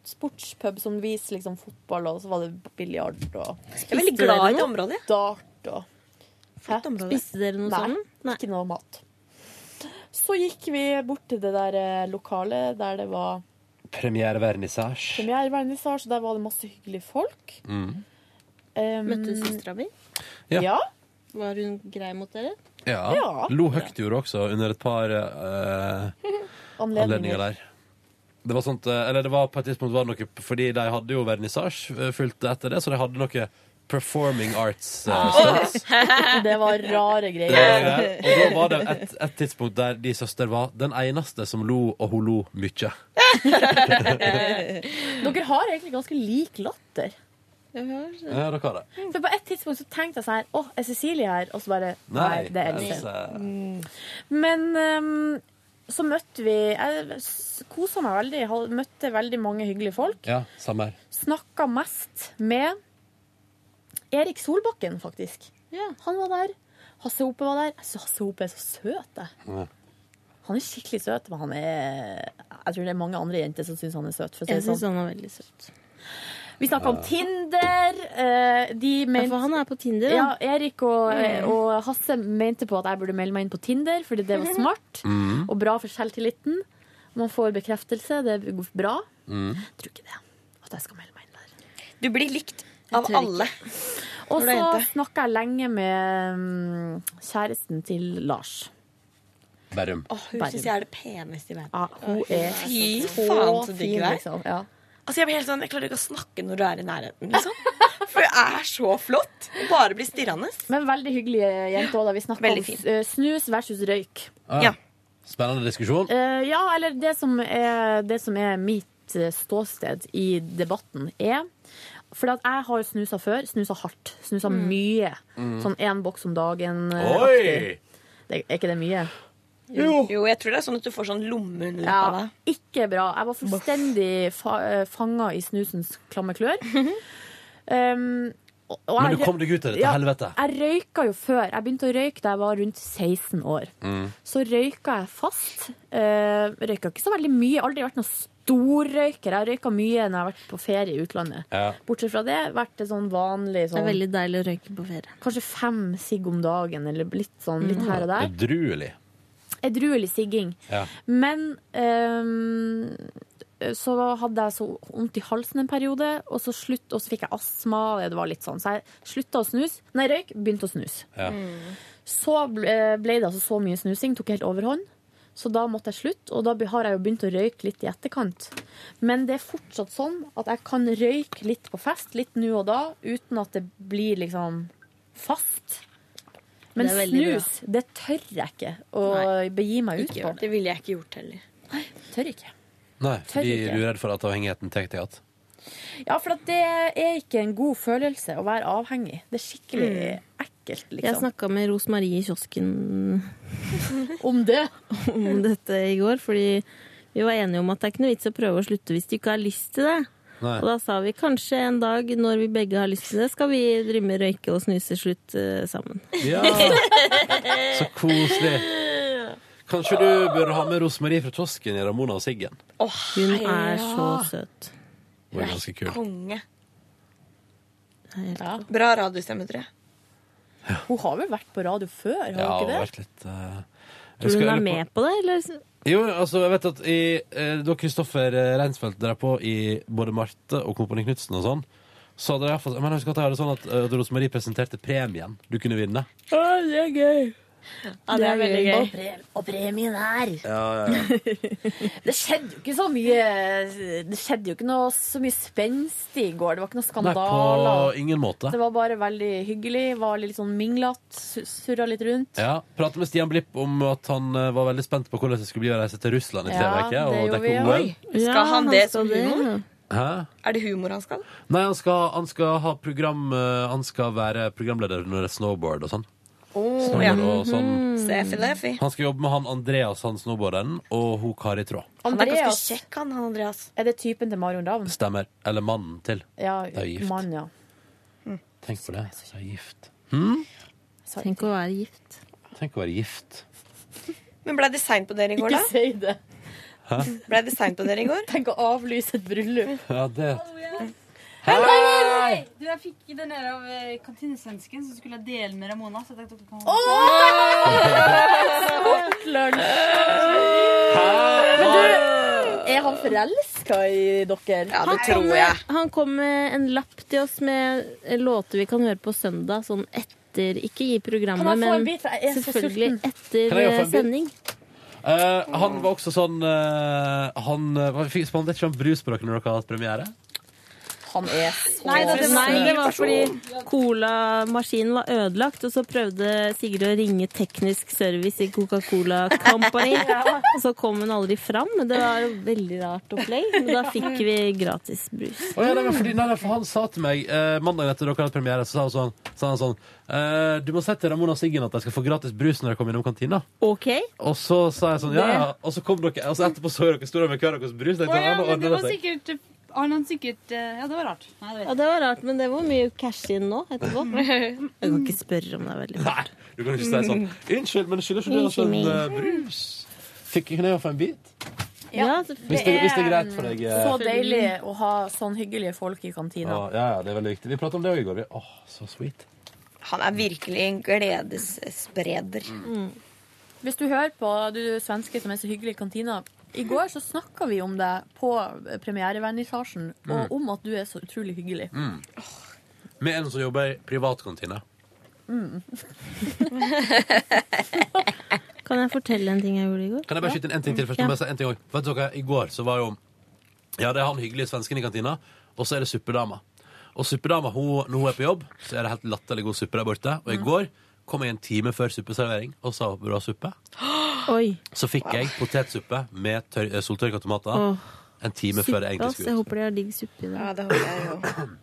sportspub som viser liksom fotball, og så var det biljard og Jeg er veldig glad i det området. Dart og Hæ? Spiste dere noe Nei, sammen? Ikke noe mat. Så gikk vi bort til det der eh, lokalet der det var Premierevernissasje. premierevernissasje, og der var det masse hyggelige folk. Mm. Møtte søstera mi? Ja. Var hun grei mot dere? Ja. Ja. Lo høyt gjorde også under et par eh, Anledninger. anledninger der. Det var sånt, eh, eller det var på et tidspunkt var det noe Fordi de hadde jo vernissasje eh, fulgt etter det, så de hadde noe performing arts Ah. eh, stunts. Det var rare Det var greier. det. Og da var det et, et tidspunkt der de søster var den eneste som lo, og hun lo mye. Dere har egentlig ganske lik latter. Ja, dere har det. For på et tidspunkt så tenkte jeg sånn her Å, er Cecilie her? Og så bare Nei, Nei, det er Else. Else. Men ehm, så møtte vi Jeg kosa meg veldig. hal- Møtte veldig mange hyggelige folk. Ja, samme her. Snakka mest med Erik Solbakken, faktisk. Han var der. Hasse Hope var der. Jeg synes Hasse Hope er så søt, jeg. Han er skikkelig søt, men han er Jeg tror det er mange andre jenter som syns han er søt. For å si Jeg det syns sånn. han er veldig søt. Vi snakka om Tinder. eh, De mente, for han er på Tinder, Ja, han. Erik og, eh, Mm. og Hasse mente på at jeg burde melde meg inn på Tinder, fordi det var smart Mm. og bra for selvtilliten. Man får bekreftelse, det er bra. mm. Tror ikke det. At jeg skal melde meg inn der. Du blir likt av alle. Og Når du er så jente. snakka jeg lenge med mm, kjæresten til Lars. Bærum. Åh, hun Bærum. syns jeg er det peneste i verden. Ja, hun er Fy så faen, så digg fin, du er. liksom. Ja. Altså, jeg, blir helt sånn, jeg klarer ikke å snakke når du er i nærheten, liksom. For det er så flott. Hun Bare blir stirrende. Men veldig hyggelige jenter også, da vi snakka om Veldig fin. eh, snus versus røyk. Ja. Ah, Spennende diskusjon. Eh, ja, eller det som, er, det som er mitt eh, ståsted i debatten, er fordi at jeg har jo snusa før. Snusa hardt. Snusa Mm. mye. Mm. Sånn én boks om dagen. eh, aktig. Oi! Det, er ikke det mye? Jo. jeg tror det er sånn at du får sånn lomme under Ja, leppa ikke bra. Jeg var fullstendig fa fanga i snusens klamme klør. Mhm. Um, og- og Men jeg du kom deg ut av dette ja, helvete. Jeg røyka jo før. Jeg begynte å røyke da jeg var rundt 16 år. Mm. Så røyka jeg fast. Uh, røyka ikke så veldig mye. Aldri vært noen storrøyker. Jeg røyka mye når jeg har vært på ferie i utlandet. Ja. Bortsett fra det, vært det sånn vanlig Det sånn, er veldig deilig å røyke på ferie. Mm. Kanskje fem sigg om dagen, eller litt sånn litt her og der. Edruelig. Edruelig sigging. Ja. Men ehm, så hadde jeg så vondt i halsen en periode, og så, slutt, og så fikk jeg astma. og Det var litt sånn. Så jeg slutta å snus. Nei, røyk, begynte å snus. Ja. Mm. Så ble, ble det altså så mye snusing, tok helt overhånd. Så da måtte jeg slutte, og da be- har jeg jo begynt å røyke litt i etterkant. Men det er fortsatt sånn at jeg kan røyke litt på fest, litt nå og da, uten at det blir liksom fast. Men Det er veldig bra. snus, det tør jeg ikke å begi meg ut på. Det ville jeg ikke gjort heller. Tør ikke. Nei, Tør fordi ikke. du er redd for at avhengigheten tar deg igjen. Ja, for at det er ikke en god følelse å være avhengig. Det er skikkelig Mm. ekkelt, Jeg liksom. snakka med Rosmarie i kiosken Om det? om dette i går, fordi vi var enige om at det er ikke noe vits å prøve å slutte hvis du ikke har lyst til det. Nei. Og da sa vi kanskje en dag når vi begge har lyst til det, skal vi drive med røyke og snuse slutt eh, sammen. Ja. Så koselig. Kanskje du bør ha med Rosmarie fra Tosken i Ramona og Siggen. Hun er så ja. søt. Hun er ganske kul. Konge. Ja. Bra radiostemme, tror jeg. Hun har vel vært på radio før, har Ja, hun ikke hun har det? vært litt eh, jeg Tror du husker- hun jeg er lurer på- med på det, eller? Jo, altså, jeg vet at i, eh, da Kristoffer eh, Reinsfeldt drev på i både Marte og Kompani Knutsen og sånn, så hadde jeg, iallfall- men jeg husker at jeg hadde sånn at, eh, at Rosemarie presenterte premien du kunne vinne. Å, det er gøy! Ja, det er veldig Og, gøy. pre og premien her! Ja, ja, ja. Det skjedde jo ikke så mye Det skjedde jo ikke noe så mye spenst i går. Det var ikke noe Nei, skandaler. på ingen måte. Det var bare veldig hyggelig. Var litt sånn minglete. su- Surra litt rundt. Ja, Pratet med Stian Blipp om at han eh, var veldig spent på hvordan det skulle bli å reise til Russland i Ja, tre uker og det gjorde vi dekke også. OL. Skal han det som humor? Hæ? Er det humor han skal? Nei, han skal, han skal ha program eh, Han skal være programleder når det er snowboard og sånn. Snowboard ja. og sånn. Sefi Lefi. Han skal jobbe med han Andreas, han snowboarderen, og hun Kari Traa. Han er ganske Andreas. kjekk, han, han Andreas. Er det typen til Marion Ravn? Stemmer. Eller mannen til. Ja, De er gift. mann, ja. Tenk på det. De er gift. Hm? Tenk å være gift. Tenk å være gift. Men ble det seint på dere i går, da? Ikke si det. Hæ? Ble det seint på dere i går? Tenk å avlyse et bryllup. Ja, det Oh, Eh. Hei! Du, jeg fikk den her av eh, kantinesvensken som skulle dele med Ramona. Så jeg tenkte dere kan Smart lunsj! Men du, er han forelska i dere? Ja, Han kom- Han kom med en lapp til oss med eh, låter vi kan høre på søndag, sånn etter Ikke i programmet, Kan jeg få en men bit? For jeg er så selvfølgelig sulten. Kan etter jeg få en eh, bit? sending. Eh, han var eh, også sånn eh, Han uh, spanderte ikke han brus på dere når dere hadde hatt premiere? Han er så Nei, da, det var, snill det var person. fordi colamaskinen var ødelagt, og så prøvde Sigrid å ringe teknisk service i Coca-Cola Company. Og så kom hun aldri fram. Det var jo veldig rart opplegg, men da fikk vi gratis brus. Å, ja, nei, men fordi, nei, nei, for han sa til meg eh, mandagen etter dere hadde premiere, så sa han sånn, sa han sånn eh, Du må si til Ramona og Siggen at de skal få gratis brus når de kommer innom kantina. OK? Og så sa jeg sånn, ja, ja. Og så kom dere, og så etterpå så dere store med hver deres brus. Tenkte, Å ja, ja, men nå det ordner var det seg. sikkert Har han sikkert eh, Ja, det var rart. Nei, det Ja, det var rart, men det var mye cash inn nå etterpå. Jeg kan ikke spørre om det er veldig rart. Du kan ikke si sånn Unnskyld, men skylder ikke du oss en eh, brus? Fikk ikke jeg få en bit? Ja, Hvis det- hvis det er greit for deg, eh. Så deilig å ha sånn hyggelige folk i Ja, kantina. ja, ja, det er veldig viktig. Vi pratet om det også i går. vi. Åh, så sweet. Han er virkelig en gledesspreder. Hvis du hører på, du svenske som er så hyggelig i kantina. I går så snakka vi om deg på premierevernissasjen, Mm. og om at du er så utrolig hyggelig. Mm. Med en som jobber i privatkantine. Mm. Kan jeg fortelle en ting jeg gjorde i går? Kan jeg bare skyte inn en ting til først? Ja. Bare si en ting også. Vet dere, I går så var jo Ja, det er han hyggelige svensken i kantina, og så er det suppedama. Og suppedama, hun, når hun er på jobb, så er det helt latterlig god suppe der borte. Og i går kom jeg en time før suppeservering og sa vil du ha suppe. Oi. Så fikk jeg potetsuppe med tør eh, soltørka tomater Åh. en time før det egentlig ass. Jeg skulle ut. håper de har digg suppe i dag. Ja, det håper jeg òg.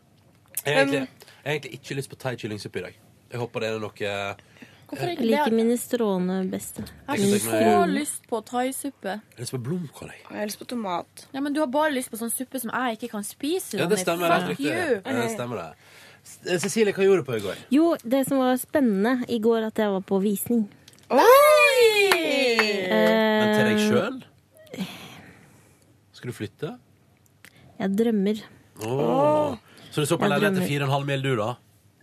Jeg har egentlig, jeg har egentlig ikke lyst på thai-kyllingsuppe i dag. Jeg håper det er noe eh, Hvorfor Jeg liker mine stråene best. Jeg Ikke har tenk meg- så lyst på thaisuppe. Jeg har lyst på blomkål, jeg. Jeg har lyst på tomat. Ja, men du har bare lyst på sånn suppe som jeg ikke kan spise. Ja, det Ronny. stemmer. det er Fuck riktig. you! Ja, det stemmer det. S- eh, Cecilie, hva gjorde du på i går? Jo, det som var spennende i går, at jeg var på visning. Men til deg Eh, sjøl? Skal du flytte? Jeg drømmer. Åh. Så du så på Jeg leilighet drømmer. til 4,5 mil, du, da?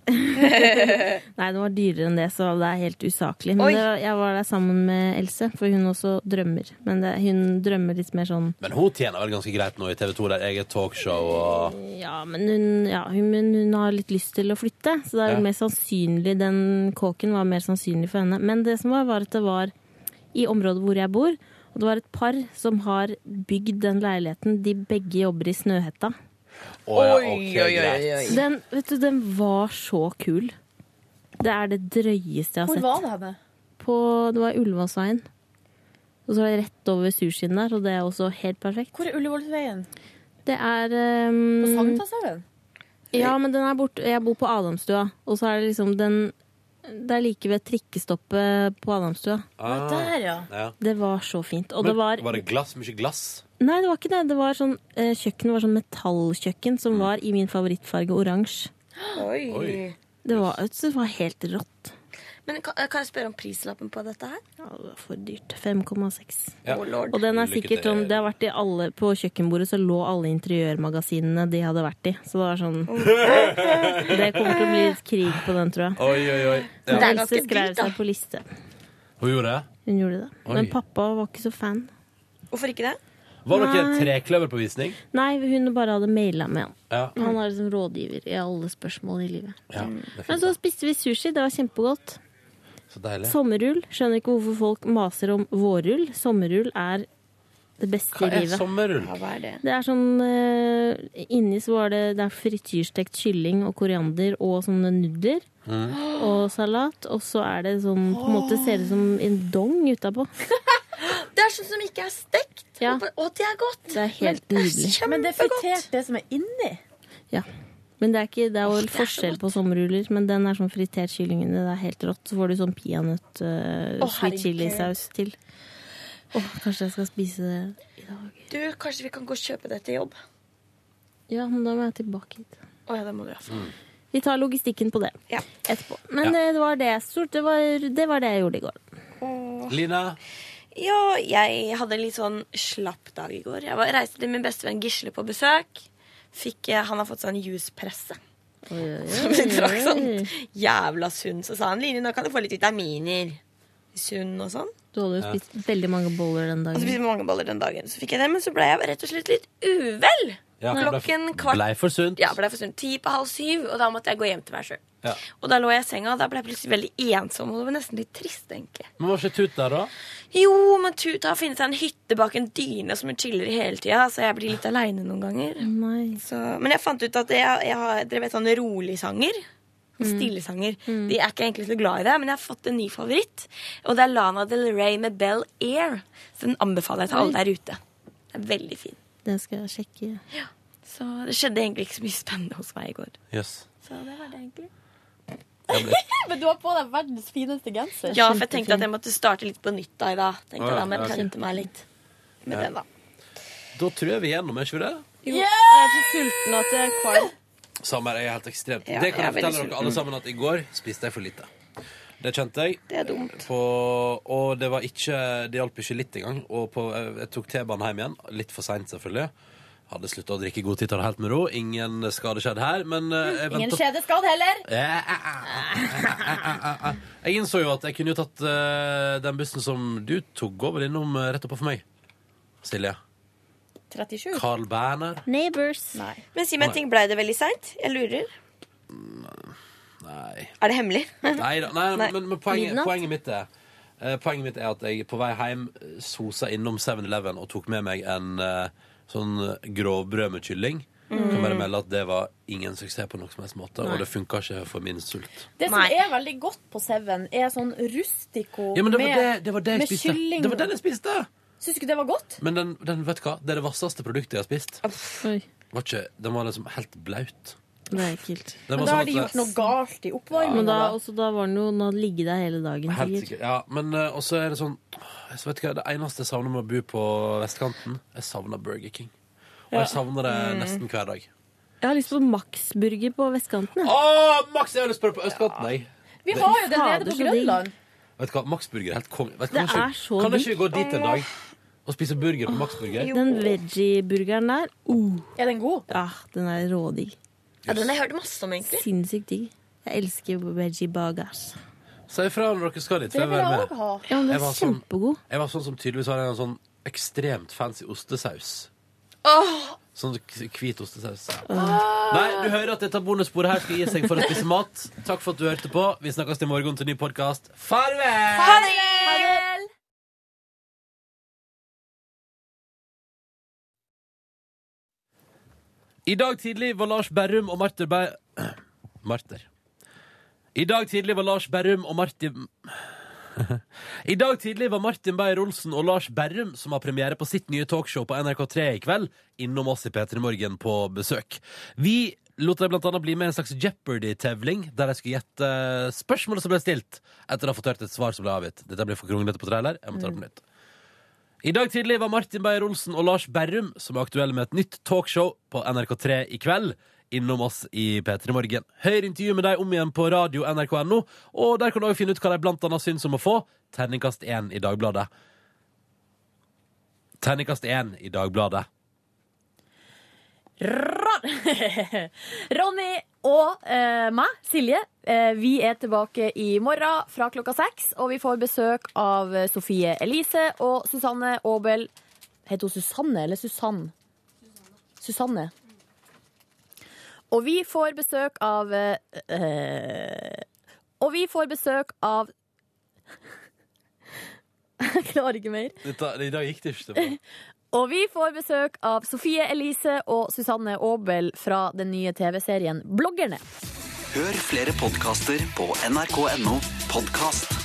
Nei, den var dyrere enn det, så det er helt usaklig. Men Oi. det, jeg var der sammen med Else, for hun også drømmer. Men det, hun drømmer litt mer sånn Men hun tjener vel ganske greit nå i TV 2, der eget talkshow og Ja, men hun, ja, hun, men hun har litt lyst til å flytte, så det er jo Ja. mer sannsynlig den kåken var mer sannsynlig for henne. Men det som var, var at det var i området hvor jeg bor, og det var et par som har bygd den leiligheten. De begge jobber i Snøhetta. Å ja, ok, Oi, oi, oi, greit. oi. Den, vet du, den var så kul. Det er det drøyeste jeg har sett. Hvor var det henne? På, det var i Ullevålsveien. Og så var det rett over sushien der, og det er også helt perfekt. Hvor er Ullevålsveien? Det er På ehm, Mm. Sankthanshaugen? ja, men den er borte. Jeg bor på Adamstua, og så er det liksom den Det er like ved trikkestoppet på Adamstua. Ah, Der, ja. ja. Det var så fint. Og det Men var Var det glass? Mye glass? Nei, det var ikke det. Det var sånn eh, Kjøkkenet var sånn metallkjøkken som var i min favorittfarge oransje. Oi. Oi. Det var, det var helt rått. Men kan, kan jeg spørre om prislappen på dette her? Ja, det var for dyrt. 5,6. Ja. Å, lord. Og den er Lykke sikkert til. sånn Det har vært i alle På kjøkkenbordet så lå alle interiørmagasinene de hadde vært i. Så det var sånn Det kommer til å bli litt krig på den, tror jeg. Oi, oi, oi. Men Ja. Else skrev seg på liste. Hun gjorde det? Hun gjorde det. Oi. Men pappa var ikke så fan. Hvorfor ikke det? Var dere Nei. trekløver på visning? Nei, hun bare hadde maila med han. Ja. Han er liksom rådgiver i alle spørsmål i livet. Ja, det er Men så spiste vi sushi. Det var kjempegodt. Så deilig. Sommerull. Skjønner ikke hvorfor folk maser om vårrull. Sommerull er det beste i Hva er livet. sommerrull? Det er sånn eh, Inni så var det, det er frityrstekt kylling og koriander og sånne nudler. Mm. Og salat. Og så er det sånn på en måte ser det ut som en dong utapå. Det er sånn som ikke er stekt. Og, og det er godt. Det er helt nydelig. Men det er fritert, det som er inni. Ja. Men det er, ikke, det er jo forskjell på sommerruller, men den er sånn fritert kylling. Det er helt rått. Så får du sånn peanøtt eh, Å, sweet herregud. chili-saus til. Åh, kanskje jeg skal spise det i dag. Du, kanskje vi kan gå og kjøpe det til jobb? Ja, men da må jeg tilbake hit. Å ja, det må du ha. Vi tar logistikken på det etterpå. Men Ja. eh, det var det jeg stort. Det var, det var det jeg gjorde i går. Lina? Ja, jeg hadde en litt sånn slapp dag i går. Jeg var, reiste til min bestevenn Gisle på besøk. Fikk, eh, han har fått sånn juspresse. Som vi trakk sånn jævla sunn. Så sa han Line, nå kan du få litt vitaminer. Sunn og sånn. Du hadde jo Ja. Altså, spist veldig mange boller den Og så dagen. spiste vi mange boller den dagen. Så fikk jeg det, men så ble jeg rett og slett litt uvel. Ja, for det ble- Klokken kvart Blei for sunt. Ja, blei for sunt. Ti på halv syv, og da måtte jeg gå hjem til meg sjøl. Ja. Og da lå jeg i senga, og da ble jeg plutselig veldig ensom, og det var nesten litt trist, egentlig. Men var ikke Tut der, da? Jo, men Tuta har funnet seg en hytte bak en dyne som hun chiller i hele tida, så jeg blir litt aleine noen ganger. Så, men jeg fant ut at jeg, jeg har, dere vet sånn sånne roligsanger? Mm. Stillesanger. sånn De er ikke egentlig så glad i det, men jeg har fått en ny favoritt. Og det er Lana Del Rey med Bell Air. Så den anbefaler jeg til alle der ute. Den er veldig fin. Den skal jeg sjekke. Ja. Så det skjedde egentlig ikke så mye spennende hos meg i går. Jøss. Så det var det egentlig. Men du har på deg verdens fineste genser. Ja, for jeg tenkte at jeg måtte starte litt på nytt da i dag. Tenkte Å, ja, jeg da, men jeg ja, ok. prøvde meg litt med Ja. den, da. Da tror jeg vi er gjennom, er ikke vi det? Jo, jeg er så sulten at jeg er kvalm. Samme her, jeg er helt ekstremt. Ja, det jeg kan jeg er veldig fortelle dere sulten. alle sammen at i går spiste jeg for lite. Det kjente jeg. Eh, Det er dumt. På, og det var ikke Det hjalp ikke litt engang. Og på, eh, jeg tok T-banen hjem igjen. Litt for seint, selvfølgelig. Hadde slutta å drikke i god tid, tar det helt med ro. Ingen skade skjedd her. Men eh, jeg Ingen ventet- skjedeskadd heller. Eh, eh, eh, eh. Jeg innså jo at jeg kunne jo tatt eh, den bussen som du tok over innom eh, rett oppe for meg. Silje. 37. Carl Berner. Neighbors. Nei. Men si meg en ting, blei det veldig seint? Jeg lurer. Nei. Er det hemmelig? Neida, nei, Nei. men, men poenget, Midnatt? poenget mitt er eh, Poenget mitt er at jeg på vei hjem eh, sosa innom 7-Eleven og tok med meg en eh, sånn grovbrød med kylling. Mm. Kan bare melde at det var ingen suksess på noen som helst måte, Nei. og det funka ikke for min sult. Det som er veldig godt på Seven, er sånn rustico Ja, men det var med, det- det var det jeg med spiste. kylling. Det var den jeg spiste! Syns du ikke det var godt? Men den, den vet du hva? det er det vasseste produktet jeg har spist. Var ikke, den var liksom helt blaut. Det er ekkelt. Den var sånn at- galt i oppvarmingen, Men da, da. også, da var den jo Den hadde ligget der hele dagen, Helt sikkert. sikkert. Ja, men eh, også er det sånn så vet du hva, Det eneste jeg savner med å bo på vestkanten, jeg savner Burger King. Og Ja. jeg savner det Mm. nesten hver dag. Jeg har lyst på Max-burger på vestkanten. Å, Ah, Max! Jeg har lyst på det på østkanten, jeg. Vi Det- har jo det nede på Grønland. Vet du hva, Max Burger er helt konge. Vet du Det hva, Kan er ikke- så kan ikke vi gå digg. dit en dag og spise burger på Max Burger? Den veggie-burgeren der uh. Er den god? Ja, den er rådigg. Ja, den har jeg hørt masse om, egentlig. Sinnssykt digg. Jeg elsker veggie burgers. Si ifra når dere skal dit. for Det vil vil jeg være med. også ha. Ja, men den er var sånn- kjempegod. Jeg var sånn som tydeligvis har en sånn ekstremt fancy ostesaus. Sånn k- hvit ostesaus. 嗯 Nei, du hører at dette bonussporet her skal gi seg for å spise mat. Takk for at du hørte på. Vi snakkes i morgen til ny podkast. Farvel! Farvel! I dag tidlig var Lars Berrum og Marte Ber... Marter. I dag tidlig var Lars Berrum og Martin I dag tidlig var Martin Beyer-Olsen og Lars Berrum, som har premiere på sitt nye talkshow på NRK3 i kveld, innom oss i P3 Morgen på besøk. Vi lot dem blant annet bli med i en slags Jeopardy-tevling, der de skulle gjette spørsmålet som ble stilt, etter å ha fått hørt et svar som ble avgitt. Dette blir for kronglete på trailer. Jeg må ta det på nytt. I dag tidlig var Martin Beyer-Olsen og Lars Berrum, som er aktuelle med et nytt talkshow på NRK3 i kveld, innom oss i P3 Morgen. Hør intervju med dem om igjen på radio nrk.no, og der kan du også finne ut hva de blant annet syns om å få terningkast 1 i Dagbladet. Terningkast 1 i Dagbladet. Ron- Ronny og eh, meg, Silje, eh, vi er tilbake i morgen fra klokka seks. Og vi får besøk av eh, Sofie Elise og Susanne Aabel. Heter hun Susanne eller Susann? Susanne. Og vi får besøk av eh, eh, Og vi får besøk av Jeg klarer ikke mer. Dette, I dag gikk det ikke så bra. Og vi får besøk av Sofie Elise og Susanne Aabel fra den nye TV-serien Bloggerne. Hør flere podkaster på nrk.no podkast.